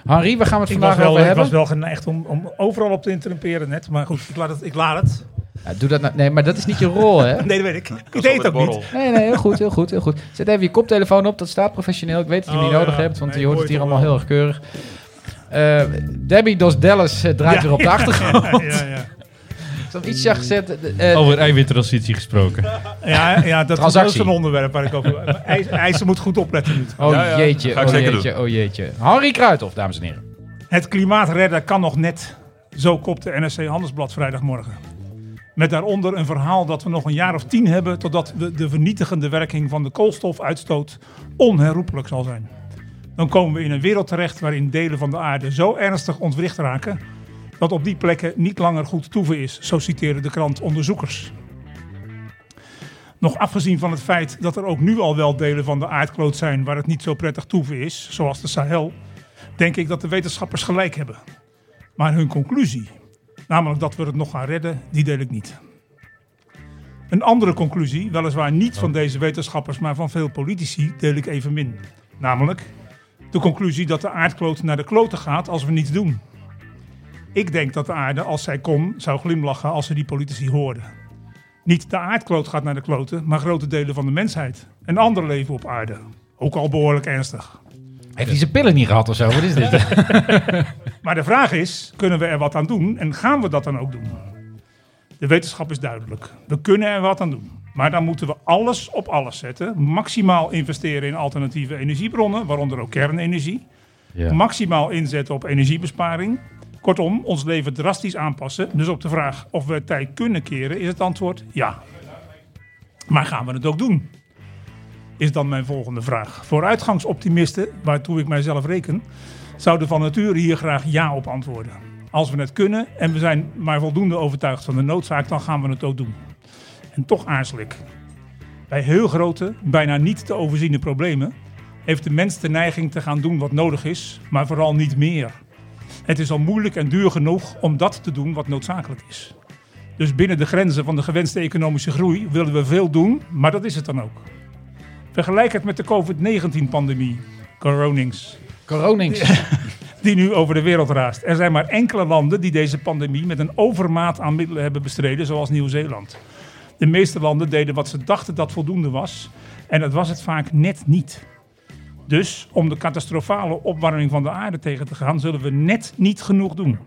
Speaker 3: Henri, waar gaan we het
Speaker 8: Ik was,
Speaker 3: vandaag
Speaker 8: wel,
Speaker 3: over
Speaker 8: ik
Speaker 3: hebben?
Speaker 8: was wel geneigd om, om overal op te interrumperen net. Maar goed, ik laat het. Ik laat het.
Speaker 3: Ja, doe dat nou. Nee, maar dat is niet je rol, hè?
Speaker 8: Nee, dat weet ik. Ik deed het ook niet.
Speaker 3: Nee, nee, heel goed, heel goed, heel goed. Zet even je koptelefoon op, dat staat professioneel. Ik weet dat je hem
Speaker 8: Oh,
Speaker 3: niet nodig
Speaker 8: ja.
Speaker 3: hebt, want
Speaker 8: Nee,
Speaker 3: je hoort
Speaker 8: ik
Speaker 3: het hier
Speaker 8: hoor
Speaker 3: allemaal
Speaker 8: het
Speaker 3: heel erg keurig. Eh, Debbie Dos Dallas eh, draait
Speaker 8: Ja.
Speaker 3: weer op de achtergrond.
Speaker 8: Ja, ja. Oh,
Speaker 3: Ik heb ietsje gezet. eh, eh,
Speaker 5: Over eiwittransitie gesproken.
Speaker 8: Ja, ja dat, dat is
Speaker 3: Transactie.
Speaker 8: een onderwerp waar ik over... IJs- IJzer moet goed opletten nu.
Speaker 3: Oh
Speaker 7: Ja, ja,
Speaker 3: jeetje,
Speaker 7: ga ik
Speaker 3: oh
Speaker 7: zeker
Speaker 3: jeetje, oh jeetje. Henri Kruithof, dames en heren.
Speaker 8: Het klimaat redden kan nog net. Zo kopt de NRC Handelsblad vrijdagmorgen. Met daaronder een verhaal dat we nog een jaar of tien hebben... totdat we de vernietigende werking van de koolstofuitstoot onherroepelijk zal zijn. Dan komen we in een wereld terecht waarin delen van de aarde zo ernstig ontwricht raken... dat op die plekken niet langer goed toeven is, zo citeren de krant onderzoekers. Nog afgezien van het feit dat er ook nu al wel delen van de aardkloot zijn... waar het niet zo prettig toeven is, zoals de Sahel denk ik dat de wetenschappers gelijk hebben. Maar hun conclusie, namelijk dat we het nog gaan redden, die deel ik niet. Een andere conclusie, weliswaar niet van deze wetenschappers, maar van veel politici, deel ik evenmin. Namelijk de conclusie dat de aardkloot naar de kloten gaat als we niets doen. Ik denk dat de aarde, als zij kon, zou glimlachen als ze die politici hoorden. Niet de aardkloot gaat naar de kloten, maar grote delen van de mensheid. En ander leven op aarde. Ook al behoorlijk ernstig.
Speaker 3: Heeft hij zijn pillen niet gehad of zo? Wat is dit?
Speaker 8: Maar de vraag is, kunnen we er wat aan doen en gaan we dat dan ook doen? De wetenschap is duidelijk. We kunnen er wat aan doen. Maar dan moeten we alles op alles zetten. Maximaal investeren in alternatieve energiebronnen, waaronder ook kernenergie.
Speaker 5: Ja.
Speaker 8: Maximaal inzetten op energiebesparing. Kortom, ons leven drastisch aanpassen. Dus op de vraag of we het tijd kunnen keren, is het antwoord ja. Maar gaan we het ook doen? Is dan mijn volgende vraag. Vooruitgangsoptimisten, waartoe ik mijzelf reken, zouden van nature hier graag ja op antwoorden. Als we het kunnen en we zijn maar voldoende overtuigd van de noodzaak, dan gaan we het ook doen. En toch aarzel ik. Bij heel grote, bijna niet te overziene problemen heeft de mens de neiging te gaan doen wat nodig is, maar vooral niet meer. Het is al moeilijk en duur genoeg om dat te doen wat noodzakelijk is. Dus binnen de grenzen van de gewenste economische groei willen we veel doen, maar dat is het dan ook. Vergelijk het met de COVID-19-pandemie, coronings
Speaker 3: Coronings.
Speaker 8: die nu over de wereld raast. Er zijn maar enkele landen die deze pandemie met een overmaat aan middelen hebben bestreden, zoals Nieuw-Zeeland. De meeste landen deden wat ze dachten dat voldoende was, en dat was het vaak net niet. Dus om de catastrofale opwarming van de aarde tegen te gaan, zullen we net niet genoeg doen.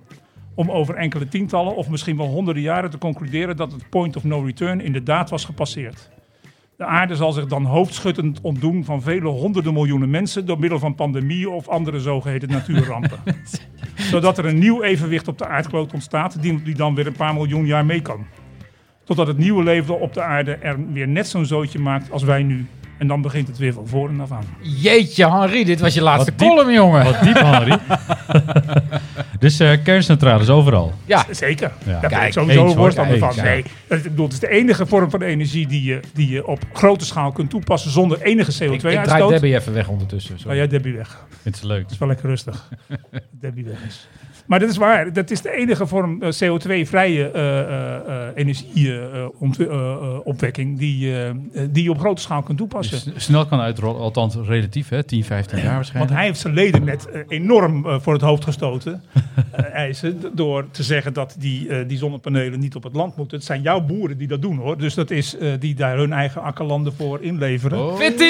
Speaker 8: Om over enkele tientallen of misschien wel honderden jaren te concluderen dat het point of no return inderdaad was gepasseerd. De aarde zal zich dan hoofdschuttend ontdoen van vele honderden miljoenen mensen door middel van pandemieën of andere zogeheten natuurrampen. Zodat er een nieuw evenwicht op de aardkloot ontstaat die, die dan weer een paar miljoen jaar mee kan. Totdat het nieuwe leven op de aarde er weer net zo'n zootje maakt als wij nu. En dan begint het weer van voren af aan.
Speaker 3: Jeetje, Henri, dit was je laatste
Speaker 5: Wat diep.
Speaker 3: column, jongen.
Speaker 5: Wat diep, Henri. dus eh, kerncentrales overal.
Speaker 3: Ja,
Speaker 8: Zeker.
Speaker 5: Ja.
Speaker 8: Daar ben
Speaker 5: Kijk,
Speaker 8: ik sowieso
Speaker 5: eens, hoor.
Speaker 8: voorstander
Speaker 5: Kijk,
Speaker 8: van. Nee, dat, ik bedoel, het is de enige vorm van energie die je, die je op grote schaal kunt toepassen zonder enige
Speaker 3: ik, ik draai
Speaker 8: CO2-uitstoot.
Speaker 3: Debbie even weg ondertussen.
Speaker 8: Nou
Speaker 7: Oh,
Speaker 3: sorry.
Speaker 8: ja, Debbie weg. Dat
Speaker 5: Vind ze leuk.
Speaker 8: is wel lekker rustig. Debbie weg is. Maar dat is waar. Dat is de enige vorm eh, CO2-vrije eh, energieopwekking eh, die, eh, eh, die je op grote schaal kunt toepassen.
Speaker 5: S- snel kan uitrollen, althans relatief, hè, 10, 15 jaar
Speaker 8: Want
Speaker 5: waarschijnlijk.
Speaker 8: hij heeft zijn leden net eh, enorm eh, voor het hoofd gestoten. eh, eisen, d- door te zeggen dat die, eh, die zonnepanelen niet op het land moeten. Het zijn jouw boeren die dat doen hoor. Dus dat is eh, die daar hun eigen akkerlanden voor inleveren.
Speaker 7: Oh.
Speaker 3: Fitty!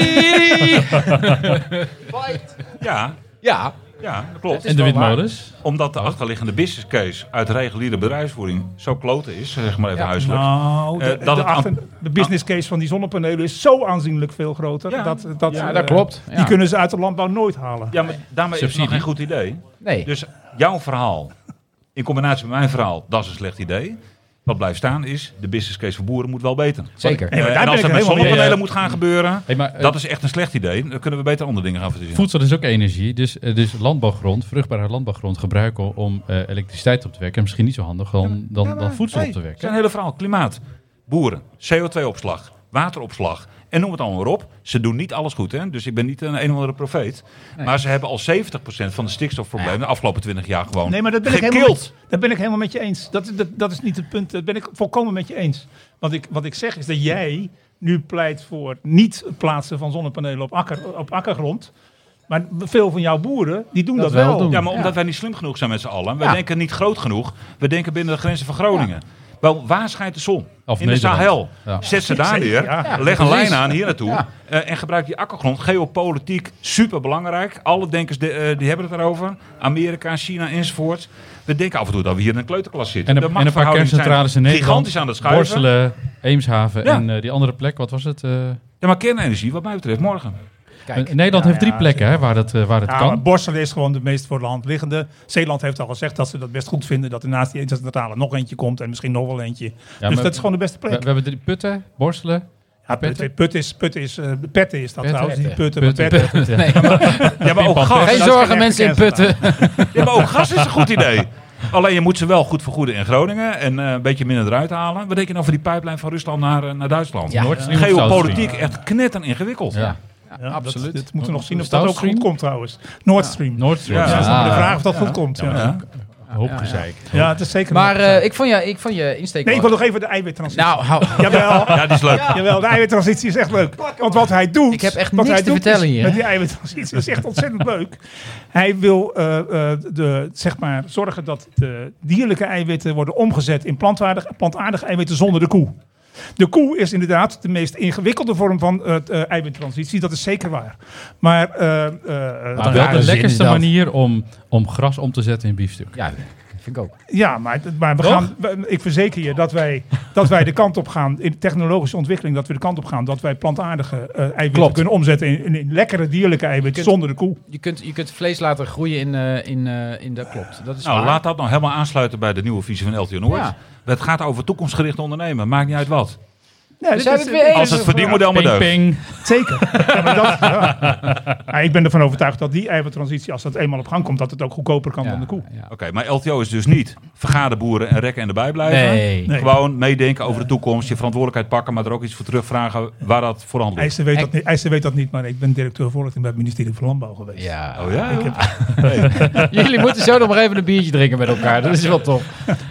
Speaker 7: Ja,
Speaker 3: ja,
Speaker 7: ja, dat klopt.
Speaker 5: en de windmolens.
Speaker 7: Omdat de achterliggende business case uit reguliere bedrijfsvoering zo kloten is, zeg maar even
Speaker 3: Ja.
Speaker 7: huiselijk.
Speaker 8: Nou, de,
Speaker 7: Eh, dat
Speaker 8: de
Speaker 7: het
Speaker 8: achter- de business case van die zonnepanelen is zo aanzienlijk veel groter.
Speaker 7: Ja.
Speaker 8: dat, dat,
Speaker 3: ja
Speaker 8: eh,
Speaker 3: dat klopt.
Speaker 8: Die
Speaker 3: Ja.
Speaker 8: kunnen ze uit de landbouw nooit halen.
Speaker 7: Ja, maar daarmee is het nog
Speaker 5: Subsidie.
Speaker 7: geen goed idee.
Speaker 3: Nee.
Speaker 7: Dus jouw verhaal, in combinatie met mijn verhaal, dat is een slecht idee. Wat blijft staan is, de business case voor boeren moet wel beter.
Speaker 3: Zeker.
Speaker 7: Eh,
Speaker 8: maar daar
Speaker 7: en als
Speaker 8: ben ik
Speaker 7: dat
Speaker 8: het
Speaker 7: met
Speaker 8: helemaal mee
Speaker 7: zonnepanelen
Speaker 5: eens.
Speaker 7: moet gaan gebeuren,
Speaker 5: Hey, maar, eh,
Speaker 7: dat is echt een slecht idee. Dan kunnen we beter andere dingen gaan verzinnen.
Speaker 5: Voedsel is ook energie, dus, eh, dus landbouwgrond, vruchtbare landbouwgrond gebruiken om eh, elektriciteit op te wekken. Misschien niet zo handig dan, dan, dan voedsel op te
Speaker 7: Het zijn
Speaker 5: wekken.
Speaker 7: hele verhaal. Klimaat, boeren, CO2-opslag, wateropslag en noem het allemaal maar op. Ze doen niet alles goed, hè? dus ik ben niet een een of andere profeet. Maar ze hebben al 70% van de stikstofproblemen de afgelopen 20 jaar gewoon
Speaker 8: Nee, maar dat ben, ik helemaal
Speaker 7: gekild.
Speaker 8: met, dat ben ik helemaal met je eens. Dat, dat, dat is niet het punt. Dat ben ik volkomen met je eens. Wat ik, wat ik zeg is dat jij nu pleit voor niet het plaatsen van zonnepanelen op, akker, op akkergrond. Maar veel van jouw boeren, die doen dat,
Speaker 3: Dat
Speaker 8: wel.
Speaker 3: wel doen.
Speaker 7: Ja, maar omdat wij niet slim genoeg zijn met z'n allen. Wij
Speaker 3: Ja.
Speaker 7: denken niet groot genoeg. We denken binnen de grenzen van Groningen. Wel, waar schijnt de zon?
Speaker 5: Of
Speaker 7: in de
Speaker 5: Nederland.
Speaker 7: Sahel.
Speaker 5: Ja.
Speaker 7: Zet ze daar neer.
Speaker 8: Ja.
Speaker 7: Leg een
Speaker 3: precies.
Speaker 7: lijn aan hier naartoe. eh, en gebruik die akkergrond. Geopolitiek, superbelangrijk. Alle denkers de- eh, die hebben het erover. Amerika, China enzovoort. We denken af en toe dat we hier in een kleuterklas zitten.
Speaker 5: En
Speaker 7: De
Speaker 5: een, en een paar
Speaker 7: machtsverhoudingen
Speaker 5: kerncentrales in
Speaker 7: zijn
Speaker 5: Nederland,
Speaker 7: Gigantisch aan het schuiven.
Speaker 5: Borselen, Eemshaven
Speaker 7: Ja.
Speaker 5: en eh, die andere plek, wat was het? eh,
Speaker 7: Ja, maar kernenergie, wat mij betreft, morgen.
Speaker 3: Kijk.
Speaker 5: eh, Nederland heeft drie
Speaker 8: ja,
Speaker 5: plekken hè, waar dat, eh, waar dat
Speaker 8: Ja, maar
Speaker 5: kan.
Speaker 8: Borselen is gewoon de meest voor de hand liggende. Zeeland heeft al gezegd dat ze dat best goed vinden. Dat er naast die ene centrale nog eentje komt en misschien nog wel eentje.
Speaker 5: Ja,
Speaker 8: dus
Speaker 5: maar-
Speaker 8: dat is gewoon de beste
Speaker 5: We,
Speaker 8: plek.
Speaker 5: we hebben drie putten, Borstelen.
Speaker 8: ja, put,
Speaker 5: Petten?
Speaker 8: Put is, put is, eh, petten is dat
Speaker 5: Petten.
Speaker 8: trouwens. Niet putten,
Speaker 5: Putten,
Speaker 8: maar petten.
Speaker 3: Nee,
Speaker 7: Ja, maar ook
Speaker 5: Pim, pam,
Speaker 7: gas.
Speaker 3: geen
Speaker 8: is
Speaker 3: zorgen,
Speaker 8: geen
Speaker 3: mensen in
Speaker 8: echte
Speaker 3: putten.
Speaker 7: Ja, maar ook gas is een goed idee. Alleen je moet ze wel goed vergoeden in Groningen en eh, een beetje minder eruit halen. Wat denk je nou van die pijplijn van Rusland naar, eh, naar Duitsland?
Speaker 3: Ja.
Speaker 5: Nord Stream of South
Speaker 7: Geopolitiek echt knetter ingewikkeld.
Speaker 5: Stream? Ja,
Speaker 8: Ja,
Speaker 3: absoluut.
Speaker 8: Dat, dat moeten we nog zien of
Speaker 5: South
Speaker 8: dat ook
Speaker 5: Stream?
Speaker 8: goed komt trouwens. Nord Stream.
Speaker 5: Nord Stream.
Speaker 7: Ja.
Speaker 8: Dat is
Speaker 5: Ja.
Speaker 8: nog maar de vraag of dat goed komt. Ja, ja.
Speaker 5: Hoop gezeik.
Speaker 8: het is zeker.
Speaker 3: Maar
Speaker 8: nog-
Speaker 3: eh, ik, vond je, ik vond je insteek...
Speaker 8: nee, ik
Speaker 3: wel-
Speaker 8: wil nog even de eiwittransitie.
Speaker 3: Nou, hou...
Speaker 8: Jawel,
Speaker 7: Ja, die is leuk.
Speaker 8: jawel, de eiwittransitie is echt leuk. Want wat hij doet.
Speaker 3: Ik heb echt
Speaker 8: wat
Speaker 3: niks
Speaker 8: hij
Speaker 3: te
Speaker 8: doet
Speaker 3: vertellen
Speaker 8: is-
Speaker 3: hier, hè?
Speaker 8: Met die eiwittransitie is echt ontzettend leuk. Hij wil eh, eh, de, zeg maar, zorgen dat de dierlijke eiwitten worden omgezet in plantaardige, plantaardige eiwitten zonder de koe. De koe is inderdaad de meest ingewikkelde vorm van eh, t- eh, eiwittransitie. Dat is zeker waar. Maar, eh, eh,
Speaker 5: Maar
Speaker 3: rare
Speaker 5: wel de
Speaker 3: zin is
Speaker 5: lekkerste
Speaker 3: dat.
Speaker 5: manier om, om gras om te zetten in biefstuk.
Speaker 3: Ja, vind ik ook.
Speaker 8: Ja, maar, maar we
Speaker 5: Toch?
Speaker 8: gaan, we- ik verzeker je dat wij, dat wij de kant op gaan, in technologische ontwikkeling, dat we de kant op gaan dat wij plantaardige eh, eiwitten
Speaker 3: Klopt.
Speaker 8: kunnen omzetten in, in, in lekkere dierlijke eiwitten
Speaker 3: kunt-
Speaker 8: zonder de koe.
Speaker 3: Je kunt, je kunt vlees laten groeien in, eh, in, eh, in dat klopt. Dat is
Speaker 7: Nou,
Speaker 3: waar.
Speaker 7: laat dat nou helemaal aansluiten bij de nieuwe visie van LTO Noord.
Speaker 3: Ja.
Speaker 7: Het gaat over toekomstgericht ondernemen, maakt niet uit wat.
Speaker 8: Nee,
Speaker 3: dit zijn Dus we is- het weer eens.
Speaker 7: Als het verdienmodel maar
Speaker 5: Ping,
Speaker 7: deugt.
Speaker 5: ping.
Speaker 8: Zeker. Ja, maar dat, ja. Ja, ik ben ervan overtuigd dat die eiwittransitie, als dat eenmaal op gang komt, dat het ook goedkoper kan dan de koe.
Speaker 3: Ja.
Speaker 7: Oké, maar LTO is dus niet vergaderboeren en rekken en erbij blijven.
Speaker 3: Nee.
Speaker 8: Nee.
Speaker 7: Gewoon meedenken over de toekomst, je verantwoordelijkheid pakken, maar er ook iets voor terugvragen waar dat voor handelt.
Speaker 8: IJsden weet, dat niet- IJsden weet dat niet, maar ik ben directeur voorlichting bij het ministerie van Landbouw geweest.
Speaker 3: Ja.
Speaker 7: Oh ja, joh.
Speaker 3: Jullie moeten zo nog maar even een biertje drinken met
Speaker 5: Eh,
Speaker 3: elkaar. Dat is wel tof.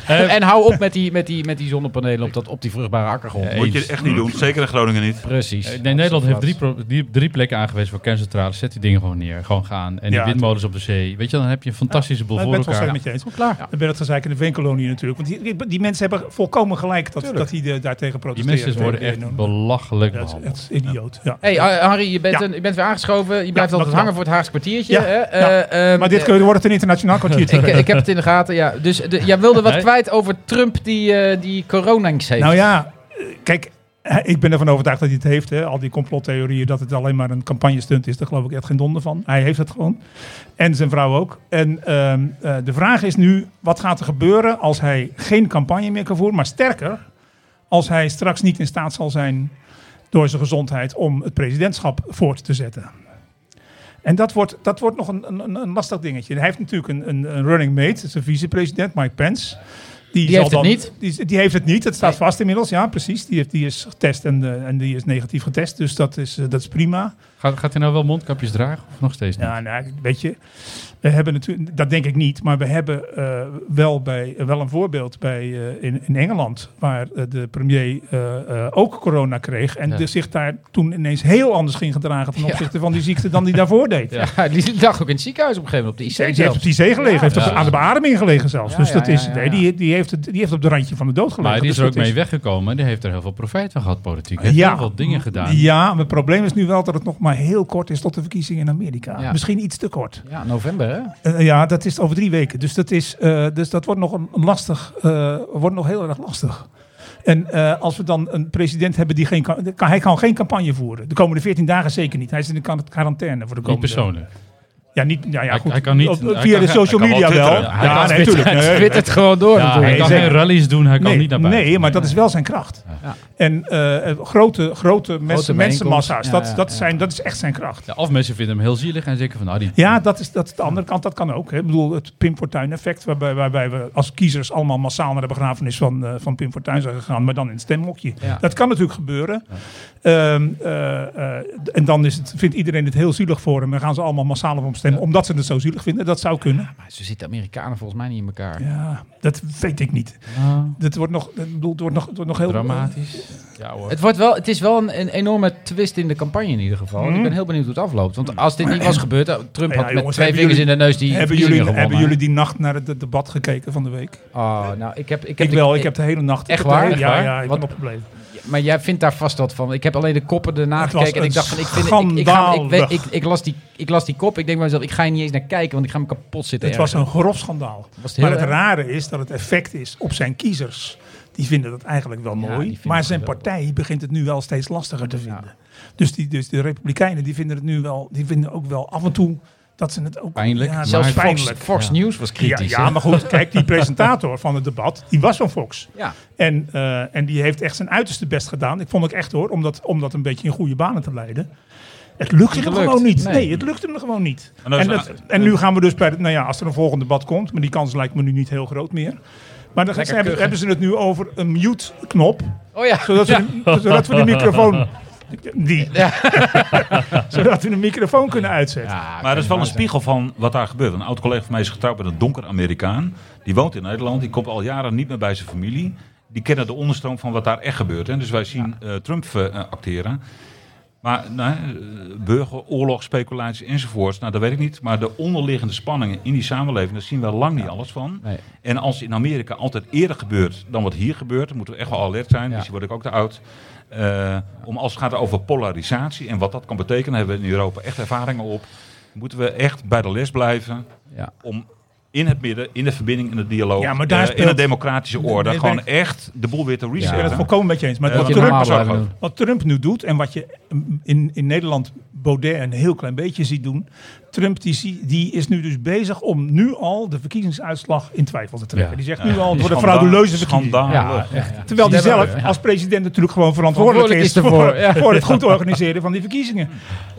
Speaker 3: en hou op met die, met die, met die zonnepanelen op, dat, op die vruchtbare akkergrond.
Speaker 7: Moet je echt niet doen. Zeker in Groningen niet.
Speaker 3: Precies.
Speaker 5: Eh, Nee, Nederland heeft drie, pro- drie, drie plekken aangewezen voor kerncentrales. Zet die dingen gewoon neer. Gewoon gaan. En
Speaker 8: Ja,
Speaker 5: die windmolens op de zee. Weet je, dan heb je een fantastische boel
Speaker 8: Ik
Speaker 5: voor
Speaker 8: ben het wel
Speaker 5: elkaar.
Speaker 8: steeds met je eens. Klaar. Dan ben het gezeik in de veenkolonie natuurlijk. Want die, die mensen hebben volkomen gelijk dat, dat die eh,
Speaker 5: Die
Speaker 8: daartegen protesteren.
Speaker 5: mensen worden
Speaker 8: Tegen-
Speaker 5: echt belachelijk
Speaker 8: Dat is,
Speaker 5: behandeld.
Speaker 8: dat is idioot. Ja.
Speaker 3: Hey Har- Harry, je bent,
Speaker 8: Ja.
Speaker 3: een- je bent weer aangeschoven. Je blijft
Speaker 8: dat
Speaker 3: altijd
Speaker 8: wel.
Speaker 3: hangen voor het Haagse kwartiertje.
Speaker 8: Ja,
Speaker 3: Hè?
Speaker 8: ja.
Speaker 3: Eh, ehm,
Speaker 8: maar dit
Speaker 3: eh,
Speaker 8: keer wordt het een internationaal kwartier.
Speaker 3: ik, ik heb het in de gaten, ja. Dus de- jij wilde wat
Speaker 5: Nee.
Speaker 3: kwijt over Trump die, eh, die corona's heeft.
Speaker 8: Nou ja, eh, kijk, eh, ik ben ervan overtuigd dat hij het heeft. Hè. Al die complottheorieën dat het alleen maar een campagnestunt is, daar geloof ik echt geen donder van. Hij heeft het gewoon. En zijn vrouw ook. En ehm, eh, de vraag is nu, wat gaat er gebeuren als hij geen campagne meer kan voeren? Maar sterker, als hij straks niet in staat zal zijn door zijn gezondheid om het presidentschap voort te zetten. En dat wordt, dat wordt nog een, een, een lastig dingetje. Hij heeft natuurlijk een, een, een running mate, dat is een vicepresident, Mike Pence. Die,
Speaker 3: heeft het niet.
Speaker 8: Die, die heeft het niet, dat staat vast inmiddels. Ja, precies. Die, heeft, die is getest en, eh, en die is negatief getest. Dus dat is, eh, dat is prima.
Speaker 5: Gaat, gaat hij nou wel mondkapjes dragen? Of nog steeds niet?
Speaker 8: Ja, nou, weet je, we hebben natuurlijk, dat denk ik niet, maar we hebben eh, wel, bij, eh, wel een voorbeeld bij, eh, in, in Engeland, waar eh, de premier eh, eh, ook corona kreeg en
Speaker 5: Ja.
Speaker 8: dus zich daar toen ineens heel anders ging gedragen ten
Speaker 3: Ja.
Speaker 8: opzichte van die ziekte dan die daarvoor deed.
Speaker 3: Ja. die lag ook in het ziekenhuis op een gegeven moment, op de
Speaker 8: Die
Speaker 3: IC
Speaker 8: heeft op
Speaker 3: zelfs.
Speaker 8: die zee gelegen, heeft
Speaker 5: Ja.
Speaker 8: op- aan de beademing gelegen zelfs.
Speaker 3: Ja,
Speaker 8: dus
Speaker 3: ja,
Speaker 8: dat
Speaker 3: ja,
Speaker 8: is,
Speaker 3: ja,
Speaker 8: nee, die, die, heeft het, die heeft op de randje van de dood gelegen.
Speaker 5: Maar die is er
Speaker 8: Dus
Speaker 5: ook
Speaker 8: dat
Speaker 5: mee weggekomen en die heeft er heel veel profijt van gehad, politiek. Hij heeft heel veel dingen gedaan.
Speaker 8: Ja, maar het probleem is nu wel dat het nog maar heel kort is tot de verkiezingen in Amerika.
Speaker 3: Ja.
Speaker 8: Misschien iets te kort.
Speaker 3: Ja, november hè?
Speaker 8: Eh, ja, dat is over drie weken. Dus dat, is, eh, dus dat wordt nog een een lastig, eh, wordt nog heel erg lastig. En eh, als we dan een president hebben die geen, kan, kan- hij kan geen campagne voeren. De komende 14 dagen zeker niet. Hij is in de kan- quarantaine voor de
Speaker 5: Niet
Speaker 8: komende.
Speaker 5: persoonlijk.
Speaker 8: Ja, niet, ja, ja,
Speaker 5: Hij-
Speaker 8: goed.
Speaker 5: hij kan niet-
Speaker 8: Op-
Speaker 5: hij
Speaker 8: via
Speaker 5: kan-
Speaker 8: de social
Speaker 5: hij kan wel
Speaker 8: media wel.
Speaker 5: twitteren. Hij
Speaker 8: Ja,
Speaker 5: kan
Speaker 8: natuurlijk.
Speaker 5: twitteren.
Speaker 8: Nee,
Speaker 3: Twittert gewoon door
Speaker 5: Ja,
Speaker 3: natuurlijk.
Speaker 5: hij kan
Speaker 8: zeker.
Speaker 5: geen rallies doen, hij kan
Speaker 8: nee,
Speaker 5: niet naar buiten.
Speaker 8: nee, maar dat is wel zijn kracht.
Speaker 3: Ja.
Speaker 8: En eh, eh, grote, grote, mensen, mensenmassa's,
Speaker 3: bijeenkomst.
Speaker 8: dat,
Speaker 3: Ja, ja,
Speaker 8: dat,
Speaker 3: ja.
Speaker 8: Zijn, dat is echt zijn kracht.
Speaker 5: Ja, of mensen vinden hem heel zielig en zeggen van, nou, die,
Speaker 8: Ja, dat is, dat is de andere kant. Dat kan ook. Hè. Ik bedoel, het Pim Fortuyn effect. Waarbij, waarbij we als kiezers allemaal massaal naar de begrafenis van, eh, van Pim Fortuyn zijn gegaan. Maar dan in het stemhokje.
Speaker 3: Ja.
Speaker 8: Dat kan natuurlijk gebeuren. Ehm, eh, eh, d- en dan is het, vindt iedereen het heel zielig voor hem. En gaan ze allemaal massaal op hem stemmen. Omdat ze het zo zielig vinden. Dat zou kunnen.
Speaker 3: Maar zo zitten Amerikanen volgens mij niet in elkaar.
Speaker 8: Ja, dat weet ik niet.
Speaker 5: ah,
Speaker 8: Dat wordt nog, ik bedoel, het wordt nog, het wordt nog heel...
Speaker 5: dramatisch. Ja hoor.
Speaker 3: Het, wordt wel, het is wel een, een enorme twist in de campagne in ieder geval. Ik ben heel benieuwd hoe het afloopt. Want als dit niet was gebeurd, eh, Trump
Speaker 8: Mhm.
Speaker 3: had
Speaker 8: Ja,
Speaker 3: met
Speaker 8: jongens,
Speaker 3: twee
Speaker 8: hebben
Speaker 3: vingers in de neus die
Speaker 8: hebben,
Speaker 3: verkiezingen
Speaker 8: jullie, hebben
Speaker 3: gewonnen.
Speaker 8: jullie die nacht naar het de- debat gekeken van de week?
Speaker 3: Oh, nou, ik heb... Ik,
Speaker 8: Ik,
Speaker 3: heb de-
Speaker 8: wel, ik heb de hele nacht...
Speaker 3: Echt
Speaker 8: ik heb de
Speaker 3: waar?
Speaker 8: hele-
Speaker 3: Echt
Speaker 8: Ja,
Speaker 3: waar?
Speaker 8: ja, ik
Speaker 3: Wat-
Speaker 8: ben opgebleven.
Speaker 3: Maar jij vindt daar vast wat van. Ik heb alleen de koppen erna
Speaker 8: Het was
Speaker 3: gekeken en ik
Speaker 8: een
Speaker 3: dacht van, ik, vind, ik, ik, ga, ik,
Speaker 8: schandalig.
Speaker 3: ik, ik las die, ik las die kop. Ik denk bij mezelf, ik ga hier niet eens naar kijken, want ik ga me kapot zitten.
Speaker 8: Het was
Speaker 3: ergeren.
Speaker 8: een grof schandaal.
Speaker 3: Was het
Speaker 8: maar
Speaker 3: heel
Speaker 8: het
Speaker 3: erg?
Speaker 8: rare is dat het effect is op zijn kiezers. Die vinden dat eigenlijk wel
Speaker 3: Ja, die
Speaker 8: mooi.
Speaker 3: vinden
Speaker 8: Maar
Speaker 3: het
Speaker 8: zijn
Speaker 3: geweldig.
Speaker 8: partij begint het nu wel steeds lastiger te vinden. Dus, die, dus de Republikeinen die vinden het nu wel. Die vinden ook wel af en toe dat ze het ook.
Speaker 5: Pijnlijk.
Speaker 8: Ja,
Speaker 3: Zelfs
Speaker 8: zelfs
Speaker 3: Fox,
Speaker 8: pijnlijk.
Speaker 3: Dus Fox News was
Speaker 8: Ja,
Speaker 3: kritisch.
Speaker 8: ja,
Speaker 3: hè?
Speaker 8: maar goed. Kijk, die presentator van het debat. die was van Fox.
Speaker 3: Ja.
Speaker 8: En, eh, en die heeft echt zijn uiterste best gedaan. Ik vond ook echt hoor, om dat, om dat een beetje in goede banen te leiden. Het lukte
Speaker 3: Niet
Speaker 8: hem
Speaker 3: gelukt.
Speaker 8: gewoon niet.
Speaker 3: Nee.
Speaker 8: Nee. het lukte hem gewoon niet.
Speaker 7: En dat is
Speaker 8: En,
Speaker 7: een-
Speaker 8: het- en nu gaan we dus bij, de- nou ja, als er een volgende debat komt, maar die kans lijkt me nu niet heel groot meer. Maar dan hebben,
Speaker 3: kuchen.
Speaker 8: hebben ze het nu over een mute-knop,
Speaker 3: Oh ja.
Speaker 8: zodat, we de- zodat we de microfoon... Die. zodat we de microfoon kunnen uitzetten.
Speaker 7: Maar dat is wel een spiegel van wat daar gebeurt. Een oud collega van mij is getrouwd met een donker Amerikaan. Die woont in Nederland. Die komt al jaren niet meer bij zijn familie. Die kennen de onderstroom van wat daar echt gebeurt. Hè. Dus wij zien eh, Trump eh, acteren. Maar nou, eh, burgeroorlog, speculaties enzovoorts, nou, dat weet ik niet. Maar de onderliggende spanningen in die samenleving, daar zien we lang niet alles van.
Speaker 3: Nee.
Speaker 7: En als in Amerika altijd eerder gebeurt dan wat hier gebeurt, dan moeten we echt wel alert zijn.
Speaker 3: Ja.
Speaker 7: Dus word ik ook te oud. Eh, om als het gaat over polarisatie en wat dat kan betekenen, hebben we in Europa echt ervaringen op. Moeten we echt bij de les blijven
Speaker 3: Ja.
Speaker 7: om in het midden, in de verbinding, in de dialoog,
Speaker 8: Ja, maar daar
Speaker 7: eh, in
Speaker 8: speelt-
Speaker 7: de democratische orde,
Speaker 8: Nee,
Speaker 7: gewoon
Speaker 8: ben
Speaker 7: echt de boel weer te
Speaker 8: Ik ben het
Speaker 7: resetten.
Speaker 8: volkomen met je eens. Maar
Speaker 7: Eh,
Speaker 8: wat
Speaker 3: Moet je
Speaker 7: Trump
Speaker 8: Trump,
Speaker 3: normaal
Speaker 7: is ook
Speaker 3: blijven
Speaker 7: gewoon-
Speaker 3: doen.
Speaker 8: wat Trump nu doet en wat je mm, in, in Nederland Baudet een heel klein beetje ziet doen. Trump die, zie- die is nu dus bezig om nu al de verkiezingsuitslag in twijfel te trekken.
Speaker 5: Ja.
Speaker 8: Die zegt nu al, het wordt een
Speaker 7: Schandaal-
Speaker 8: frauduleuze verkiezing.
Speaker 7: Schandalig.
Speaker 8: Terwijl hij
Speaker 3: Stemmen,
Speaker 8: zelf als president natuurlijk gewoon verantwoordelijk is,
Speaker 3: Verantwoordelijk
Speaker 8: voor,
Speaker 3: is ervoor, ja.
Speaker 8: voor het goed organiseren van die verkiezingen.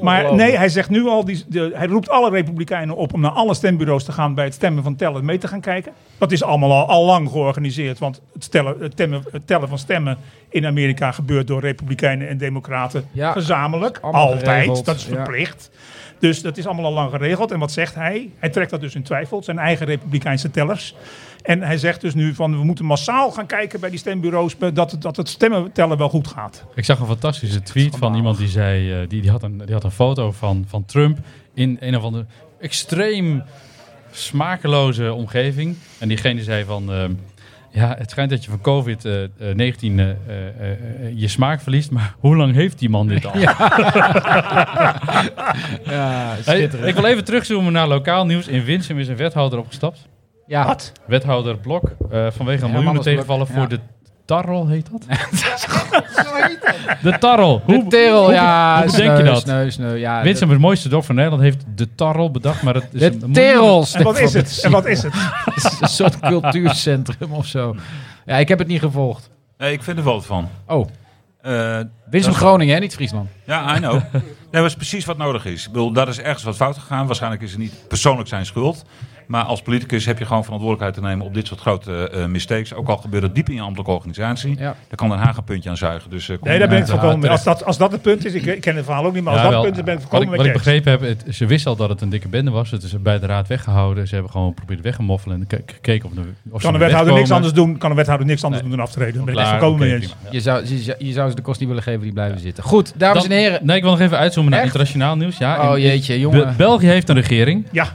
Speaker 8: Maar nee, hij zegt nu al, die, de, hij roept alle republikeinen op om naar alle stembureaus te gaan bij het stemmen van tellen mee te gaan kijken. Dat is allemaal al, al lang georganiseerd, want het, stellen, het, temmen- het tellen van stemmen in Amerika gebeurt door republikeinen en democraten
Speaker 3: Ja,
Speaker 8: gezamenlijk.
Speaker 3: allemaal
Speaker 8: Altijd,
Speaker 3: geregeld,
Speaker 8: dat is
Speaker 3: ja.
Speaker 8: verplicht. Dus dat is allemaal al lang geregeld. En wat zegt hij? Hij trekt dat dus in twijfel, zijn eigen republikeinse tellers. En hij zegt dus nu van we moeten massaal gaan kijken bij die stembureaus eh, dat, het- dat het stemmen tellen wel goed gaat.
Speaker 5: Ik zag een fantastische tweet van iemand die zei... eh, die, die, had een, die had een foto van, van Trump in een of andere extreem smakeloze omgeving. En diegene zei van... ehm, ja, het schijnt dat je van eh, COVID-19 eh, je smaak verliest, maar hoe lang heeft die man dit al?
Speaker 3: Ja,
Speaker 5: Hey,
Speaker 3: schitterend.
Speaker 5: ik wil even terugzoomen naar lokaal nieuws. In Winsum is een wethouder opgestapt.
Speaker 3: ja.
Speaker 5: Wethouder Blok, eh, vanwege
Speaker 3: Ja,
Speaker 5: een miljoenen
Speaker 3: Manders Blok,
Speaker 5: tegenvallen voor
Speaker 3: ja.
Speaker 5: de Tarrel, heet dat? de Tarrel.
Speaker 3: De terrel, ja. eh,
Speaker 5: hoe bedenk je
Speaker 3: sneu,
Speaker 5: dat?
Speaker 3: sneu, sneu, ja,
Speaker 5: Winsum, het mooiste dorp van Nederland, heeft de Tarrel bedacht. Maar het is
Speaker 3: de,
Speaker 5: een
Speaker 3: de
Speaker 5: miljoenen-
Speaker 3: terrel.
Speaker 8: En wat is het? En wat is het?
Speaker 3: is een soort cultuurcentrum of zo. Ja, ik heb het niet gevolgd.
Speaker 7: Nee, ik vind er wel wat van.
Speaker 3: Oh,
Speaker 7: Eh,
Speaker 3: Winsum
Speaker 7: Dat-
Speaker 3: Groningen, hè? niet Friesland.
Speaker 7: ja, I know. nee, maar dat is precies wat nodig is. Ik bedoel, daar is ergens wat fout gegaan. Waarschijnlijk is het niet persoonlijk zijn schuld. Maar als politicus heb je gewoon verantwoordelijkheid te nemen op dit soort grote eh, mistakes. Ook al gebeurt het diep in je ambtelijke organisatie.
Speaker 3: Ja.
Speaker 7: Daar kan Den Haag een puntje aan zuigen. Dus, eh, kom
Speaker 8: Nee, daar ben ik
Speaker 7: uit.
Speaker 8: voorkomen mee. Als dat, als dat het punt is, ik, ik ken het verhaal ook niet, maar als
Speaker 5: Ja,
Speaker 8: dat
Speaker 5: wel.
Speaker 8: het punt is, ben
Speaker 5: Wat
Speaker 8: ik voorkomen
Speaker 5: ik,
Speaker 8: met
Speaker 5: wat ik
Speaker 8: Kees.
Speaker 5: begrepen heb, het- ze wisten al dat het een dikke bende was. Het is bij de raad weggehouden. Ze hebben gewoon geprobeerd weg te moffelen en ke- gekeken of, de, of ze
Speaker 8: Kan een
Speaker 5: er
Speaker 8: wethouder niks
Speaker 5: wegkomen.
Speaker 8: anders doen? Kan een wethouder niks anders doen dan aftreden? Daar ben ik echt
Speaker 5: Klaar,
Speaker 8: voorkomen mee
Speaker 5: oké,
Speaker 8: eens.
Speaker 5: prima.
Speaker 3: Je, zou, je, zou- je zou ze de kost niet willen geven die blijven zitten. Goed, dames
Speaker 5: Dan-
Speaker 3: en heren.
Speaker 5: Nee, ik wil nog even uitzoomen naar
Speaker 3: Echt?
Speaker 5: internationaal nieuws. Ja,
Speaker 3: Oh
Speaker 5: in-
Speaker 3: jeetje,
Speaker 5: Be-
Speaker 3: jongen.
Speaker 5: België heeft een regering.
Speaker 8: Ja.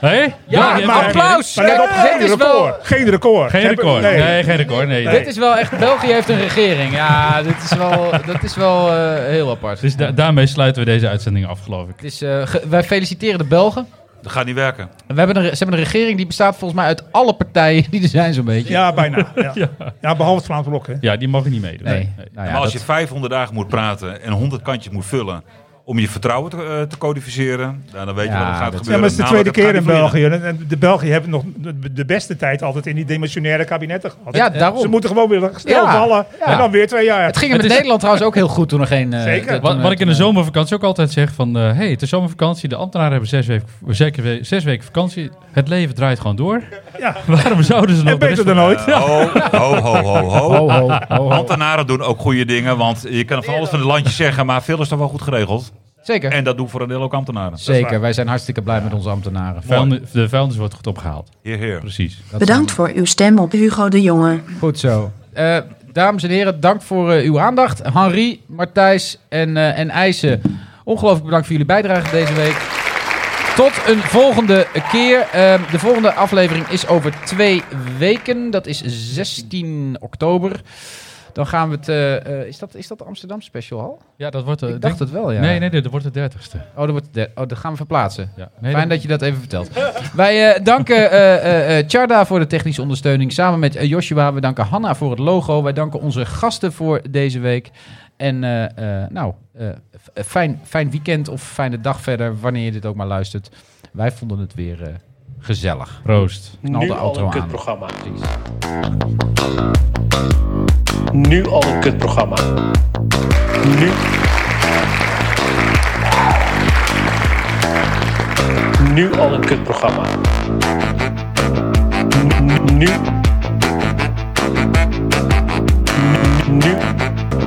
Speaker 5: Hé?
Speaker 3: Ja,
Speaker 5: België
Speaker 3: maar
Speaker 5: heeft een regering.
Speaker 3: applaus!
Speaker 8: Maar let op,
Speaker 3: Ja, dit
Speaker 8: geen
Speaker 3: is wel-
Speaker 8: record. Geen record. Ze
Speaker 5: Geen
Speaker 8: hebben-
Speaker 5: record. Nee,
Speaker 8: nee.
Speaker 5: geen record. Nee,
Speaker 3: Dit is wel echt, België heeft een regering. Ja, dit is wel, dat is wel eh, heel apart.
Speaker 5: Dus da- daarmee sluiten we deze uitzending af, geloof ik.
Speaker 3: Het is, eh, ge- wij feliciteren de Belgen.
Speaker 7: Dat gaat niet werken.
Speaker 8: Nou
Speaker 3: We hebben een, re- ze hebben een regering die bestaat volgens mij uit alle partijen die er zijn zo'n beetje.
Speaker 8: Ja, bijna. Ja, ja behalve het Vlaams Blok. Hè.
Speaker 5: Ja, die mogen niet meedoen.
Speaker 3: Nee.
Speaker 5: Nee.
Speaker 3: Nou ja,
Speaker 7: maar als
Speaker 3: dat-
Speaker 7: je 500 dagen moet praten en 100 kantjes moet vullen om je vertrouwen te, eh, te codificeren, nou, dan weet je
Speaker 3: Ja,
Speaker 7: wat er gaat
Speaker 3: dat-
Speaker 7: gebeuren.
Speaker 8: Ja, maar het is de
Speaker 7: Namelijk,
Speaker 8: tweede
Speaker 7: het Nou, gaat
Speaker 8: keer in
Speaker 7: niet verliezen.
Speaker 8: België. En- en De België hebben nog de- de beste tijd altijd in die demissionaire kabinetten gehad.
Speaker 3: Ja,
Speaker 8: Ze
Speaker 3: daarom.
Speaker 8: moeten gewoon weer snel
Speaker 3: Ja,
Speaker 8: vallen
Speaker 3: ja.
Speaker 8: en dan weer twee jaar.
Speaker 3: Het ging er met Nederland trouwens ook heel goed toen er geen... eh,
Speaker 8: Zeker.
Speaker 3: toen-
Speaker 5: Wat, wat ik in de
Speaker 3: toen-
Speaker 5: zomervakantie ook altijd zeg van... eh hey, het is zomervakantie. De ambtenaren hebben zes weken, zeker we- zes weken vakantie. Het leven draait gewoon door.
Speaker 8: Ja.
Speaker 5: Waarom zouden ze nog...
Speaker 8: En beter dan ooit.
Speaker 7: Eh, ho, ho, ho, ho, ho.
Speaker 3: Ho, ho, ho, ho.
Speaker 7: Ambtenaren doen ook goede dingen, want je kan van alles van het landje zeggen, maar veel is toch wel goed geregeld.
Speaker 3: Zeker.
Speaker 7: En dat doen voor een deel ook ambtenaren.
Speaker 3: Zeker, wij zijn hartstikke blij met onze ambtenaren.
Speaker 5: Vuilnis, de vuilnis wordt goed opgehaald.
Speaker 7: Heer, heer.
Speaker 5: Precies.
Speaker 11: Bedankt voor uw stem op Hugo de Jonge.
Speaker 3: Goed zo. Eh, dames en heren, dank voor eh, uw aandacht. Henri, Martijs en, eh, en IJssen, ongelooflijk bedankt voor jullie bijdrage deze week. Tot een volgende keer. Eh, de volgende aflevering is over twee weken. Dat is 16 oktober. Dan gaan we het. eh, eh, is, dat, is dat de Amsterdam special al?
Speaker 5: Ja, dat wordt... eh,
Speaker 3: Ik
Speaker 5: denk-
Speaker 3: dacht het wel, ja.
Speaker 5: Nee, nee, dit wordt de dertigste.
Speaker 3: Oh, dat, wordt de, oh, dat gaan we verplaatsen.
Speaker 5: Ja. Nee,
Speaker 3: Fijn dat je dat even vertelt. Wij eh, danken eh, eh, eh, Charda voor de technische ondersteuning. Samen met eh, Joshua. We danken Hanna voor het logo. Wij danken onze gasten voor deze week. En eh, eh, nou, eh, f- eh, fijn, fijn weekend of fijne dag verder. Wanneer je dit ook maar luistert. Wij vonden het weer eh, gezellig.
Speaker 5: Proost.
Speaker 3: Knal de outro aan. Precies.
Speaker 6: Nu al een kutprogramma. Nu. Nu al een kutprogramma. Nu.